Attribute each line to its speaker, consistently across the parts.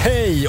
Speaker 1: Hej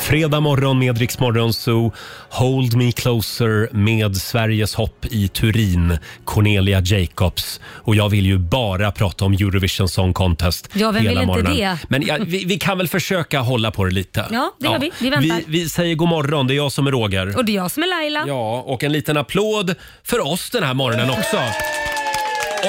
Speaker 1: Fredag morgon med Riksmorgonzoo. Hold me closer med Sveriges hopp i Turin, Cornelia Jacobs. Och jag vill ju bara prata om Eurovision Song Contest
Speaker 2: Ja, vem
Speaker 1: hela
Speaker 2: vill inte
Speaker 1: morgonen.
Speaker 2: det?
Speaker 1: Men ja, vi, vi kan väl försöka hålla på det lite.
Speaker 2: Ja, det gör vi. Vi väntar.
Speaker 1: Vi, vi säger god morgon, det är jag som är Roger.
Speaker 2: Och det är jag som är Laila.
Speaker 1: Ja, och en liten applåd för oss den här morgonen också.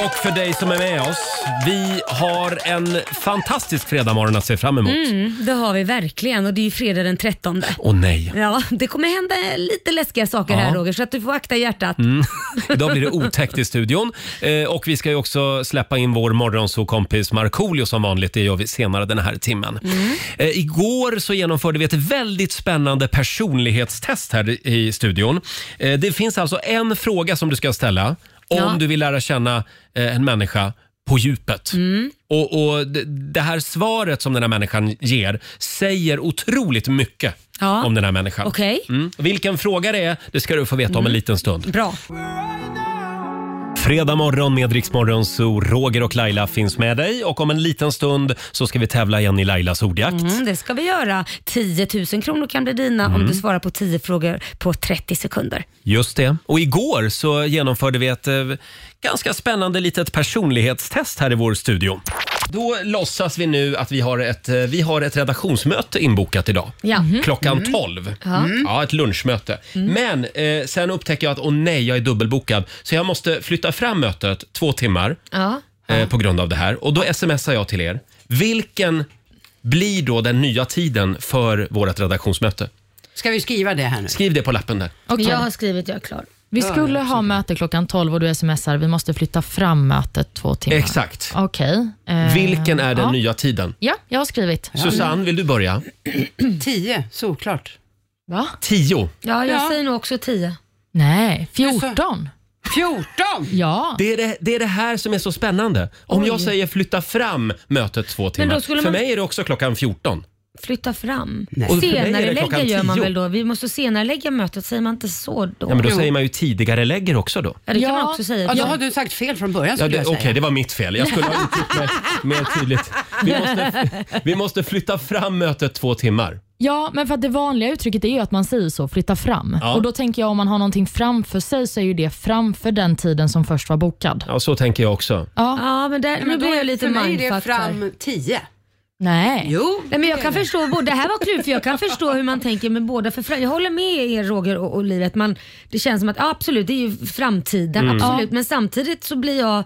Speaker 1: Och för dig som är med oss. Vi har en fantastisk fredagmorgon att se fram emot.
Speaker 2: Mm, det har vi verkligen och det är ju fredag den 13.
Speaker 1: Åh nej.
Speaker 2: Ja, det kommer hända lite läskiga saker
Speaker 1: Ja.
Speaker 2: här Roger, så att du får akta hjärtat.
Speaker 1: Idag blir det otäckt i studion. Eh, och vi ska ju också släppa in vår morgonsåkompis Markoolio som vanligt. Det gör vi senare den här timmen.
Speaker 2: Mm.
Speaker 1: Eh, igår så genomförde vi ett väldigt spännande personlighetstest här i- i studion. Eh, det finns alltså en fråga som du ska ställa om
Speaker 2: Ja.
Speaker 1: du vill lära känna eh, en människa på djupet.
Speaker 2: Mm.
Speaker 1: Och, och det, det här svaret som den här människan ger säger otroligt mycket
Speaker 2: Ja.
Speaker 1: om den här människan.
Speaker 2: Okej? Mm.
Speaker 1: Mm. Vilken fråga det är, det ska du få veta om en liten stund.
Speaker 2: Bra.
Speaker 1: Fredag morgon med Rix Morgon Zoo. Roger och Laila finns med dig och om en liten stund så ska vi tävla igen i Lailas ordjakt.
Speaker 2: Mm, det ska vi göra. 10 000 kronor kan bli dina om du svarar på 10 frågor på 30 sekunder.
Speaker 1: Just det. Och igår så genomförde vi ett eh, ganska spännande litet personlighetstest här i vår studio. Då låtsas vi nu att vi har ett, eh, vi har ett redaktionsmöte inbokat idag. Mm.
Speaker 2: Ja. Mm. Mhm.
Speaker 1: Klockan 12. Ja, ett lunchmöte.
Speaker 2: Mm.
Speaker 1: Men eh, sen upptäcker jag att åh nej, jag är dubbelbokad. Så jag måste flytta fram mötet två timmar.
Speaker 2: Ja.
Speaker 1: eh, på grund av det här. Och då smsar jag till er. Vilken blir då den nya tiden för vårt redaktionsmöte?
Speaker 3: Ska vi skriva det här nu?
Speaker 1: Skriv det på lappen där.
Speaker 4: Okej.
Speaker 2: Jag har skrivit, jag är klar.
Speaker 4: Vi skulle ha möte klockan 12 och du smsar vi måste flytta fram mötet två timmar.
Speaker 1: Exakt.
Speaker 4: Okej. eh,
Speaker 1: Vilken är den
Speaker 4: ja.
Speaker 1: nya tiden?
Speaker 4: Ja, jag har skrivit.
Speaker 1: Susanne, vill du börja?
Speaker 3: Tio, såklart.
Speaker 4: Va?
Speaker 1: Tio.
Speaker 2: Ja, jag
Speaker 3: Ja.
Speaker 2: säger nog också 10.
Speaker 4: Nej,
Speaker 3: sa-
Speaker 4: 14.
Speaker 3: Fjorton!
Speaker 4: Ja.
Speaker 1: Det är det, det är det här som är så spännande. Om jag säger flytta fram mötet två timmar.
Speaker 2: då skulle
Speaker 1: För
Speaker 2: man-
Speaker 1: mig är det också klockan 14.
Speaker 2: Flytta fram.
Speaker 1: Och för mig är det
Speaker 2: Senare lägga
Speaker 1: klockan
Speaker 2: gör man
Speaker 1: 10.
Speaker 2: väl då? Vi måste senare lägga mötet, säger man inte så då?
Speaker 1: Ja, men då
Speaker 3: Jo.
Speaker 1: säger man ju tidigare lägger också då.
Speaker 2: Ja, det kan
Speaker 4: Ja.
Speaker 2: man också säga.
Speaker 3: Ja, då
Speaker 2: Jag-
Speaker 3: Alltså, har du sagt fel från början
Speaker 1: Ja,
Speaker 3: skulle
Speaker 1: det-
Speaker 3: jag
Speaker 1: Okej,
Speaker 3: säga.
Speaker 1: det var mitt fel. Jag skulle ha uttryckt mig mer tydligt. Vi måste, vi måste flytta fram mötet två timmar.
Speaker 4: ja, men för att det vanliga uttrycket är ju att man säger så, flytta fram.
Speaker 1: Ja.
Speaker 4: Och Då tänker jag om man har någonting framför sig så är ju det framför den tiden som först var bokad.
Speaker 1: Ja, så tänker jag också.
Speaker 2: Ja, men där,
Speaker 3: Nej,
Speaker 2: nu
Speaker 3: men då
Speaker 2: blir
Speaker 3: är-
Speaker 2: jag lite
Speaker 3: För mig är det
Speaker 2: mindfucked här.
Speaker 3: fram tio.
Speaker 4: Nej.
Speaker 3: Jo.
Speaker 2: Nej, men jag kan förstå, både- det här var klurigt för jag kan förstå hur man tänker med båda. För fra- jag håller med er Roger och, och livet. Man, det känns som att ja, absolut, det är ju framtiden.
Speaker 1: Mm.
Speaker 2: Absolut. Men samtidigt så blir jag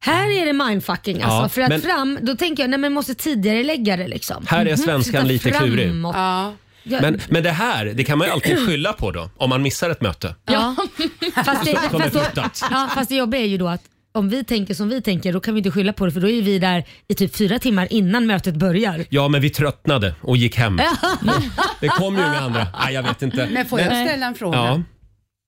Speaker 2: här är det mindfucking alltså.
Speaker 1: Ja,
Speaker 2: för att
Speaker 1: men-
Speaker 2: fram, då tänker jag nej men måste tidigare lägga det liksom.
Speaker 1: Här är svenskan
Speaker 2: Flytta
Speaker 1: lite klurig.
Speaker 2: framåt.
Speaker 3: Ja.
Speaker 2: Ja,
Speaker 1: Men, men det här, det kan man ju alltid skylla på då, om man missar ett möte.
Speaker 2: ja. fast, det,
Speaker 1: Som är
Speaker 2: fast, då,
Speaker 1: flyttat.
Speaker 2: ja, fast det jobbiga är ju då att om vi tänker som vi tänker då kan vi inte skylla på det för då är vi där i typ fyra timmar innan mötet börjar.
Speaker 1: Ja, men vi tröttnade och gick hem. Det kom ju inga andra. Nej, jag vet inte.
Speaker 3: Men får jag ställa en fråga?
Speaker 1: Ja.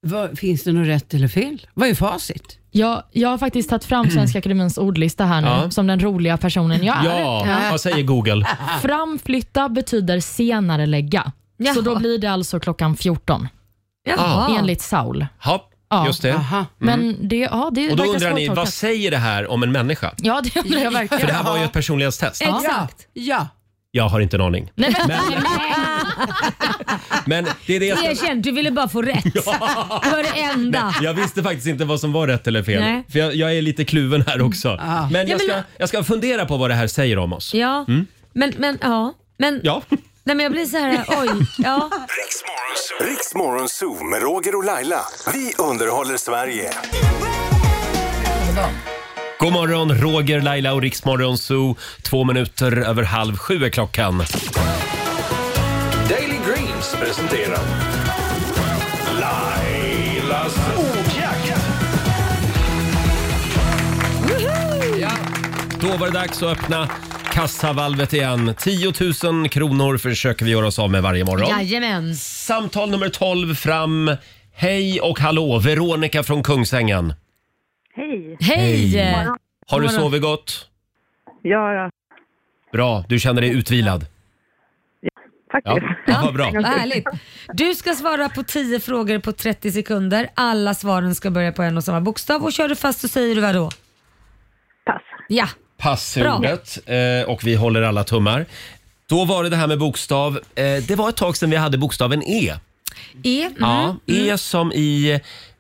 Speaker 3: Vad, finns det något rätt eller fel? Vad är facit?
Speaker 4: Jag, jag har faktiskt tagit fram Svenska Akademiens ordlista här nu,
Speaker 1: Ja.
Speaker 4: som den roliga personen jag är.
Speaker 1: ja, vad säger Google?
Speaker 4: Framflytta betyder senare lägga. Så
Speaker 2: Jaha.
Speaker 4: då blir det alltså klockan 14,
Speaker 1: Ah.
Speaker 2: Jaha.
Speaker 4: enligt Saul.
Speaker 1: Ja,
Speaker 4: Ja.
Speaker 1: just det.
Speaker 3: Aha.
Speaker 4: Men det, ja, det
Speaker 1: Mm. Och då
Speaker 4: verkar
Speaker 1: undrar ni, vad
Speaker 4: svårtolkat.
Speaker 1: säger det här om en människa?
Speaker 4: Ja, det undrar jag
Speaker 1: För
Speaker 4: verkligen.
Speaker 1: det här var ju ett personlighetstest.
Speaker 2: Ja.
Speaker 3: Ja.
Speaker 2: Exakt.
Speaker 3: ja.
Speaker 1: Jag har inte en aning.
Speaker 4: Nej, men,
Speaker 1: Men det är det jag ska...
Speaker 2: Erkänn, du ville bara få rätt. Det var det enda.
Speaker 1: Jag visste faktiskt inte vad som var rätt eller fel.
Speaker 2: Nej.
Speaker 1: För jag, jag är lite kluven här också. Men jag
Speaker 2: men-
Speaker 1: ska, jag ska fundera på vad det här säger om oss.
Speaker 2: Ja, men, men, ja. Men,
Speaker 1: Mm. Ja.
Speaker 2: Nej, men jag blir så här, oj. Ja.
Speaker 5: Riksmorgon Zoo med Roger och Laila. Vi underhåller Sverige.
Speaker 1: God morgon, Roger, Laila och Riksmorgon Zoo. Två minuter över halv sju är klockan.
Speaker 6: Daily Greens presenterar Lailas ordjakt.
Speaker 1: Då var det dags att öppna kassavalvet igen. 10 000 kronor försöker vi göra oss av med varje morgon.
Speaker 2: Jajamän.
Speaker 1: Samtal nummer 12 fram. Hej och hallå, Veronica från Kungsängen.
Speaker 7: Hej!
Speaker 2: Hej!
Speaker 1: Har du
Speaker 2: Godmorgon.
Speaker 1: sovit gott?
Speaker 7: Ja, ja.
Speaker 1: Bra, du känner dig utvilad.
Speaker 7: faktiskt.
Speaker 1: Ja, vad bra.
Speaker 2: Vad härligt. Du ska svara på 10 frågor på 30 sekunder. Alla svaren ska börja på en och samma bokstav och kör du fast så säger du vad då?
Speaker 7: Pass.
Speaker 2: Ja.
Speaker 1: Pass är ordet eh, och vi håller alla tummar. Då var det det här med bokstav. Eh, Det var ett tag sedan vi hade bokstaven E.
Speaker 2: E. Mm.
Speaker 1: Ja, E som i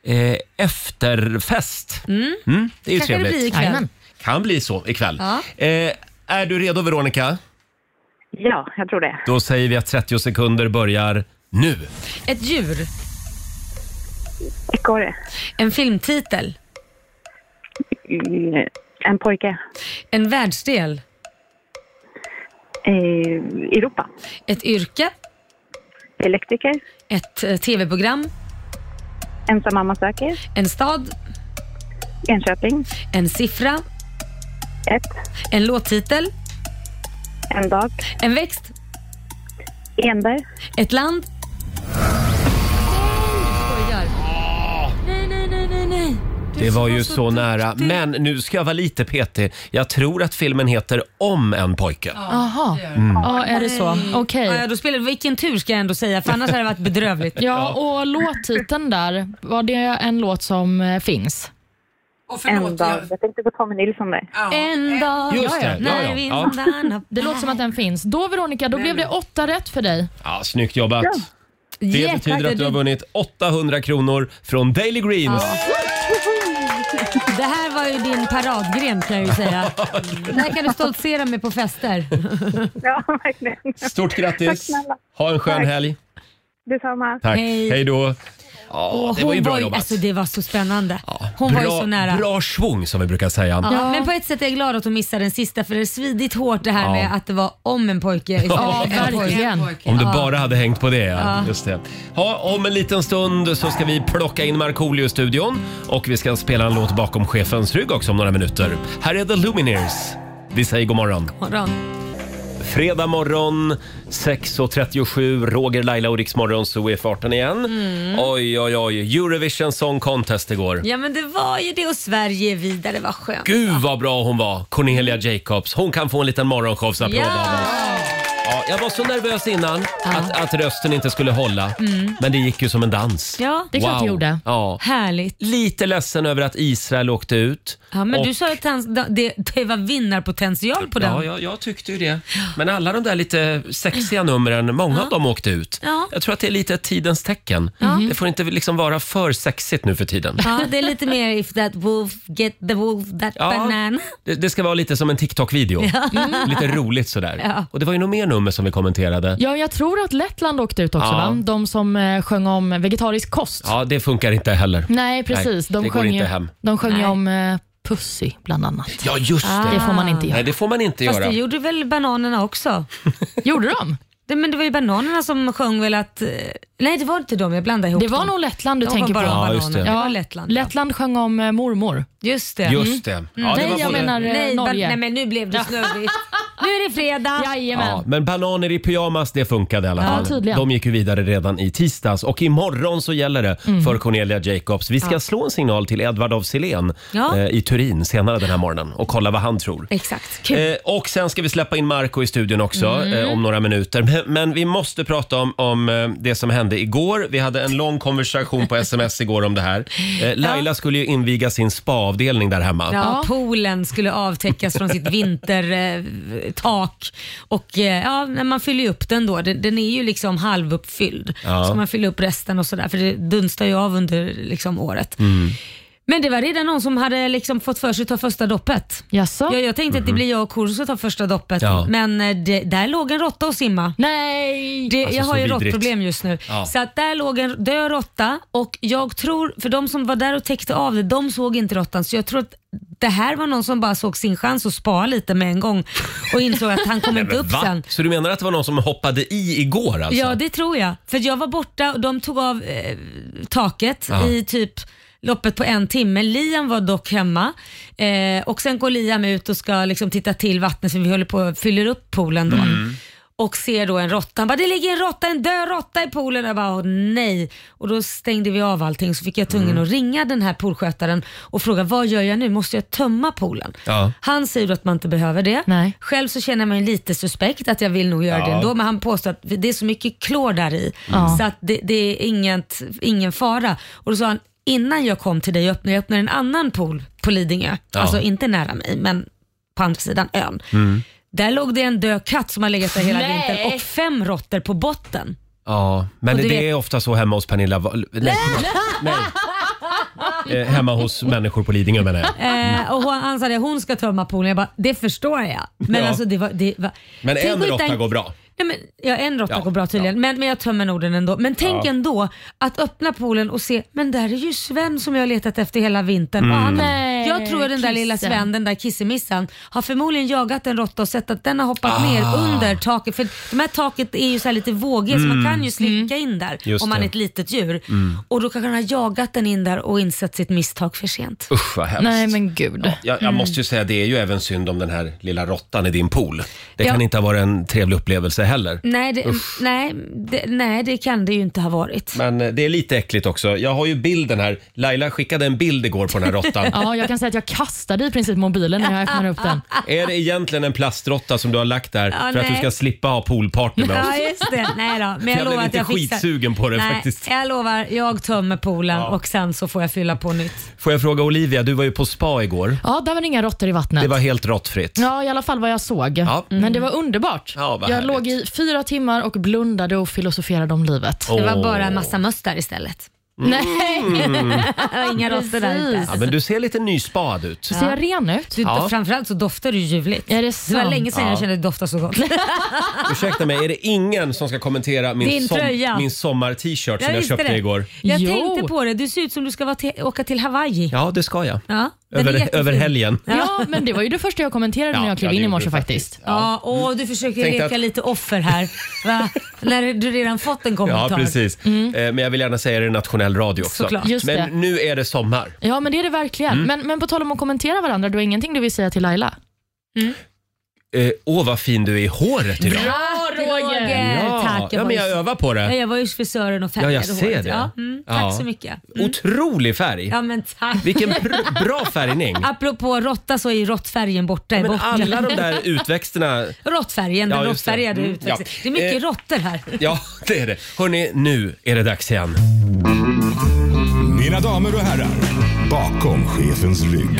Speaker 1: eh, efterfest. Mm, det är ju
Speaker 2: Kanske det blir
Speaker 1: trevligt.
Speaker 2: ikväll.
Speaker 4: Jajamän.
Speaker 1: Kan bli så ikväll.
Speaker 2: Ja.
Speaker 1: Eh, Är du redo Veronica?
Speaker 7: Ja, jag tror det.
Speaker 1: Då säger vi att 30 sekunder börjar nu.
Speaker 2: Ett djur.
Speaker 7: Ekorre.
Speaker 2: En filmtitel.
Speaker 7: Mm, En pojke.
Speaker 2: En världsdel.
Speaker 7: Eh, Europa.
Speaker 2: Ett yrke.
Speaker 7: Elektriker.
Speaker 2: Ett eh, tv-program.
Speaker 7: Ensam mamma söker.
Speaker 2: En stad.
Speaker 7: Enköping.
Speaker 2: En siffra.
Speaker 7: Ett.
Speaker 2: En låttitel.
Speaker 7: En dag.
Speaker 2: En växt.
Speaker 7: Enberg.
Speaker 2: Ett land. Skojar. Nej, nej, nej, nej, nej. Du
Speaker 1: Det
Speaker 2: som
Speaker 1: var ju så nära.
Speaker 2: duktig.
Speaker 1: Men nu ska jag vara lite petig. Jag tror att filmen heter Om en pojke.
Speaker 4: Aha. Ja, är det så? Okej.
Speaker 2: Ja, ja, då spelar, vilken tur ska jag ändå säga, för annars hade det varit bedrövligt.
Speaker 4: Ja, och låttiteln där, var det en låt som eh, finns?
Speaker 3: Och
Speaker 7: En
Speaker 3: förlåt,
Speaker 7: dag.
Speaker 3: jag,
Speaker 7: Jag tänkte på Tommy Nilsson där.
Speaker 3: ja.
Speaker 2: En dag
Speaker 1: Just det, ja,
Speaker 2: när
Speaker 1: ja, ja.
Speaker 2: vindarna...
Speaker 4: Det låter som att den finns. Då Veronica, då blev det åtta rätt för dig.
Speaker 1: Ja, snyggt jobbat. Det
Speaker 2: Jäklar,
Speaker 1: betyder att du har vunnit 800 kronor från Daily Greens.
Speaker 2: Det här var ju din paradgren kan jag ju säga. Det här kan du stoltsera med på fester.
Speaker 7: Ja, verkligen.
Speaker 1: Stort
Speaker 7: Tack
Speaker 1: grattis!
Speaker 7: snälla.
Speaker 1: Ha en skön
Speaker 7: Tack.
Speaker 1: helg.
Speaker 7: Detsamma.
Speaker 1: Tack.
Speaker 2: Hej.
Speaker 1: Hej då. Ja,
Speaker 2: Och
Speaker 1: det var ju
Speaker 2: hon
Speaker 1: bra
Speaker 2: ju,
Speaker 1: jobbat.
Speaker 2: alltså, det var så spännande. Hon var ju så nära.
Speaker 1: Bra svung som vi brukar säga.
Speaker 2: Ja. Men på ett sätt är jag glad att hon missade den sista för det är svidigt hårt det här
Speaker 1: Ja.
Speaker 2: med att det var om en pojke istället
Speaker 1: Ja,
Speaker 2: för en pojke.
Speaker 4: verkligen.
Speaker 1: Om du bara hade hängt på det. Ja. Just det. Ja, om en liten stund så ska vi plocka in Markoolio i studion och vi ska spela en låt bakom chefens rygg också om några minuter. Här är The Lumineers. Vi säger god morgon.
Speaker 2: Morgon.
Speaker 1: Fredag morgon 6.37, Roger, Laila och Riksmorgon så är farten igen. Oj, oj, oj. Eurovision Song Contest igår.
Speaker 2: Mm. Ja men det var ju det och Sverige är vidare, vad skönt.
Speaker 1: Gud vad bra hon var, Cornelia Jacobs. Hon kan få en liten morgonshowsapplåd av oss. Ja, jag var så nervös innan att, att rösten inte skulle hålla. Men det gick ju som en dans.
Speaker 2: Mm. Ja.
Speaker 4: Det är klart det gjorde.
Speaker 1: Ja.
Speaker 2: Härligt.
Speaker 1: Lite ledsen över att Israel åkte ut.
Speaker 2: Ja, men
Speaker 1: Och-
Speaker 2: du sa ju att han- det, det var vinnarpotential på den.
Speaker 1: Ja, jag, jag tyckte ju det. Men alla de där lite sexiga numren, många av dem åkte ut.
Speaker 2: Ja. Mm-hmm.
Speaker 1: Jag tror att det är lite ett tidens tecken. Det får inte liksom vara för sexigt nu för tiden.
Speaker 2: Ja, det är lite mer if that wolf get the wolf that
Speaker 1: Ja.
Speaker 2: banana.
Speaker 1: Det, det ska vara lite som en TikTok-video. Mm. Lite roligt sådär.
Speaker 2: Ja.
Speaker 1: Och det var ju något mer nummer som vi kommenterade.
Speaker 4: Ja, jag tror att Lettland åkte ut också,
Speaker 1: Ja.
Speaker 4: va? De som eh, sjöng om vegetarisk kost.
Speaker 1: Ja, det funkar inte heller.
Speaker 2: Mm.
Speaker 4: Nej, precis.
Speaker 1: Nej, det
Speaker 4: de,
Speaker 1: går
Speaker 4: sjöng
Speaker 1: inte
Speaker 4: ju,
Speaker 1: hem.
Speaker 4: de sjöng ju om eh, pussy, bland annat.
Speaker 1: Ja, just
Speaker 2: Ah,
Speaker 1: det.
Speaker 4: Det får man inte
Speaker 1: Ah. Nej,
Speaker 4: göra.
Speaker 1: det får man inte
Speaker 2: Fast
Speaker 1: göra.
Speaker 2: det gjorde väl bananerna också?
Speaker 4: Gjorde de?
Speaker 2: Det, men det var ju bananerna som sjöng väl att... eh, Nej, det var inte dem. Jag blandade ihop
Speaker 4: Det var
Speaker 2: dem.
Speaker 4: nog Lettland du
Speaker 2: De
Speaker 4: tänker
Speaker 2: var bara
Speaker 4: på.
Speaker 1: Ja,
Speaker 2: bananer.
Speaker 1: just det.
Speaker 2: det. var Lettland. ja.
Speaker 4: Lettland sjöng om eh, mormor.
Speaker 2: Just det.
Speaker 1: Just det. Ja, det
Speaker 4: Mm. Nej,
Speaker 1: var
Speaker 4: jag
Speaker 1: både-
Speaker 4: menar eh,
Speaker 2: Nej, ba-
Speaker 4: Norge.
Speaker 2: nej, men nu blev det snurrigt. nu är det fredag.
Speaker 4: Jajamän.
Speaker 1: Ja, men bananer i pyjamas, det funkade i alla
Speaker 4: Ja,
Speaker 1: fall.
Speaker 4: tydligen.
Speaker 1: De gick ju vidare redan i tisdags och imorgon så gäller det
Speaker 4: Mm.
Speaker 1: för Cornelia Jacobs. Vi ska slå en signal till Edvard af Sillén
Speaker 2: Ja.
Speaker 1: eh, i Turin senare den här morgonen och kolla vad han tror.
Speaker 2: Exakt. Kul.
Speaker 1: Eh, och sen ska vi släppa in Marco i studion också
Speaker 4: Mm.
Speaker 1: eh, om några minuter. Men, men vi måste prata om, om eh, det som hände igår. Vi hade en lång konversation på sms igår om det här. Eh, Laila skulle ju inviga sin spaavdelning där hemma.
Speaker 2: Ja, poolen skulle avtäckas från sitt vintertak. Och eh, ja, när man fyller ju upp den då. Den, den är ju liksom halvuppfylld.
Speaker 1: Ja.
Speaker 2: Så man fyller upp resten och sådär. För det dunstar ju av under liksom, året.
Speaker 1: Mm.
Speaker 2: Men det var redan någon som hade liksom fått för sig att ta första doppet.
Speaker 4: Jaså?
Speaker 2: Jag, jag tänkte att det blir jag och Korosh som tar första doppet.
Speaker 1: Mhm. Ja.
Speaker 2: Men eh, det, där låg en råtta och simma.
Speaker 4: Nej!
Speaker 2: Det,
Speaker 1: Alltså,
Speaker 2: jag
Speaker 1: så
Speaker 2: har ju
Speaker 1: vidrigt.
Speaker 2: råttproblem just nu.
Speaker 1: Ja.
Speaker 2: Så att där låg en död råtta och jag tror, för de som var där och täckte av det, de såg inte råttan. Så jag tror att det här var någon som bara såg sin chans att spara lite med en gång och insåg att han kom inte upp
Speaker 1: Va?
Speaker 2: sen.
Speaker 1: Så du menar att det var någon som hoppade i igår alltså?
Speaker 2: Ja, det tror jag. För jag var borta och de tog av eh, taket
Speaker 1: Ja.
Speaker 2: i typ loppet på en timme. Liam var dock hemma
Speaker 1: Mm.
Speaker 2: eh, och sen går Liam ut och ska liksom titta till vattnet för vi håller på och fyller upp poolen då. och ser då en råtta. Han bara, det ligger en råtta, en död råtta i poolen. Jag bara, åh nej. Och då stängde vi av allting så fick jag tvungen
Speaker 1: Mm.
Speaker 2: att ringa den här poolskötaren och fråga, vad gör jag nu? Måste jag tömma poolen?
Speaker 1: Ja.
Speaker 2: Han säger att man inte behöver det.
Speaker 4: Nej.
Speaker 2: Själv så känner man ju lite suspekt att jag vill nog göra det ändå, men han påstår att det är så mycket klor där i så att det, det är inget, ingen fara. Och då sa han, innan jag kom till dig och öppnade, jag öppnade en annan pool på Lidingö,
Speaker 1: Ja.
Speaker 2: alltså inte nära mig, men på andra sidan ön. Där låg det en död katt som har legat där hela
Speaker 4: Nej.
Speaker 2: vintern och fem råttor på botten.
Speaker 1: Ja, men
Speaker 2: Och
Speaker 1: det
Speaker 2: du vet-
Speaker 1: är ofta så hemma hos Pernilla. Va- Nej, förlåt. Nej. Eh, hemma hos människor på Lidingö menar jag.
Speaker 2: Eh, och hon, han sa det, hon ska tömma poolen. Jag bara, det förstår jag. Men
Speaker 1: Ja.
Speaker 2: alltså det var... Det var
Speaker 1: Men
Speaker 2: Tänk
Speaker 1: en
Speaker 2: att hitta
Speaker 1: råtta
Speaker 2: en-
Speaker 1: går bra.
Speaker 2: Nej, men, ja, en råtta
Speaker 1: Ja,
Speaker 2: går bra tydligen, men, men jag tömmer nog den ändå. Men tänk ändå att öppna poolen och se, men där är ju Sven som jag har letat efter hela vintern.
Speaker 1: Mm.
Speaker 2: Och han,
Speaker 4: Nej,
Speaker 2: jag tror att den där lilla
Speaker 4: kissen.
Speaker 2: Sven, den där kissemissan, har förmodligen jagat en råtta och sett att den har hoppat
Speaker 1: Ah.
Speaker 2: ner under taket. För de här taket är ju så här lite vågiga så man kan ju slinka in där
Speaker 1: Mm. Just
Speaker 2: om man
Speaker 1: det. Mm.
Speaker 2: är ett litet djur. Och då kanske den har jagat den in där och insett sitt misstag för sent.
Speaker 1: Usch vad hemskt.
Speaker 4: Nej men gud.
Speaker 1: Jag,
Speaker 2: Mm.
Speaker 1: jag måste ju säga, det är ju även synd om den här lilla råttan i din pool. Det
Speaker 2: Ja.
Speaker 1: kan inte ha varit en trevlig upplevelse heller.
Speaker 2: Nej det, nej, det, nej, det kan det ju inte ha varit.
Speaker 1: Men eh, det är lite äckligt också. Jag har ju bilden här. Laila skickade en bild igår på den här råttan.
Speaker 4: Ja, jag kan säga att jag kastade i princip mobilen när jag öppnade upp den.
Speaker 1: Är det egentligen en plastråtta som du har lagt där för att du
Speaker 2: nej.
Speaker 1: ska slippa ha poolparty med oss?
Speaker 2: Ja just det, nej då. Men jag,
Speaker 1: Jag blev
Speaker 2: lovar att
Speaker 1: lite
Speaker 2: jag fixar.
Speaker 1: skitsugen på det
Speaker 2: nej,
Speaker 1: faktiskt.
Speaker 2: Jag lovar, jag tömmer poolen och sen så får jag fylla på nytt.
Speaker 1: Får jag fråga Olivia, du var ju på spa igår.
Speaker 4: Ja, där var det inga råttor i vattnet.
Speaker 1: Det var helt råttfritt.
Speaker 4: Ja, i alla fall vad jag såg.
Speaker 1: Ja.
Speaker 4: Men det var underbart.
Speaker 1: Ja, vad
Speaker 4: jag
Speaker 1: härligt. Oh.
Speaker 4: låg i fyra timmar och blundade och filosoferade om livet.
Speaker 2: Det var
Speaker 1: Åh.
Speaker 2: bara en massa möss där istället.
Speaker 4: Nej,
Speaker 2: Inga råttor Mm. där ute.
Speaker 1: Ja, men du ser lite nyspad ut.
Speaker 4: ser jag ren ut?
Speaker 2: Du,
Speaker 1: Ja.
Speaker 2: Framförallt så doftar du ljuvligt.
Speaker 4: Är det
Speaker 2: var
Speaker 4: sant?
Speaker 2: länge sedan jag kände att det doftar så gott.
Speaker 1: Ursäkta mig, är det ingen som ska kommentera min,
Speaker 2: Din tröja.
Speaker 1: min sommar-t-shirt som jag
Speaker 2: visste
Speaker 1: köpte
Speaker 2: det.
Speaker 1: igår?
Speaker 2: Jag
Speaker 4: Jo.
Speaker 2: tänkte på det, du ser ut som du ska vara till, åka till Hawaii.
Speaker 1: Ja, det ska jag.
Speaker 2: Ja, den är
Speaker 1: Över,
Speaker 2: jättefin.
Speaker 1: över helgen.
Speaker 4: Ja, men det var ju det första jag kommenterade
Speaker 1: Ja,
Speaker 4: när jag klev
Speaker 1: ja, det
Speaker 4: in i
Speaker 1: gjorde
Speaker 4: morse
Speaker 1: du faktiskt.
Speaker 4: faktiskt.
Speaker 2: Ja, åh, du försöker
Speaker 1: Tänkte
Speaker 2: leka
Speaker 1: att-
Speaker 2: lite offer här. Va? När du redan fått en kommentar. Mm.
Speaker 1: Ja, precis. Eh, Men jag vill gärna säga det i nationell radio också.
Speaker 2: Såklart.
Speaker 4: Just
Speaker 1: Men
Speaker 4: det.
Speaker 1: nu är det sommar.
Speaker 4: Ja, men det är det verkligen.
Speaker 1: Mm.
Speaker 4: Men, men på tal om att kommentera varandra, du har ingenting du vill säga till Laila?
Speaker 1: Eh, Åh, vad fin du är i håret idag.
Speaker 4: Ja,
Speaker 2: Roger! Eh, Tack, jag
Speaker 1: ja,
Speaker 2: var
Speaker 1: men
Speaker 2: ju
Speaker 1: jag övar på
Speaker 2: Ja,
Speaker 1: det.
Speaker 2: jag var ju hos frisören och
Speaker 1: Ja,
Speaker 2: färgade
Speaker 1: jag ser
Speaker 2: håret.
Speaker 1: det.
Speaker 2: Ja, mm, tack
Speaker 1: Ja.
Speaker 2: så mycket.
Speaker 1: Otrolig färg.
Speaker 2: Mm. Ja men tack.
Speaker 1: Vilken pr- bra färgning.
Speaker 2: Apropå råtta så är ju råttfärgen borta. i
Speaker 1: Men
Speaker 2: botten.
Speaker 1: alla de där utväxterna.
Speaker 2: Råttfärgen, den
Speaker 1: Ja, just det.
Speaker 2: råttfärgade
Speaker 1: Mm,
Speaker 2: utväxten.
Speaker 1: ja.
Speaker 2: Det är mycket
Speaker 1: Eh,
Speaker 2: råttor här.
Speaker 1: Ja, det är det. Hörni, nu är det dags igen.
Speaker 6: Mina damer och herrar,
Speaker 5: Bakom chefens rygg.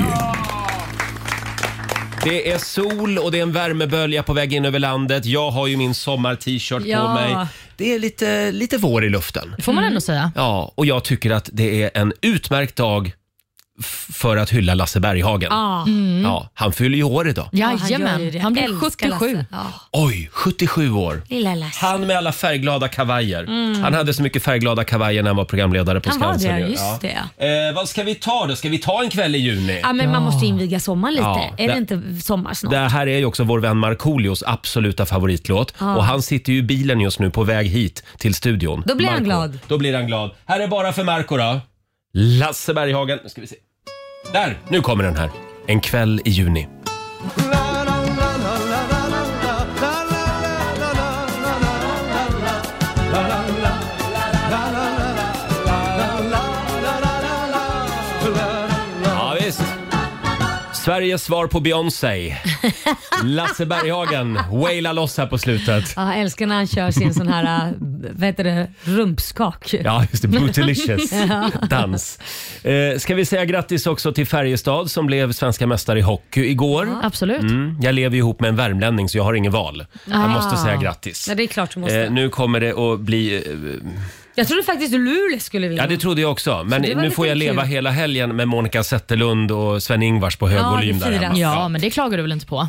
Speaker 1: Det är sol och det är en värmebölja på väg in över landet. Jag har ju min sommar-t-shirt på
Speaker 2: Ja.
Speaker 1: mig. Det är lite, lite vår i luften.
Speaker 4: Får
Speaker 2: Mm.
Speaker 4: man ändå säga.
Speaker 1: Ja, och jag tycker att det är en utmärkt dag f- för att hylla Lasse Berghagen.
Speaker 2: Ja.
Speaker 1: Ja, han fyller ju år idag.
Speaker 2: Ja, Mm, han gör ju
Speaker 4: Jajamän,
Speaker 2: det.
Speaker 4: han blir
Speaker 2: Älskar
Speaker 4: 77.
Speaker 2: Lasse. Ja.
Speaker 1: Oj, 77 år.
Speaker 2: Lilla Lasse.
Speaker 1: Han med alla färgglada kavajer. Han hade så mycket färgglada kavajer när han var programledare på
Speaker 2: Mm. Han var
Speaker 1: Skansen.
Speaker 2: det,
Speaker 1: ju.
Speaker 2: just
Speaker 1: det. Eh, vad ska vi ta då? Ska vi ta en kväll i juni?
Speaker 2: Ja, men man måste ju inviga sommaren lite.
Speaker 1: Ja,
Speaker 2: är
Speaker 1: det-
Speaker 2: det inte sommar snart?
Speaker 1: Det här är ju också vår vän Markoolios absoluta favoritlåt. Och han sitter ju i bilen just nu på väg hit till studion.
Speaker 2: Då blir han
Speaker 1: Marco.
Speaker 2: glad.
Speaker 1: Då blir han glad. Här är bara för Marco då. Lasse Berghagen. Nu ska vi se. Där! Nu kommer den här. En kväll i juni. Ja, visst. Sveriges svar på Beyoncé. Lasse Berghagen waila loss här på slutet.
Speaker 2: Ja, jag älskar när han kör sin sån här, äh, vad heter det, rumpskak.
Speaker 1: Ja, just det. Bootylicious dans. Eh, ska vi säga grattis också till Färjestad som blev svenska mästare i hockey igår.
Speaker 4: Absolut.
Speaker 1: Mm, jag lever ju ihop med en värmlänning så jag har ingen val. Jag måste säga grattis.
Speaker 2: Ah. Ja, det är klart du måste.
Speaker 1: Eh, nu kommer det att bli... eh,
Speaker 2: jag trodde faktiskt Luleå skulle vinna.
Speaker 1: Ja, det trodde jag också. Men
Speaker 2: det var
Speaker 1: nu
Speaker 2: lite
Speaker 1: får jag
Speaker 2: kul.
Speaker 1: leva hela helgen med Monica Zetterlund och Sven-Ingvars på hög
Speaker 2: Ja, det
Speaker 1: volym där
Speaker 2: firas.
Speaker 1: hemma.
Speaker 4: Ja, men det klagar du väl inte på?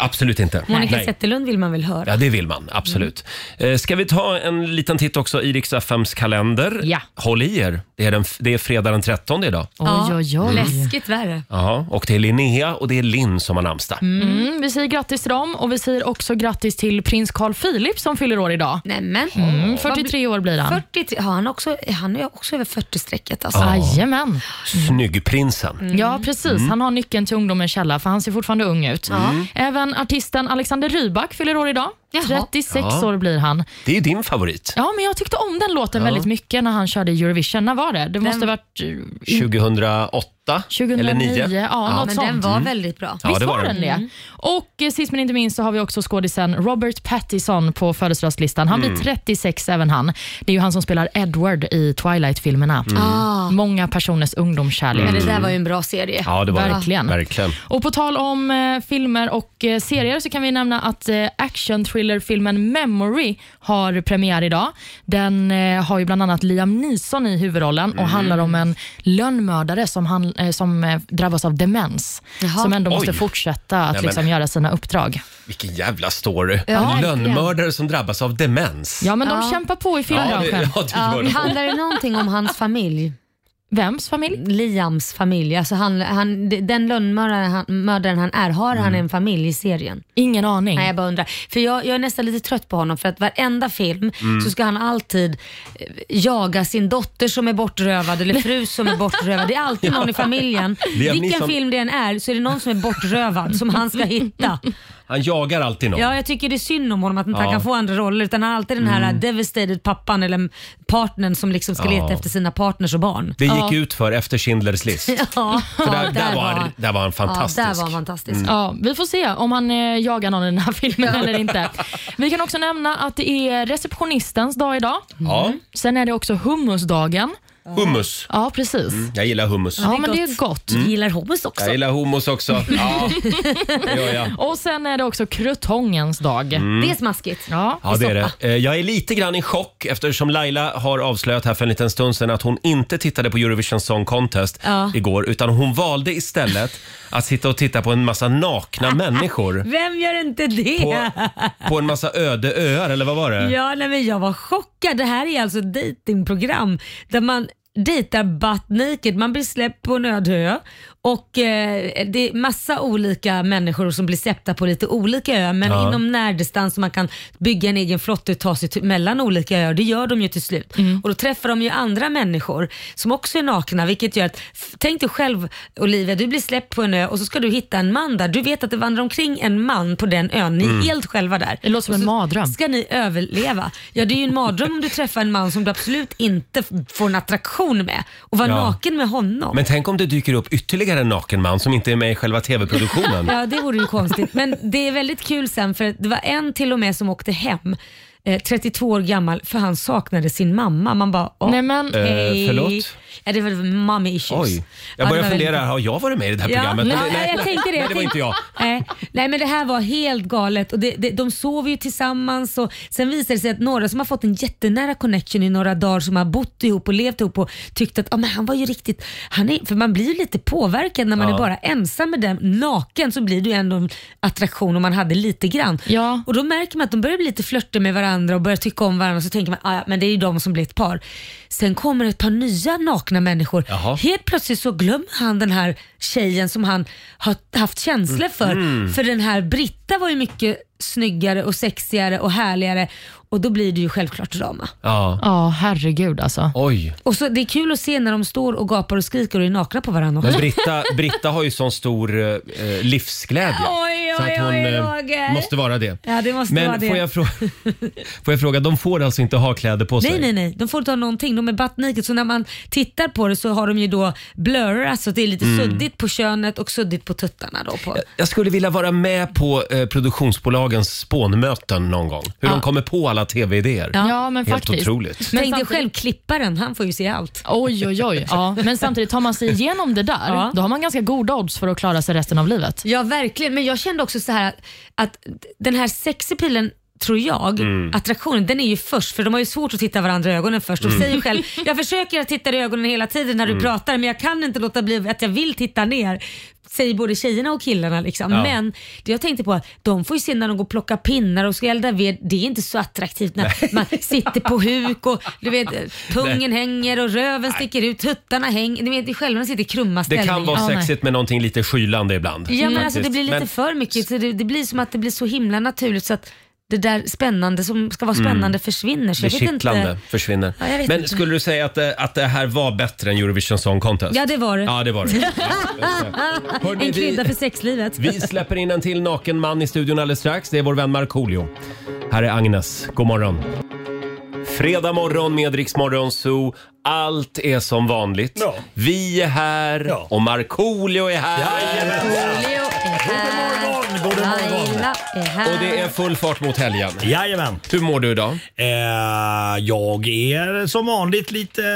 Speaker 1: Absolut inte.
Speaker 2: Monica
Speaker 1: Nej.
Speaker 2: Zetterlund Mm. vill man väl höra?
Speaker 1: Ja, det vill man. Absolut. Eh, Ska vi ta en liten titt också i Rix FMs kalender?
Speaker 4: Ja.
Speaker 1: Håll i er. Det är, den, det är fredag den 13 idag.
Speaker 4: Oj, oj,
Speaker 1: Mm.
Speaker 4: oj.
Speaker 2: Läskigt värre.
Speaker 1: Jaha, och det är Linnea och det är Linn som har namnsdag.
Speaker 4: Mm, vi säger grattis till dem och vi säger också grattis till prins Carl Philip som fyller år idag.
Speaker 2: Nämen.
Speaker 4: Mm,
Speaker 2: Vad blir-
Speaker 4: 43 år blir han.
Speaker 2: 43, har han, också, han är också över 40-strecket alltså.
Speaker 4: Jajamän.
Speaker 1: Snyggprinsen.
Speaker 4: Mm. Ja, precis. Han har nyckeln till ungdomens källa, för han ser fortfarande ung ut. Även artisten Alexander Rybak fyller år idag.
Speaker 2: Jaha.
Speaker 4: 36
Speaker 1: Ja.
Speaker 4: år blir han.
Speaker 1: Det är ju din favorit.
Speaker 4: Ja, men jag tyckte om den låten väldigt mycket när han körde i Eurovision. När var det? Det måste ha varit eh,
Speaker 1: 2008
Speaker 4: 2009.
Speaker 1: eller 9.
Speaker 4: Ja, något
Speaker 2: Men
Speaker 4: sånt.
Speaker 2: den var väldigt bra.
Speaker 1: Mm. Ja,
Speaker 4: Visst
Speaker 1: det var
Speaker 4: var den det?
Speaker 2: Mm.
Speaker 4: Och eh, sist men inte minst så har vi också skådisen Robert Pattinson på födelsedagslistan. Han
Speaker 1: Mm.
Speaker 4: blir 36 även han. Det är ju han som spelar Edward i Twilight-filmerna.
Speaker 1: Mm.
Speaker 2: Ah,
Speaker 4: Många personers ungdomskärlek.
Speaker 2: Men det där var ju en bra serie.
Speaker 1: Ja, det var
Speaker 4: Verkligen.
Speaker 1: det. Verkligen.
Speaker 4: Och på tal om eh, filmer och eh, serier så kan vi nämna att eh, action-thriller-filmen Memory har premiär idag. Den eh, har ju bland annat Liam Neeson i huvudrollen
Speaker 1: Mm.
Speaker 4: och handlar om en lönnmördare som, han, eh, som eh, drabbas av demens.
Speaker 2: Jaha.
Speaker 4: Som ändå måste
Speaker 1: Oj.
Speaker 4: fortsätta
Speaker 1: men-
Speaker 4: att liksom, göra sina uppdrag.
Speaker 1: Vilken jävla story.
Speaker 2: Ja,
Speaker 1: en
Speaker 2: verkligen.
Speaker 1: lönnmördare som drabbas av demens.
Speaker 4: Ja, men
Speaker 2: Ja.
Speaker 4: de kämpar på i
Speaker 1: ja, det,
Speaker 4: filmbranschen.
Speaker 1: ja, det
Speaker 2: Ja,
Speaker 1: gör
Speaker 2: men
Speaker 1: det.
Speaker 2: handlar det någonting om hans familj?
Speaker 4: Vems familj?
Speaker 2: Liams familj, alltså han, han, den lönnmördaren han, mördaren han är, har
Speaker 1: Mm.
Speaker 2: han en familj i serien?
Speaker 4: Ingen aning.
Speaker 2: Nej jag bara undrar. För jag, jag är nästan lite trött på honom för att varenda film
Speaker 1: Mm.
Speaker 2: så ska han alltid eh, jaga sin dotter som är bortrövad eller fru som är bortrövad. Det är alltid någon i familjen.
Speaker 1: Liam
Speaker 2: Vilken
Speaker 1: Neeson-
Speaker 2: film det än är så är det någon som är bortrövad som han ska hitta.
Speaker 1: Han jagar alltid någon.
Speaker 2: Ja jag tycker det är synd om honom att inte
Speaker 1: Ja. Mm.
Speaker 2: han kan få andra roller utan han har alltid den här devastated pappan eller partnern som liksom ska leta
Speaker 1: Ja.
Speaker 2: efter sina partners och barn.
Speaker 1: Det gick ut för efter Schindler's list.
Speaker 2: Ja, ja,
Speaker 1: där, där, var han, där var han fantastisk. Mm.
Speaker 2: Ja, där var han fantastisk.
Speaker 4: Ja, vi får se om han eh, jagar någon i den här filmen eller inte. Vi kan också nämna att det är receptionistens dag idag.
Speaker 1: Ja.
Speaker 4: Sen är det också hummusdagen.
Speaker 1: Hummus.
Speaker 4: Ja, precis.
Speaker 1: Jag gillar hummus.
Speaker 4: Ja, men det är gott.
Speaker 1: Mm.
Speaker 2: Gillar hummus också.
Speaker 1: Jag gillar hummus också. Ja, det gör jag.
Speaker 4: Och sen är det också krutongens dag.
Speaker 2: Det är smaskigt.
Speaker 4: Ja.
Speaker 1: Mm. Ja, det är det. Eh, Jag är lite grann i chock eftersom Laila har avslöjat här för en liten stund sedan att hon inte tittade på Eurovision Song Contest
Speaker 2: Ja.
Speaker 1: igår utan hon valde istället att sitta och titta på en massa nakna människor
Speaker 2: Vem gör inte det?
Speaker 1: på, på en massa öde öar eller vad var det?
Speaker 2: Ja, nej, men jag var chockad. Det här är alltså ett datingprogram där man dejtar butt naked. Man blir släppt på en öde ö och eh, det är massa olika människor som blir släppta på lite olika öar men
Speaker 1: Ja.
Speaker 2: inom närdistans så man kan bygga en egen flotte och ta sig till, mellan olika öar. Det gör de ju till slut.
Speaker 4: Mm.
Speaker 2: Och då träffar de ju andra människor som också är nakna vilket gör att, f- tänk dig själv Olivia, du blir släppt på en ö och så ska du hitta en man där. Du vet att det vandrar omkring en man på den ön. Ni är helt själva där.
Speaker 4: Mm. Det låter som
Speaker 2: Och
Speaker 4: en
Speaker 2: så
Speaker 4: mardröm.
Speaker 2: Ska ni överleva? Ja, det är ju en mardröm om du träffar en man som du absolut inte f- får en attraktion med och vara
Speaker 1: Ja.
Speaker 2: naken med honom.
Speaker 1: Men tänk om det dyker upp ytterligare en naken man som inte är med i själva tv-produktionen.
Speaker 2: Ja, det vore ju konstigt. Men det är väldigt kul sen för det var en till och med som åkte hem, eh, 32 år gammal, för han saknade sin mamma. Man bara, åh,
Speaker 4: Nej, men,
Speaker 1: Eh,
Speaker 2: hej.
Speaker 1: förlåt?
Speaker 2: Ja, det var mommy issues.
Speaker 1: Oj,
Speaker 2: Ja,
Speaker 1: jag
Speaker 2: det
Speaker 1: börjar
Speaker 2: var
Speaker 1: fundera,
Speaker 2: väldigt-
Speaker 1: har jag varit med i det här programmet?
Speaker 2: Ja,
Speaker 1: Men det-
Speaker 2: ja, jag tänkte det.
Speaker 1: Nej, det var inte jag.
Speaker 2: Nej, nej, men det här var helt galet. Och det, det, de sover ju tillsammans och sen visar det sig att några som har fått en jättenära connection i några dagar som har bott ihop och levt ihop och tyckt att ah, men han var ju riktigt, han är, för man blir ju lite påverkad när man
Speaker 1: Ja.
Speaker 2: är bara ensam med den naken så blir det ju ändå en attraktion om man hade lite grann.
Speaker 4: Ja.
Speaker 2: Och då märker man att de börjar bli lite flörter med varandra och börjar tycka om varandra så tänker man ah, ja, men det är ju de som blir ett par. Sen kommer ett par nya nakna människor
Speaker 1: Jaha.
Speaker 2: Helt plötsligt så glömmer han den här tjejen som han har haft känslor för. För den här Britta var ju mycket snyggare och sexigare och härligare och då blir det ju självklart drama.
Speaker 1: Ja.
Speaker 4: Ja, herregud alltså.
Speaker 1: Oj.
Speaker 2: Och så Det är kul att se när de står och gapar och skriker och är nakna på varandra
Speaker 1: Men
Speaker 2: också.
Speaker 1: Britta, Britta har ju sån stor eh, eh, livsglädje.
Speaker 2: Oj,
Speaker 1: så
Speaker 2: oj,
Speaker 1: att hon
Speaker 2: oj,
Speaker 1: eh,
Speaker 2: Roger.
Speaker 1: måste vara det.
Speaker 2: Ja, det måste
Speaker 1: Men
Speaker 2: vara det.
Speaker 1: Får, jag fråga, får jag fråga, de får alltså inte ha kläder på sig?
Speaker 2: Nej, nej, nej. De får inte ha någonting. De är butt naked. Så när man tittar på det så har de ju då blurrar, alltså det är lite suddigt på könet och suddigt på tuttarna. Då på.
Speaker 1: Jag skulle vilja vara med på eh, produktionsbolagens spånmöten någon gång. Hur de kommer på alla tv-idéer.
Speaker 4: Ja, men
Speaker 1: Helt
Speaker 4: faktiskt.
Speaker 1: otroligt.
Speaker 2: Tänk
Speaker 4: Men
Speaker 2: dig
Speaker 4: samtidigt-
Speaker 2: själv klipparen, han får ju se allt.
Speaker 4: Oj, oj, oj. Ja. Men samtidigt, tar man sig igenom det där,
Speaker 2: Ja.
Speaker 4: då har man ganska goda odds för att klara sig resten av livet.
Speaker 2: Ja, verkligen. Men jag kände också så här att, att den här sexipilen tror jag,
Speaker 1: Mm.
Speaker 2: attraktionen, den är ju först för de har ju svårt att titta varandra i ögonen först. De
Speaker 1: Mm.
Speaker 2: säger ju själv, jag försöker att titta i ögonen hela tiden när du pratar men jag kan inte låta bli att jag vill titta ner. Säger både tjejerna och killarna. Liksom.
Speaker 1: Ja.
Speaker 2: Men det jag tänkte på är att de får ju se när de går och plockar pinnar och ska elda ved, det är inte så attraktivt när man sitter på huk och du vet, pungen hänger och röven sticker ut, tuttarna hänger. Ni vet ju själva när de sitter i krumma
Speaker 1: Det
Speaker 2: ställningar.
Speaker 1: kan vara
Speaker 4: Ja, nej.
Speaker 1: sexigt med någonting lite skylande ibland.
Speaker 2: Ja men alltså
Speaker 1: faktiskt.
Speaker 2: det blir lite
Speaker 1: Men-
Speaker 2: för mycket. Så det, det blir som att det blir så himla naturligt så att det där spännande som ska
Speaker 1: Mm.
Speaker 2: vara spännande försvinner. Så
Speaker 1: Det
Speaker 2: jag vet
Speaker 1: kittlande
Speaker 2: inte.
Speaker 1: försvinner.
Speaker 2: Ja, jag vet
Speaker 1: Men
Speaker 2: inte.
Speaker 1: skulle du säga att, eh, att det här var bättre än Eurovision Song Contest?
Speaker 2: Ja det var det.
Speaker 1: Ja, det var det. Hörrni,
Speaker 2: en
Speaker 1: vi-
Speaker 2: krydda för sexlivet.
Speaker 1: Vi släpper in en till naken man i studion alldeles strax. Det är vår vän Markoolio. Här är Agnes. God morgon. Fredag morgon med Rix Morgon Zoo. Allt är som vanligt.
Speaker 8: Ja.
Speaker 1: Vi är här
Speaker 8: Ja.
Speaker 1: och Markoolio är här.
Speaker 2: Leo är här.
Speaker 8: God morgon, god morgon.
Speaker 2: Laila är här.
Speaker 1: Och det är full fart mot helgen.
Speaker 8: Jajamän.
Speaker 1: Hur mår du idag?
Speaker 8: Eh, jag är som vanligt lite, eh,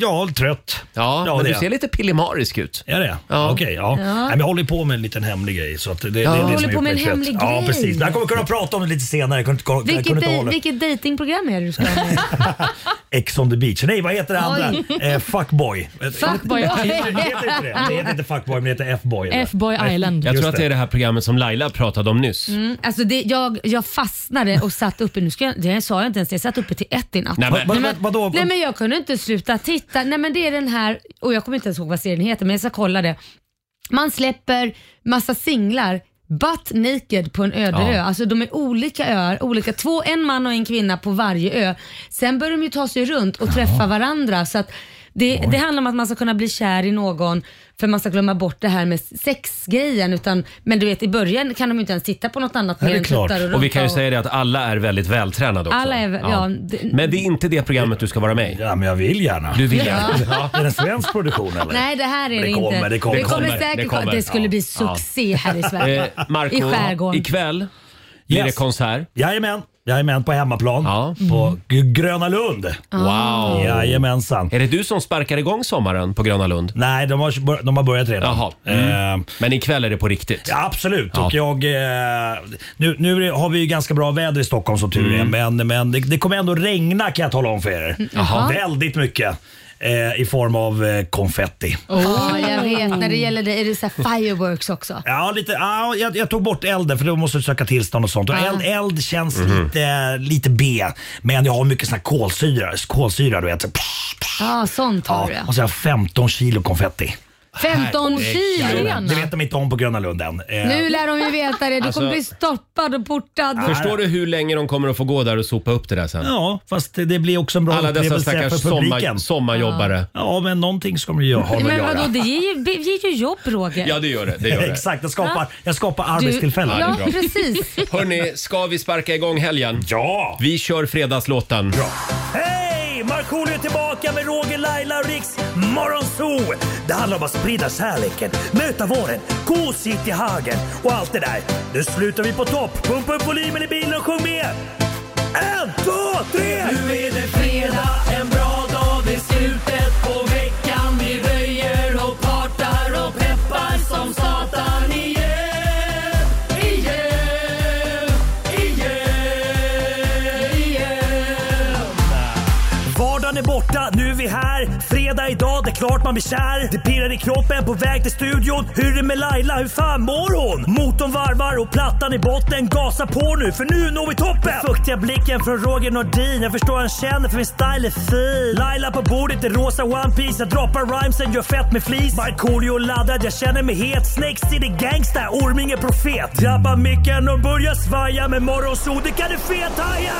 Speaker 8: ja, trött.
Speaker 1: Ja, men
Speaker 8: det
Speaker 1: du
Speaker 8: är
Speaker 1: ser lite pillemarisk ut.
Speaker 8: jag. Är det?
Speaker 1: Ja.
Speaker 8: Okej, ja. Nej, men jag håller på med en liten hemlig grej. Så att det, det, det, är det
Speaker 1: Du
Speaker 8: som
Speaker 2: håller
Speaker 8: har
Speaker 2: på
Speaker 8: gjort
Speaker 2: med
Speaker 8: mig
Speaker 2: en
Speaker 8: trött.
Speaker 2: hemlig
Speaker 8: Ja,
Speaker 2: grej.
Speaker 8: precis. Men jag kommer kunna prata om det lite senare. Jag kunde, inte- jag kunde
Speaker 2: Vilket, eh,
Speaker 8: inte
Speaker 2: dej-
Speaker 8: hålla
Speaker 2: vilket dejtingprogram är det du ska vara med i?
Speaker 8: Ex on the beach. Nej, vad heter det
Speaker 2: Oj.
Speaker 8: andra? Eh, fuckboy.
Speaker 4: Fuckboy
Speaker 8: Det
Speaker 4: Island.
Speaker 8: heter inte det. Det heter inte fuckboy, men det heter F-boy. eller?
Speaker 4: F-boy Island.
Speaker 1: Jag
Speaker 8: Just
Speaker 1: tror att det
Speaker 8: det.
Speaker 1: är det här programmet som Laila pratade om nyss.
Speaker 2: Mm, Alltså det, jag, jag fastnade och satt uppe, nu ska jag, det sa jag inte ens, jag satt uppe till ett i natt.
Speaker 1: Nej,
Speaker 8: Vad-
Speaker 1: men,
Speaker 8: vad- vad- Vadå?
Speaker 2: Nej men jag kunde inte sluta titta. Nej men det är den här, och jag kommer inte ens ihåg vad serien heter men jag ska kolla det. Man släpper massa singlar butt naked på en öde
Speaker 1: Ja.
Speaker 2: ö. Alltså de är olika öar, olika, två, en man och en kvinna på varje ö. Sen börjar de ju ta sig runt och träffa varandra så att det, det handlar om att man ska kunna bli kär i någon för man ska glömma bort det här med sexgrejen. Utan, men du vet i början kan de ju inte ens titta på något annat
Speaker 8: Nej, det är klart.
Speaker 2: tuttar
Speaker 1: och vi kan ju
Speaker 2: rumpa och-
Speaker 1: säga det att alla är väldigt vältränade också.
Speaker 2: Alla är vä- ja, det-
Speaker 1: Men det är inte det programmet du ska vara med i.
Speaker 8: Ja, men jag vill gärna.
Speaker 1: Du vill ja.
Speaker 8: Är det en svensk produktion eller?
Speaker 2: Nej, det här är det,
Speaker 8: Men det kommer,
Speaker 2: inte.
Speaker 8: det kommer.
Speaker 1: Det kommer,
Speaker 2: säkert
Speaker 1: det kommer.
Speaker 2: Det skulle bli succé här i Sverige.
Speaker 1: Eh, Marco,
Speaker 2: I skärgården.
Speaker 1: ikväll blir
Speaker 8: Yes.
Speaker 1: det konsert.
Speaker 8: Jajamän. Jajamän, på hemmaplan.
Speaker 1: Ja.
Speaker 2: Mm.
Speaker 8: På G- Gröna Lund.
Speaker 2: Ah.
Speaker 1: Wow!
Speaker 8: Jajamensan.
Speaker 1: Är det du som sparkar igång sommaren på Gröna Lund?
Speaker 8: Nej, de har, de har börjat redan.
Speaker 1: Jaha. Mm.
Speaker 8: Ehm,
Speaker 1: Men ikväll är det på riktigt.
Speaker 8: Ja, absolut.
Speaker 1: Ja.
Speaker 8: Och jag, eh, nu, nu har vi ju ganska bra väder i Stockholm som tur är,
Speaker 1: Mm.
Speaker 8: men, men det, det kommer ändå regna kan jag tala om för er.
Speaker 2: Mm,
Speaker 1: Jaha.
Speaker 8: Väldigt mycket eh, i form av eh, konfetti.
Speaker 2: Ja, jag vet. När det gäller det är det så här fireworks också.
Speaker 8: Ja, lite, ja jag, jag tog bort elden för då måste du söka tillstånd och sånt. Och eld, eld känns
Speaker 1: Mhm.
Speaker 8: lite, lite B, men jag har mycket sån här kolsyra. kolsyra du vet. Så-
Speaker 2: Ja, sånt har
Speaker 8: Ja,
Speaker 2: du. ja.
Speaker 8: och så har jag 15 kilo konfetti.
Speaker 2: 15 kilo.
Speaker 4: Anna.
Speaker 8: Det vet de inte om på Gröna Lund än. Eh,
Speaker 2: Nu lär de ju veta det. Du
Speaker 1: Alltså-
Speaker 2: kommer bli stoppad och portad.
Speaker 1: Förstår du hur länge de kommer att få gå där och sopa upp det där sen?
Speaker 8: Ja, fast det- det blir också en bra
Speaker 1: Alla dessa
Speaker 8: upplevelse
Speaker 1: stackars
Speaker 8: för publiken.
Speaker 1: sommar, sommarjobbare.
Speaker 2: Ah.
Speaker 8: Ja, men någonting ska man ju ha med att
Speaker 2: Men vadå,
Speaker 8: göra.
Speaker 2: det ger ju, det ger ju jobb Roger.
Speaker 1: Ja, det gör det. det, gör det.
Speaker 8: Exakt, jag skapar,
Speaker 2: Ja.
Speaker 8: jag skapar
Speaker 2: Du-
Speaker 8: arbetstillfällen.
Speaker 1: Ja,
Speaker 2: Ja,
Speaker 1: det är bra.
Speaker 2: precis.
Speaker 1: Hörni, ska vi sparka igång helgen?
Speaker 8: Ja!
Speaker 1: Vi kör fredagslåten.
Speaker 8: Hej! Markoolio är tillbaka med Roger, Laila och Riks Morgonzoo! Det handlar om att sprida kärleken, möta våren, gosigt i hagen och allt det där. Nu slutar vi på topp! Pumpa upp volymen i bilen och sjung med! En, två, tre! Nu är det fredag, en bra dag, det är slutet på veckan. Vi röjer och partar och peppar som satan igen. Igen, igen, igen. Vardagen är borta, nu är vi här. Fredag idag, det är klart man blir kär. Det pirrar i kroppen på väg till studion. Hur är det med Laila, hur fan mår hon? Motorn varvar och plattan i botten. Gasa på nu, för nu når vi toppen! Den fuktiga blicken från Roger Nordin. Jag förstår han känner, för min style är fin. Laila på bordet i rosa One Piece Jag droppar rhymesen, gör fett med flis. Markoolio laddad, jag känner mig het. Snake City Gangsta, Orming är profet. Drabbar micken och börjar svaja. Med morgonsol, det kan du fethaja!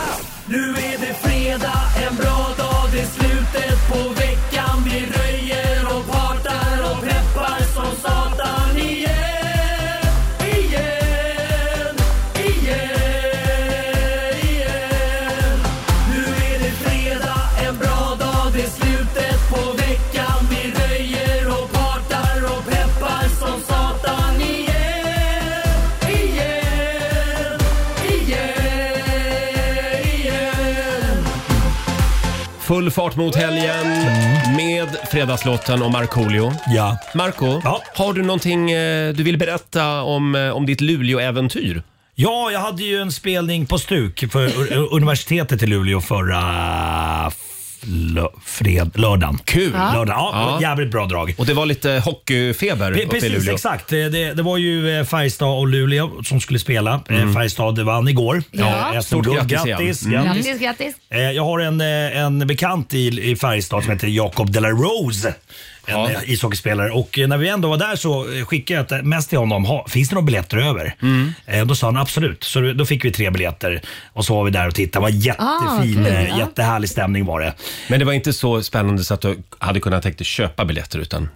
Speaker 8: Nu är det fredag, en bra dag, det är slutet på veckan. Vi röjer och partar och peppar som satan igen. Igen, igen, igen. Nu är det fredag, en bra dag, det är slutet på veckan. Vi röjer och partar och peppar som satan igen. Igen, igen, igen.
Speaker 1: Full fart mot helgen med Fredagslåten och Markoolio.
Speaker 8: Ja.
Speaker 1: Marco,
Speaker 8: Ja.
Speaker 1: har du någonting eh, du vill berätta om, eh, om ditt Luleå-äventyr?
Speaker 8: Ja, jag hade ju en spelning på Stuk för u- u- universitetet i Luleå förra f- lö- fred, lördagen.
Speaker 1: Kul.
Speaker 8: Ja. Lördag. Ja,
Speaker 1: Ja.
Speaker 8: Jävligt bra drag.
Speaker 1: Och det var lite hockeyfeber
Speaker 8: Pe-
Speaker 1: uppe i
Speaker 8: Precis,
Speaker 1: Luleå.
Speaker 8: exakt. Eh, Det, det var ju eh, Färjestad och Luleå som skulle spela. Mm. Färjestad vann igår.
Speaker 2: Ja.
Speaker 8: Eh, SM
Speaker 1: Stort
Speaker 8: guld.
Speaker 1: grattis, ja.
Speaker 8: grattis.
Speaker 1: Mm.
Speaker 8: grattis.
Speaker 2: Grattis, grattis.
Speaker 8: Eh, Jag har en, eh, en bekant i, i Färjestad som heter Jacob De La Rose. En
Speaker 1: Ja.
Speaker 8: eh, ishockeyspelare. Och eh, när vi ändå var där så eh, skickade jag ett mest till honom. Ha, finns det några biljetter över? Eh, Då sa han absolut. Så då fick vi tre biljetter och så var vi där och tittade. Det var jättefin,
Speaker 2: Ah, kul,
Speaker 8: eh,
Speaker 2: ja.
Speaker 8: jättehärlig stämning var det.
Speaker 1: Men det var inte så spännande så att du hade kunnat tänkt dig köpa biljetter utan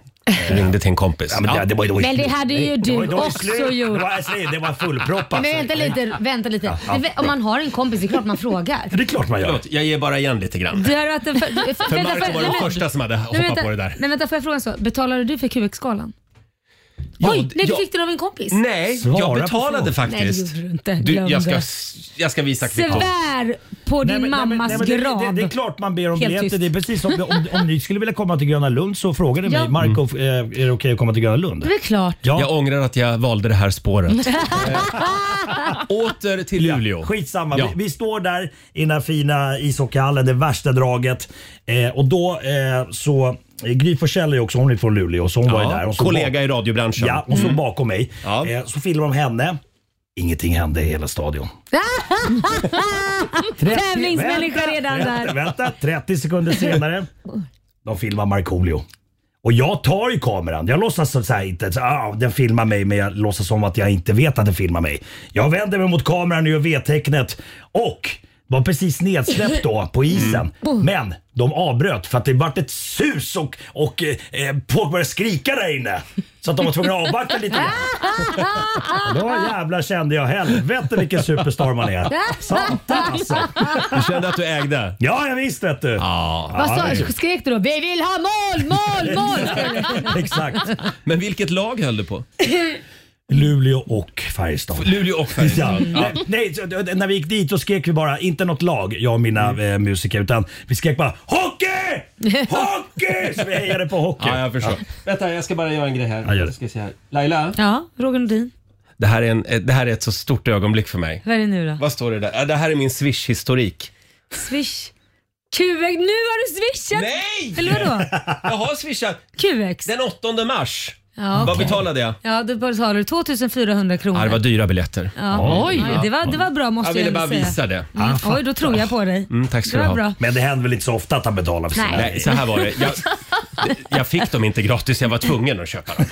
Speaker 1: Ringde till en kompis.
Speaker 8: Ja, men det, det var, det var,
Speaker 2: Men det hade ju
Speaker 8: det var-
Speaker 2: du
Speaker 8: det var ju
Speaker 2: också
Speaker 8: slut.
Speaker 2: gjort.
Speaker 8: Det var, alltså, det var fullproppat.
Speaker 2: Men vänta lite, vänta lite. Men vä- Om man har en kompis, det är klart man frågar.
Speaker 8: Det är klart man gör.
Speaker 1: Förlåt, jag ger bara igen lite grann.
Speaker 2: Du har varit en för, för, för,
Speaker 1: För
Speaker 2: vänta,
Speaker 1: Marco var
Speaker 2: nej,
Speaker 1: den
Speaker 2: men-
Speaker 1: första som hade
Speaker 2: nej,
Speaker 1: hoppat
Speaker 2: vänta,
Speaker 1: på det där.
Speaker 2: nej, vänta, får jag fråga en sak? Betalade du för QX-galan?
Speaker 1: Ja,
Speaker 2: Oj, nej, du
Speaker 1: ja.
Speaker 2: fick den av en kompis?
Speaker 1: Nej,
Speaker 8: Svara
Speaker 1: jag
Speaker 8: på
Speaker 1: betalade
Speaker 8: frågan.
Speaker 2: Nej, det
Speaker 1: faktiskt.
Speaker 2: gjorde du inte.
Speaker 1: Du,
Speaker 2: Glöm
Speaker 1: jag, ska,
Speaker 2: det.
Speaker 1: jag ska visa kvittot.
Speaker 2: Svär på din
Speaker 8: men- men-
Speaker 2: mammas
Speaker 8: nej, men det-
Speaker 2: grav.
Speaker 8: Det, det, är klart man ber om
Speaker 2: Helt
Speaker 8: biljetter.
Speaker 2: tyst.
Speaker 8: Det är precis som om, om ni skulle vilja komma till Gröna Lund så frågar ni
Speaker 2: Ja.
Speaker 8: mig. Marco,
Speaker 1: Mm.
Speaker 8: eh, är det okej att komma till Gröna Lund?
Speaker 2: Det är väl klart.
Speaker 8: Ja.
Speaker 1: Jag ångrar att jag valde det här spåret. Eh, Åter till Luleå.
Speaker 8: Skitsamma.
Speaker 1: Ja.
Speaker 8: Vi, vi står där i den här fina ishockeyhallen, det värsta draget. Eh, och då eh, så, Gry Forssell är ju också, hon är från Luleå så hon var ju där.
Speaker 1: Ja,
Speaker 8: Och så
Speaker 1: kollega
Speaker 8: bak-
Speaker 1: i radiobranschen.
Speaker 8: Ja, och så bakom mig.
Speaker 1: Ja.
Speaker 8: Eh, så filmar de henne. Ingenting hände i hela stadion.
Speaker 2: Tävlingsmänniska redan
Speaker 8: Vänta,
Speaker 2: där.
Speaker 8: vänta, 30 sekunder senare. De filmar Markoolio. Och jag tar ju kameran. Jag låtsas som så här, inte, så, ah, den filmar mig men jag låtsas som att jag inte vet att den filmar mig. Jag vänder mig mot kameran och gör V-tecknet och var precis nedsläppt då på
Speaker 2: Mm.
Speaker 8: isen. Men de avbröt för att det vart ett sus och, och eh, eh, folk började skrika där inne. Så att de var tvungna att avvakta lite grann. Och Då jävlar kände jag helvete vilken superstar man är. Satan alltså.
Speaker 1: Du kände att du ägde.
Speaker 8: Ja, jag visst vet du.
Speaker 1: Ja.
Speaker 2: Vad
Speaker 8: det är
Speaker 2: sa,
Speaker 8: kul.
Speaker 2: skrek du då? Vi vill ha mål, mål, mål! skrek du.
Speaker 8: Exakt.
Speaker 1: Men vilket lag höll du på?
Speaker 8: Luleå och Färjestad.
Speaker 1: Luleå och
Speaker 8: Ja.
Speaker 1: Färjestad. Ja.
Speaker 8: Nej, Nej, så, d- när vi gick dit så skrek vi bara, inte något lag, jag och mina
Speaker 1: Mm.
Speaker 8: eh, musiker, utan vi skrek bara HOCKEY! HOCKEY! Så vi hejade på hockey.
Speaker 1: Ja, jag förstår. Vänta, jag ska bara göra en grej här.
Speaker 8: Ja, gör det.
Speaker 1: Ska se här. Laila?
Speaker 2: Ja, Roger Nordin.
Speaker 1: Det här, är en, eh, det här är ett så stort ögonblick för mig.
Speaker 2: Vad är det nu då?
Speaker 1: Vad står det där? Ja, Det här är min Swish-historik.
Speaker 2: Swish. QX. Nu har du swishat!
Speaker 1: Nej!
Speaker 2: Eller vadå?
Speaker 1: Jag har swishat
Speaker 2: QX?
Speaker 1: den 8 mars.
Speaker 2: Ja,
Speaker 1: Vad
Speaker 2: okej.
Speaker 1: betalade jag?
Speaker 2: Ja, då betalade du 2400 kronor.
Speaker 1: Ja, det var dyra biljetter.
Speaker 2: ja.
Speaker 4: Oj.
Speaker 2: Ja, det, var, det var bra måste
Speaker 1: Jag
Speaker 2: jag
Speaker 1: ville
Speaker 2: ändå
Speaker 1: bara
Speaker 2: säga.
Speaker 1: visa det.
Speaker 2: Mm. Oj, då tror jag på dig.
Speaker 1: Mm, tack ska
Speaker 2: det
Speaker 1: du
Speaker 2: var
Speaker 1: ha.
Speaker 2: bra.
Speaker 8: Men det händer väl inte så ofta att han betalar för sina
Speaker 2: Nej.
Speaker 1: Nej, så här var det. Jag, jag fick dem inte gratis, jag var tvungen att köpa dem.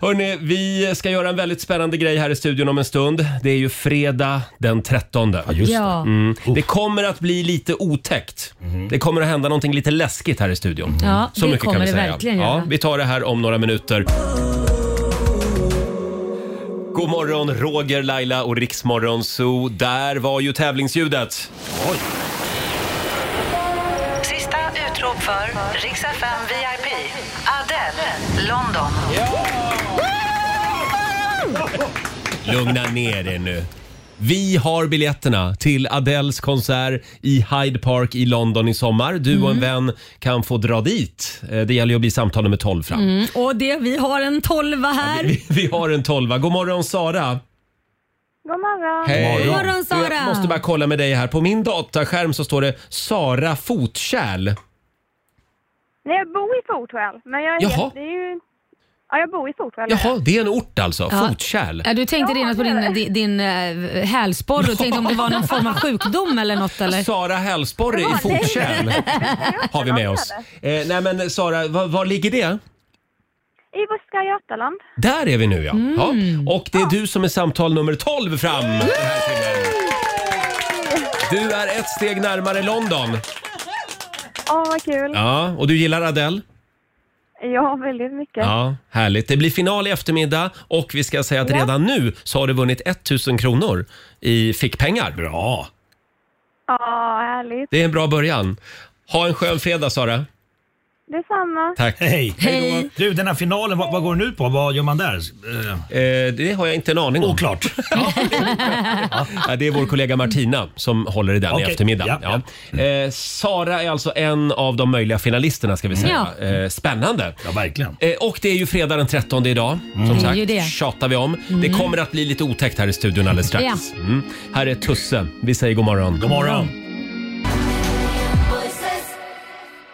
Speaker 1: Hörni, vi ska göra en väldigt spännande grej här i studion om en stund. Det är ju fredag den 13.
Speaker 8: Just det.
Speaker 2: Ja.
Speaker 1: Mm. Det kommer att bli lite otäckt. Det kommer att hända någonting lite läskigt här i studion.
Speaker 2: Ja,
Speaker 1: Så
Speaker 2: det
Speaker 1: mycket
Speaker 2: kommer
Speaker 1: kan vi
Speaker 2: det
Speaker 1: säga.
Speaker 2: verkligen
Speaker 1: Ja,
Speaker 2: göra.
Speaker 1: vi tar det här om några minuter. God morgon, Roger, Laila och Riksmorgon Zoo. Där var ju tävlingsljudet.
Speaker 9: Sista utrop för Rix FM VIP. Adele, London.
Speaker 1: Lugna ner er nu. Vi har biljetterna till Adeles konsert i Hyde Park i London i sommar. Du och en vän kan få dra dit. Eh, Det gäller ju att bli samtal nummer 12 fram.
Speaker 2: Mm. Och det, vi har en tolva här.
Speaker 1: Vi, vi har en tolva. God morgon Sara!
Speaker 7: God morgon.
Speaker 1: Hej.
Speaker 2: God morgon, Sara.
Speaker 1: Jag måste bara kolla med dig här. På min dataskärm så står det Sara Fotkärl.
Speaker 7: Nej, jag bor i Fotvall, men jag är,
Speaker 1: Jaha.
Speaker 7: det är ju... Ja, jag bor i Fotvall.
Speaker 1: Jaha, det är en ort alltså.
Speaker 2: Ja. Äh,
Speaker 1: Fotkärl.
Speaker 2: Ja, du tänkte
Speaker 7: Ja,
Speaker 2: redan på
Speaker 7: det är
Speaker 2: din, din, din eh, hälsporre och tänkte om det var någon form av sjukdom eller något eller?
Speaker 1: Sara Hälsborre i Fotkärl har vi med oss. Eh, nej men Sara, var, var ligger det?
Speaker 7: I Västra Götaland.
Speaker 1: Där är vi nu ja.
Speaker 2: Mm.
Speaker 1: ja. Och det är du som är samtal nummer 12 fram. den här timmen. Du är ett steg närmare London.
Speaker 7: Åh, vad kul. Ja,
Speaker 1: Ja, och du gillar Adele?
Speaker 7: väldigt mycket.
Speaker 1: Ja, härligt. Det blir final i eftermiddag och vi ska säga att
Speaker 7: Ja.
Speaker 1: redan nu så har du vunnit 1000 kronor i fickpengar. Bra!
Speaker 7: Ja, härligt.
Speaker 1: Det är en bra början. Ha en skön fredag Sara.
Speaker 7: Detsamma.
Speaker 1: Tack.
Speaker 8: Hej.
Speaker 2: Hej.
Speaker 8: Du, den här finalen, vad, vad går den ut på? Vad gör man där? Eh,
Speaker 1: Eh, det har jag inte en aning om.
Speaker 8: oklart.
Speaker 1: Ja, det är vår kollega Martina som håller i den i
Speaker 8: Okej,
Speaker 1: eftermiddag.
Speaker 8: ja,
Speaker 1: Ja. Eh, Sara är alltså en av de möjliga finalisterna ska vi säga. Eh, spännande.
Speaker 8: Ja, verkligen.
Speaker 1: Eh, Och det är ju fredag den 13 idag. Som
Speaker 2: Mm. Det är
Speaker 1: sagt,
Speaker 2: ju det. Mm.
Speaker 1: tjatar vi om. Det kommer att bli lite otäckt här i studion alldeles strax.
Speaker 2: Ja.
Speaker 1: Mm. Här är Tusse. Vi säger god morgon.
Speaker 8: God morgon.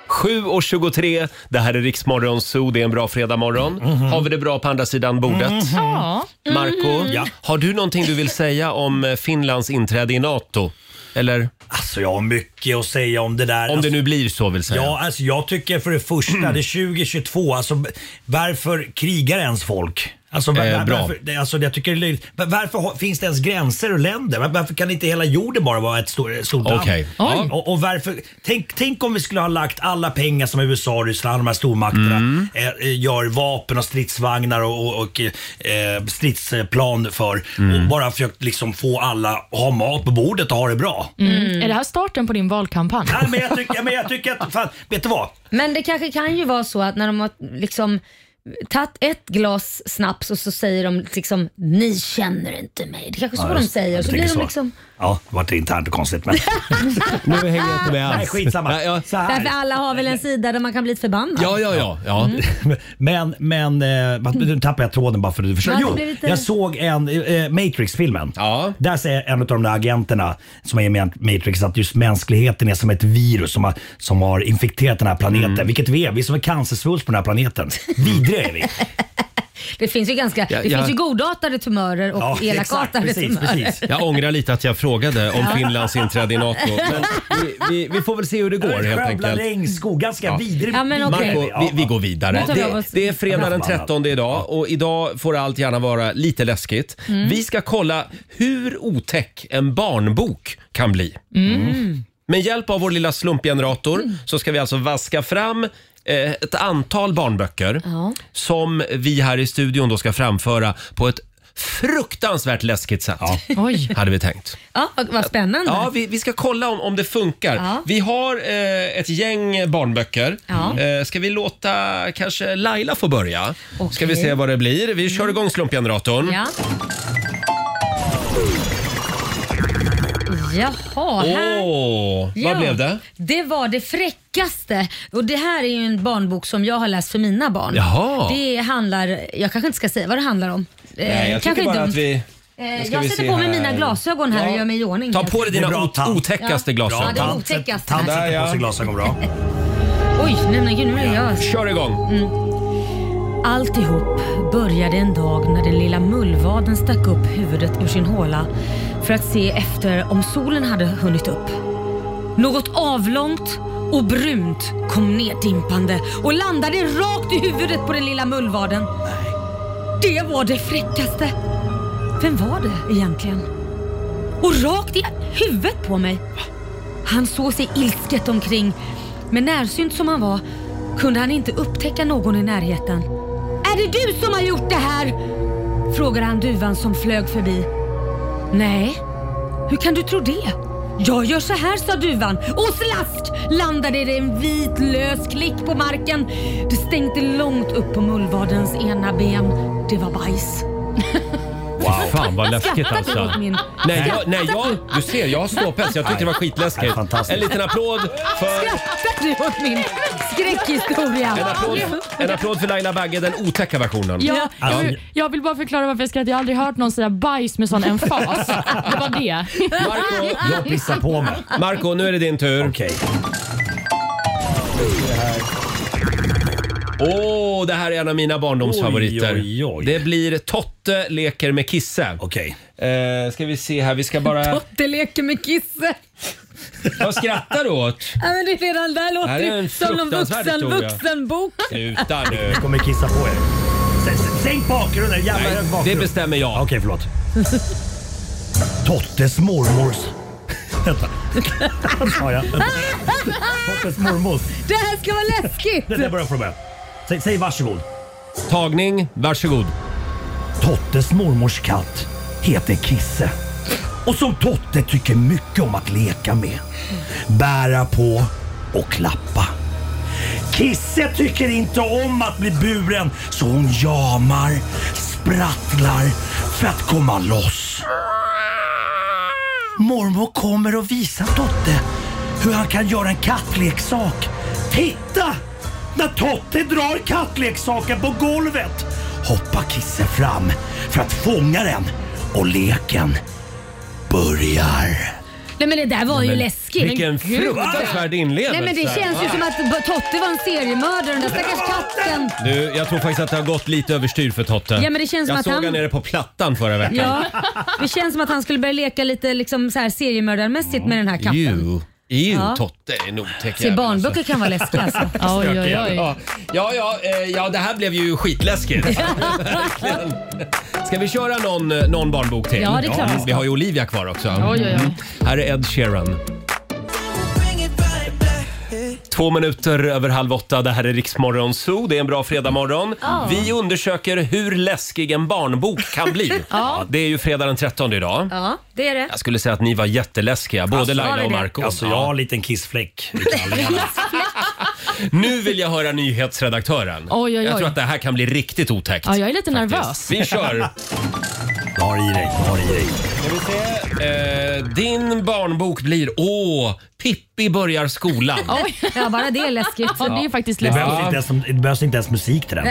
Speaker 1: 7.23, det här är Riksmorgon Zoo, det är en bra fredagmorgon. Har vi det bra på andra sidan bordet?
Speaker 4: Ja.
Speaker 1: Marco,
Speaker 8: Ja.
Speaker 1: har du någonting du vill säga om eh, Finlands inträde i NATO? Eller
Speaker 8: Alltså jag har mycket att säga om det där.
Speaker 1: om det nu blir så vill säga.
Speaker 8: Ja, alltså jag tycker för det första, det är 2022, alltså varför krigar ens folk? Alltså, var,
Speaker 1: Eh,
Speaker 8: var,
Speaker 1: bra.
Speaker 8: Varför, det- alltså, jag tycker det är löjligt. Var- Varför har, finns det ens gränser och länder? Var, varför kan inte hela jorden bara vara ett stort, stort land?
Speaker 1: Okej. Ja.
Speaker 8: Och, och varför, tänk, tänk om vi skulle ha lagt alla pengar som USA, Ryssland, de här stormakterna
Speaker 1: Mm.
Speaker 8: eh, eh, gör vapen och stridsvagnar och, och, och eh, stridsplan för.
Speaker 1: Mm.
Speaker 8: Och bara försökt liksom få alla att ha mat på bordet och ha det bra.
Speaker 4: Mm. Är det här starten på din valkampanj?
Speaker 8: Nej, men, jag tycker, men jag tycker att, fan, vet du vad?
Speaker 2: Men det kanske kan ju vara så att när de har liksom tagit ett glas snaps och så säger de liksom ni känner inte mig. Det kanske är så de säger.
Speaker 8: Jag
Speaker 2: Så
Speaker 8: tänker
Speaker 2: blir de
Speaker 8: så.
Speaker 2: liksom,
Speaker 8: Ja, det var ett internt och konstigt men.
Speaker 1: Nu hänger jag inte med alls.
Speaker 8: Nej, skitsamma.
Speaker 1: Ja, ja.
Speaker 8: Så här.
Speaker 2: därför alla har väl en sida där man kan bli lite förbannad.
Speaker 1: Ja, ja, ja. ja.
Speaker 8: Mm. Men, men, eh, vad- nu tappar jag tråden bara för att du förstår.
Speaker 2: Ja, det
Speaker 8: Jo,
Speaker 2: blir lite-
Speaker 8: jag såg en, eh, Matrix-filmen.
Speaker 1: Ja.
Speaker 8: Där säger en av de där agenterna som är med i Matrix att just mänskligheten är som ett virus som har, som har infekterat den här planeten.
Speaker 1: Mm.
Speaker 8: Vilket vi är, vi är som en cancersvulst på den här planeten. Vidriga är vi.
Speaker 2: Det finns ju ganska,
Speaker 1: Ja,
Speaker 2: det
Speaker 1: ja.
Speaker 2: finns ju godartade tumörer och elakartade
Speaker 8: precis,
Speaker 2: tumörer.
Speaker 8: precis.
Speaker 1: Jag ångrar lite att jag frågade om Finlands inträde i NATO. Men vi, vi, vi får väl se hur det går helt
Speaker 8: Skövla
Speaker 1: enkelt.
Speaker 8: regnskog, ganska
Speaker 1: Ja.
Speaker 8: vidrig.
Speaker 2: Ja, men okej.
Speaker 1: Marco,
Speaker 8: Ja,
Speaker 1: vi, vi går
Speaker 2: Nu
Speaker 1: vidare.
Speaker 2: tar vi av
Speaker 1: Det,
Speaker 2: oss-
Speaker 1: det är fredag den
Speaker 8: Ja.
Speaker 1: 13 idag och idag får allt gärna vara lite läskigt.
Speaker 2: Mm.
Speaker 1: Vi ska kolla hur otäck en barnbok kan bli.
Speaker 2: Mm.
Speaker 1: Med hjälp av vår lilla slumpgenerator så ska vi alltså vaska fram eh, ett antal barnböcker
Speaker 2: Ja.
Speaker 1: som vi här i studion då ska framföra på ett fruktansvärt läskigt sätt.
Speaker 4: Oj.
Speaker 1: Hade vi tänkt.
Speaker 2: Ja, vad- vad spännande.
Speaker 1: Ja, vi, vi ska kolla om, om det funkar.
Speaker 2: Ja.
Speaker 1: Vi har eh, ett gäng barnböcker.
Speaker 2: Ja.
Speaker 1: Eh, ska vi låta kanske Laila få börja?
Speaker 2: Okej.
Speaker 1: Ska vi se vad det blir. Vi kör igång slumpgeneratorn.
Speaker 2: Ja. Jaha,
Speaker 1: Åh,
Speaker 2: här... Ja, Eh,
Speaker 1: vad blev det?
Speaker 2: Det var det fräckaste. Och det här är ju en barnbok som jag har läst för mina barn.
Speaker 1: Jaha.
Speaker 2: Det handlar, jag kanske inte ska säga vad det handlar om. Eh,
Speaker 1: Nej, jag tycker
Speaker 2: kanske är
Speaker 1: bara
Speaker 2: dumt.
Speaker 1: att vi...
Speaker 2: Eh,
Speaker 1: Nu ska
Speaker 2: jag
Speaker 1: vi
Speaker 2: sätter
Speaker 1: se
Speaker 2: på mig
Speaker 1: här.
Speaker 2: mina glasögon här
Speaker 1: Ja.
Speaker 2: och gör mig i ordning.
Speaker 1: Ta på dig dina
Speaker 8: Det är bra
Speaker 1: ot-
Speaker 8: tant.
Speaker 1: otäckaste
Speaker 2: Ja.
Speaker 1: glasögon.
Speaker 2: det är
Speaker 8: tant.
Speaker 2: otäckast.
Speaker 8: Tant
Speaker 1: Där,
Speaker 8: sätter
Speaker 1: ja.
Speaker 8: på sig glasögon bra.
Speaker 2: Oj, nej men gud nu blir jag...
Speaker 1: Kör igång.
Speaker 2: Mm. Alltihop började en dag när den lilla mullvaden stack upp huvudet ur sin håla för att se efter om solen hade hunnit upp. Något avlångt och brunt kom neddimpande och landade rakt i huvudet på den lilla mullvaden. Det var det fräckaste. Vem var det egentligen? Och rakt i huvudet på mig. Han såg sig ilsket omkring, men närsynt som han var kunde han inte upptäcka någon i närheten. Är det du som har gjort det här? Frågade han duvan som flög förbi. Nej, hur kan du tro det? Jag gör så här, sa duvan. Och slask landade det en vit lös klick på marken. Det stänkte långt upp på mullvadens ena ben. Det var bajs.
Speaker 1: Wow. Fan vad läskigt
Speaker 2: Skrattade
Speaker 1: alltså.
Speaker 2: åt min...
Speaker 1: Nej, jag, nej jag, du ser, jag har ståpäls. Jag tyckte det var skitläskigt.
Speaker 8: Fantastiskt.
Speaker 1: En liten applåd för...
Speaker 2: Skrattade du åt min
Speaker 1: En
Speaker 2: skräckhistoria?
Speaker 1: applåd, en applåd för Laila Bagge, den otäcka versionen.
Speaker 4: Ja, jag,
Speaker 8: Alltså-
Speaker 4: vill, jag vill bara förklara varför jag skrattar. Jag har aldrig hört någon säga bajs med sån emfas. Det var det.
Speaker 1: Marco,
Speaker 8: Jag pissar på mig.
Speaker 1: Marco, nu är det din tur.
Speaker 8: Okej.
Speaker 1: Åh, det här är en av mina barndomsfavoriter.
Speaker 8: Oj, oj, oj.
Speaker 1: Det blir Totte leker med Kisse.
Speaker 8: Okej.
Speaker 1: Eh, ska vi se här, vi ska bara...
Speaker 2: Totte leker med Kisse.
Speaker 1: Vad skrattar du åt?
Speaker 2: Ja, men det är redan där
Speaker 1: här
Speaker 2: låter
Speaker 1: är en
Speaker 2: det som någon
Speaker 1: fruktansvärd
Speaker 2: vuxen,
Speaker 1: historia.
Speaker 2: vuxenbok.
Speaker 1: Sluta nu.
Speaker 8: Jag kommer kissa på er. S- s- Sänk bakgrunden, jävla hög
Speaker 1: Det
Speaker 8: bakgrund.
Speaker 1: bestämmer
Speaker 8: Ja,
Speaker 1: jag.
Speaker 8: Okej, förlåt. Tottes mormors... Vänta. Sa jag? Tottes mormors.
Speaker 2: Det här ska vara läskigt.
Speaker 8: Det där börjar från början. Säg, säg varsågod.
Speaker 1: Tagning, varsågod.
Speaker 8: Tottes mormors katt heter Kisse. Och som Totte tycker mycket om att leka med. Bära på och klappa. Kisse tycker inte om att bli buren så hon jamar, sprattlar för att komma loss. Mormor kommer och visar Totte hur han kan göra en kattleksak. Titta! När Totte drar kattleksaken på golvet hoppar Kisse fram för att fånga den och leken börjar.
Speaker 2: Nej men det där var ju läskigt.
Speaker 1: Vilken
Speaker 2: Men gud.
Speaker 1: fruktansvärd
Speaker 2: Nej
Speaker 1: inlevelse.
Speaker 2: men det känns ju som att Totte var en seriemördare, den där stackars katten.
Speaker 1: Du, jag tror faktiskt att det har gått lite överstyr för Totte.
Speaker 2: Ja, men det känns som
Speaker 1: jag
Speaker 2: att
Speaker 1: såg
Speaker 2: han-
Speaker 1: han nere på Plattan förra veckan.
Speaker 2: Ja, det känns som att han skulle börja leka lite liksom så här seriemördarmässigt med den här katten.
Speaker 1: You. Ew,
Speaker 2: Ja.
Speaker 1: Totte är en otäck
Speaker 2: Se,
Speaker 1: jävel, alltså.
Speaker 2: barnböcker kan vara läskiga alltså.
Speaker 4: Ja, Oj, oj, oj.
Speaker 1: Ja, ja, ja, eh, ja, det här blev ju skitläskigt. Verkligen. Ska vi köra någon, eh, någon barnbok till?
Speaker 2: Ja, det är klart.
Speaker 1: Vi har ju Olivia kvar också. Mm.
Speaker 4: Oj, oj, oj.
Speaker 1: Här är Ed Sheeran. Två minuter över halv åtta. Det här är Riksmorgon Zoo. Det är en bra fredagmorgon. Vi undersöker hur läskig en barnbok kan bli. Det är ju fredag den 13 idag.
Speaker 2: Ja, det är det.
Speaker 1: Jag skulle säga att ni var jätteläskiga, både
Speaker 2: var
Speaker 1: Laila
Speaker 2: vi
Speaker 1: och
Speaker 2: det?
Speaker 1: Marco.
Speaker 8: Alltså jag har en liten kissfläck i kallingarna.
Speaker 1: Nu vill jag höra nyhetsredaktören.
Speaker 4: Oj, oj,
Speaker 1: Jag
Speaker 4: oj.
Speaker 1: tror att det här kan bli riktigt otäckt.
Speaker 4: Ja, jag är lite nervös.
Speaker 1: Vi kör!
Speaker 8: Jag har i dig, jag har i dig.
Speaker 1: Eh, din barnbok blir Åh, Pippi börjar skolan.
Speaker 2: Ja, bara det är läskigt.
Speaker 4: Ja, det är faktiskt
Speaker 8: Det
Speaker 4: läskigt.
Speaker 8: behövs, inte ens, det behövs inte ens musik till den.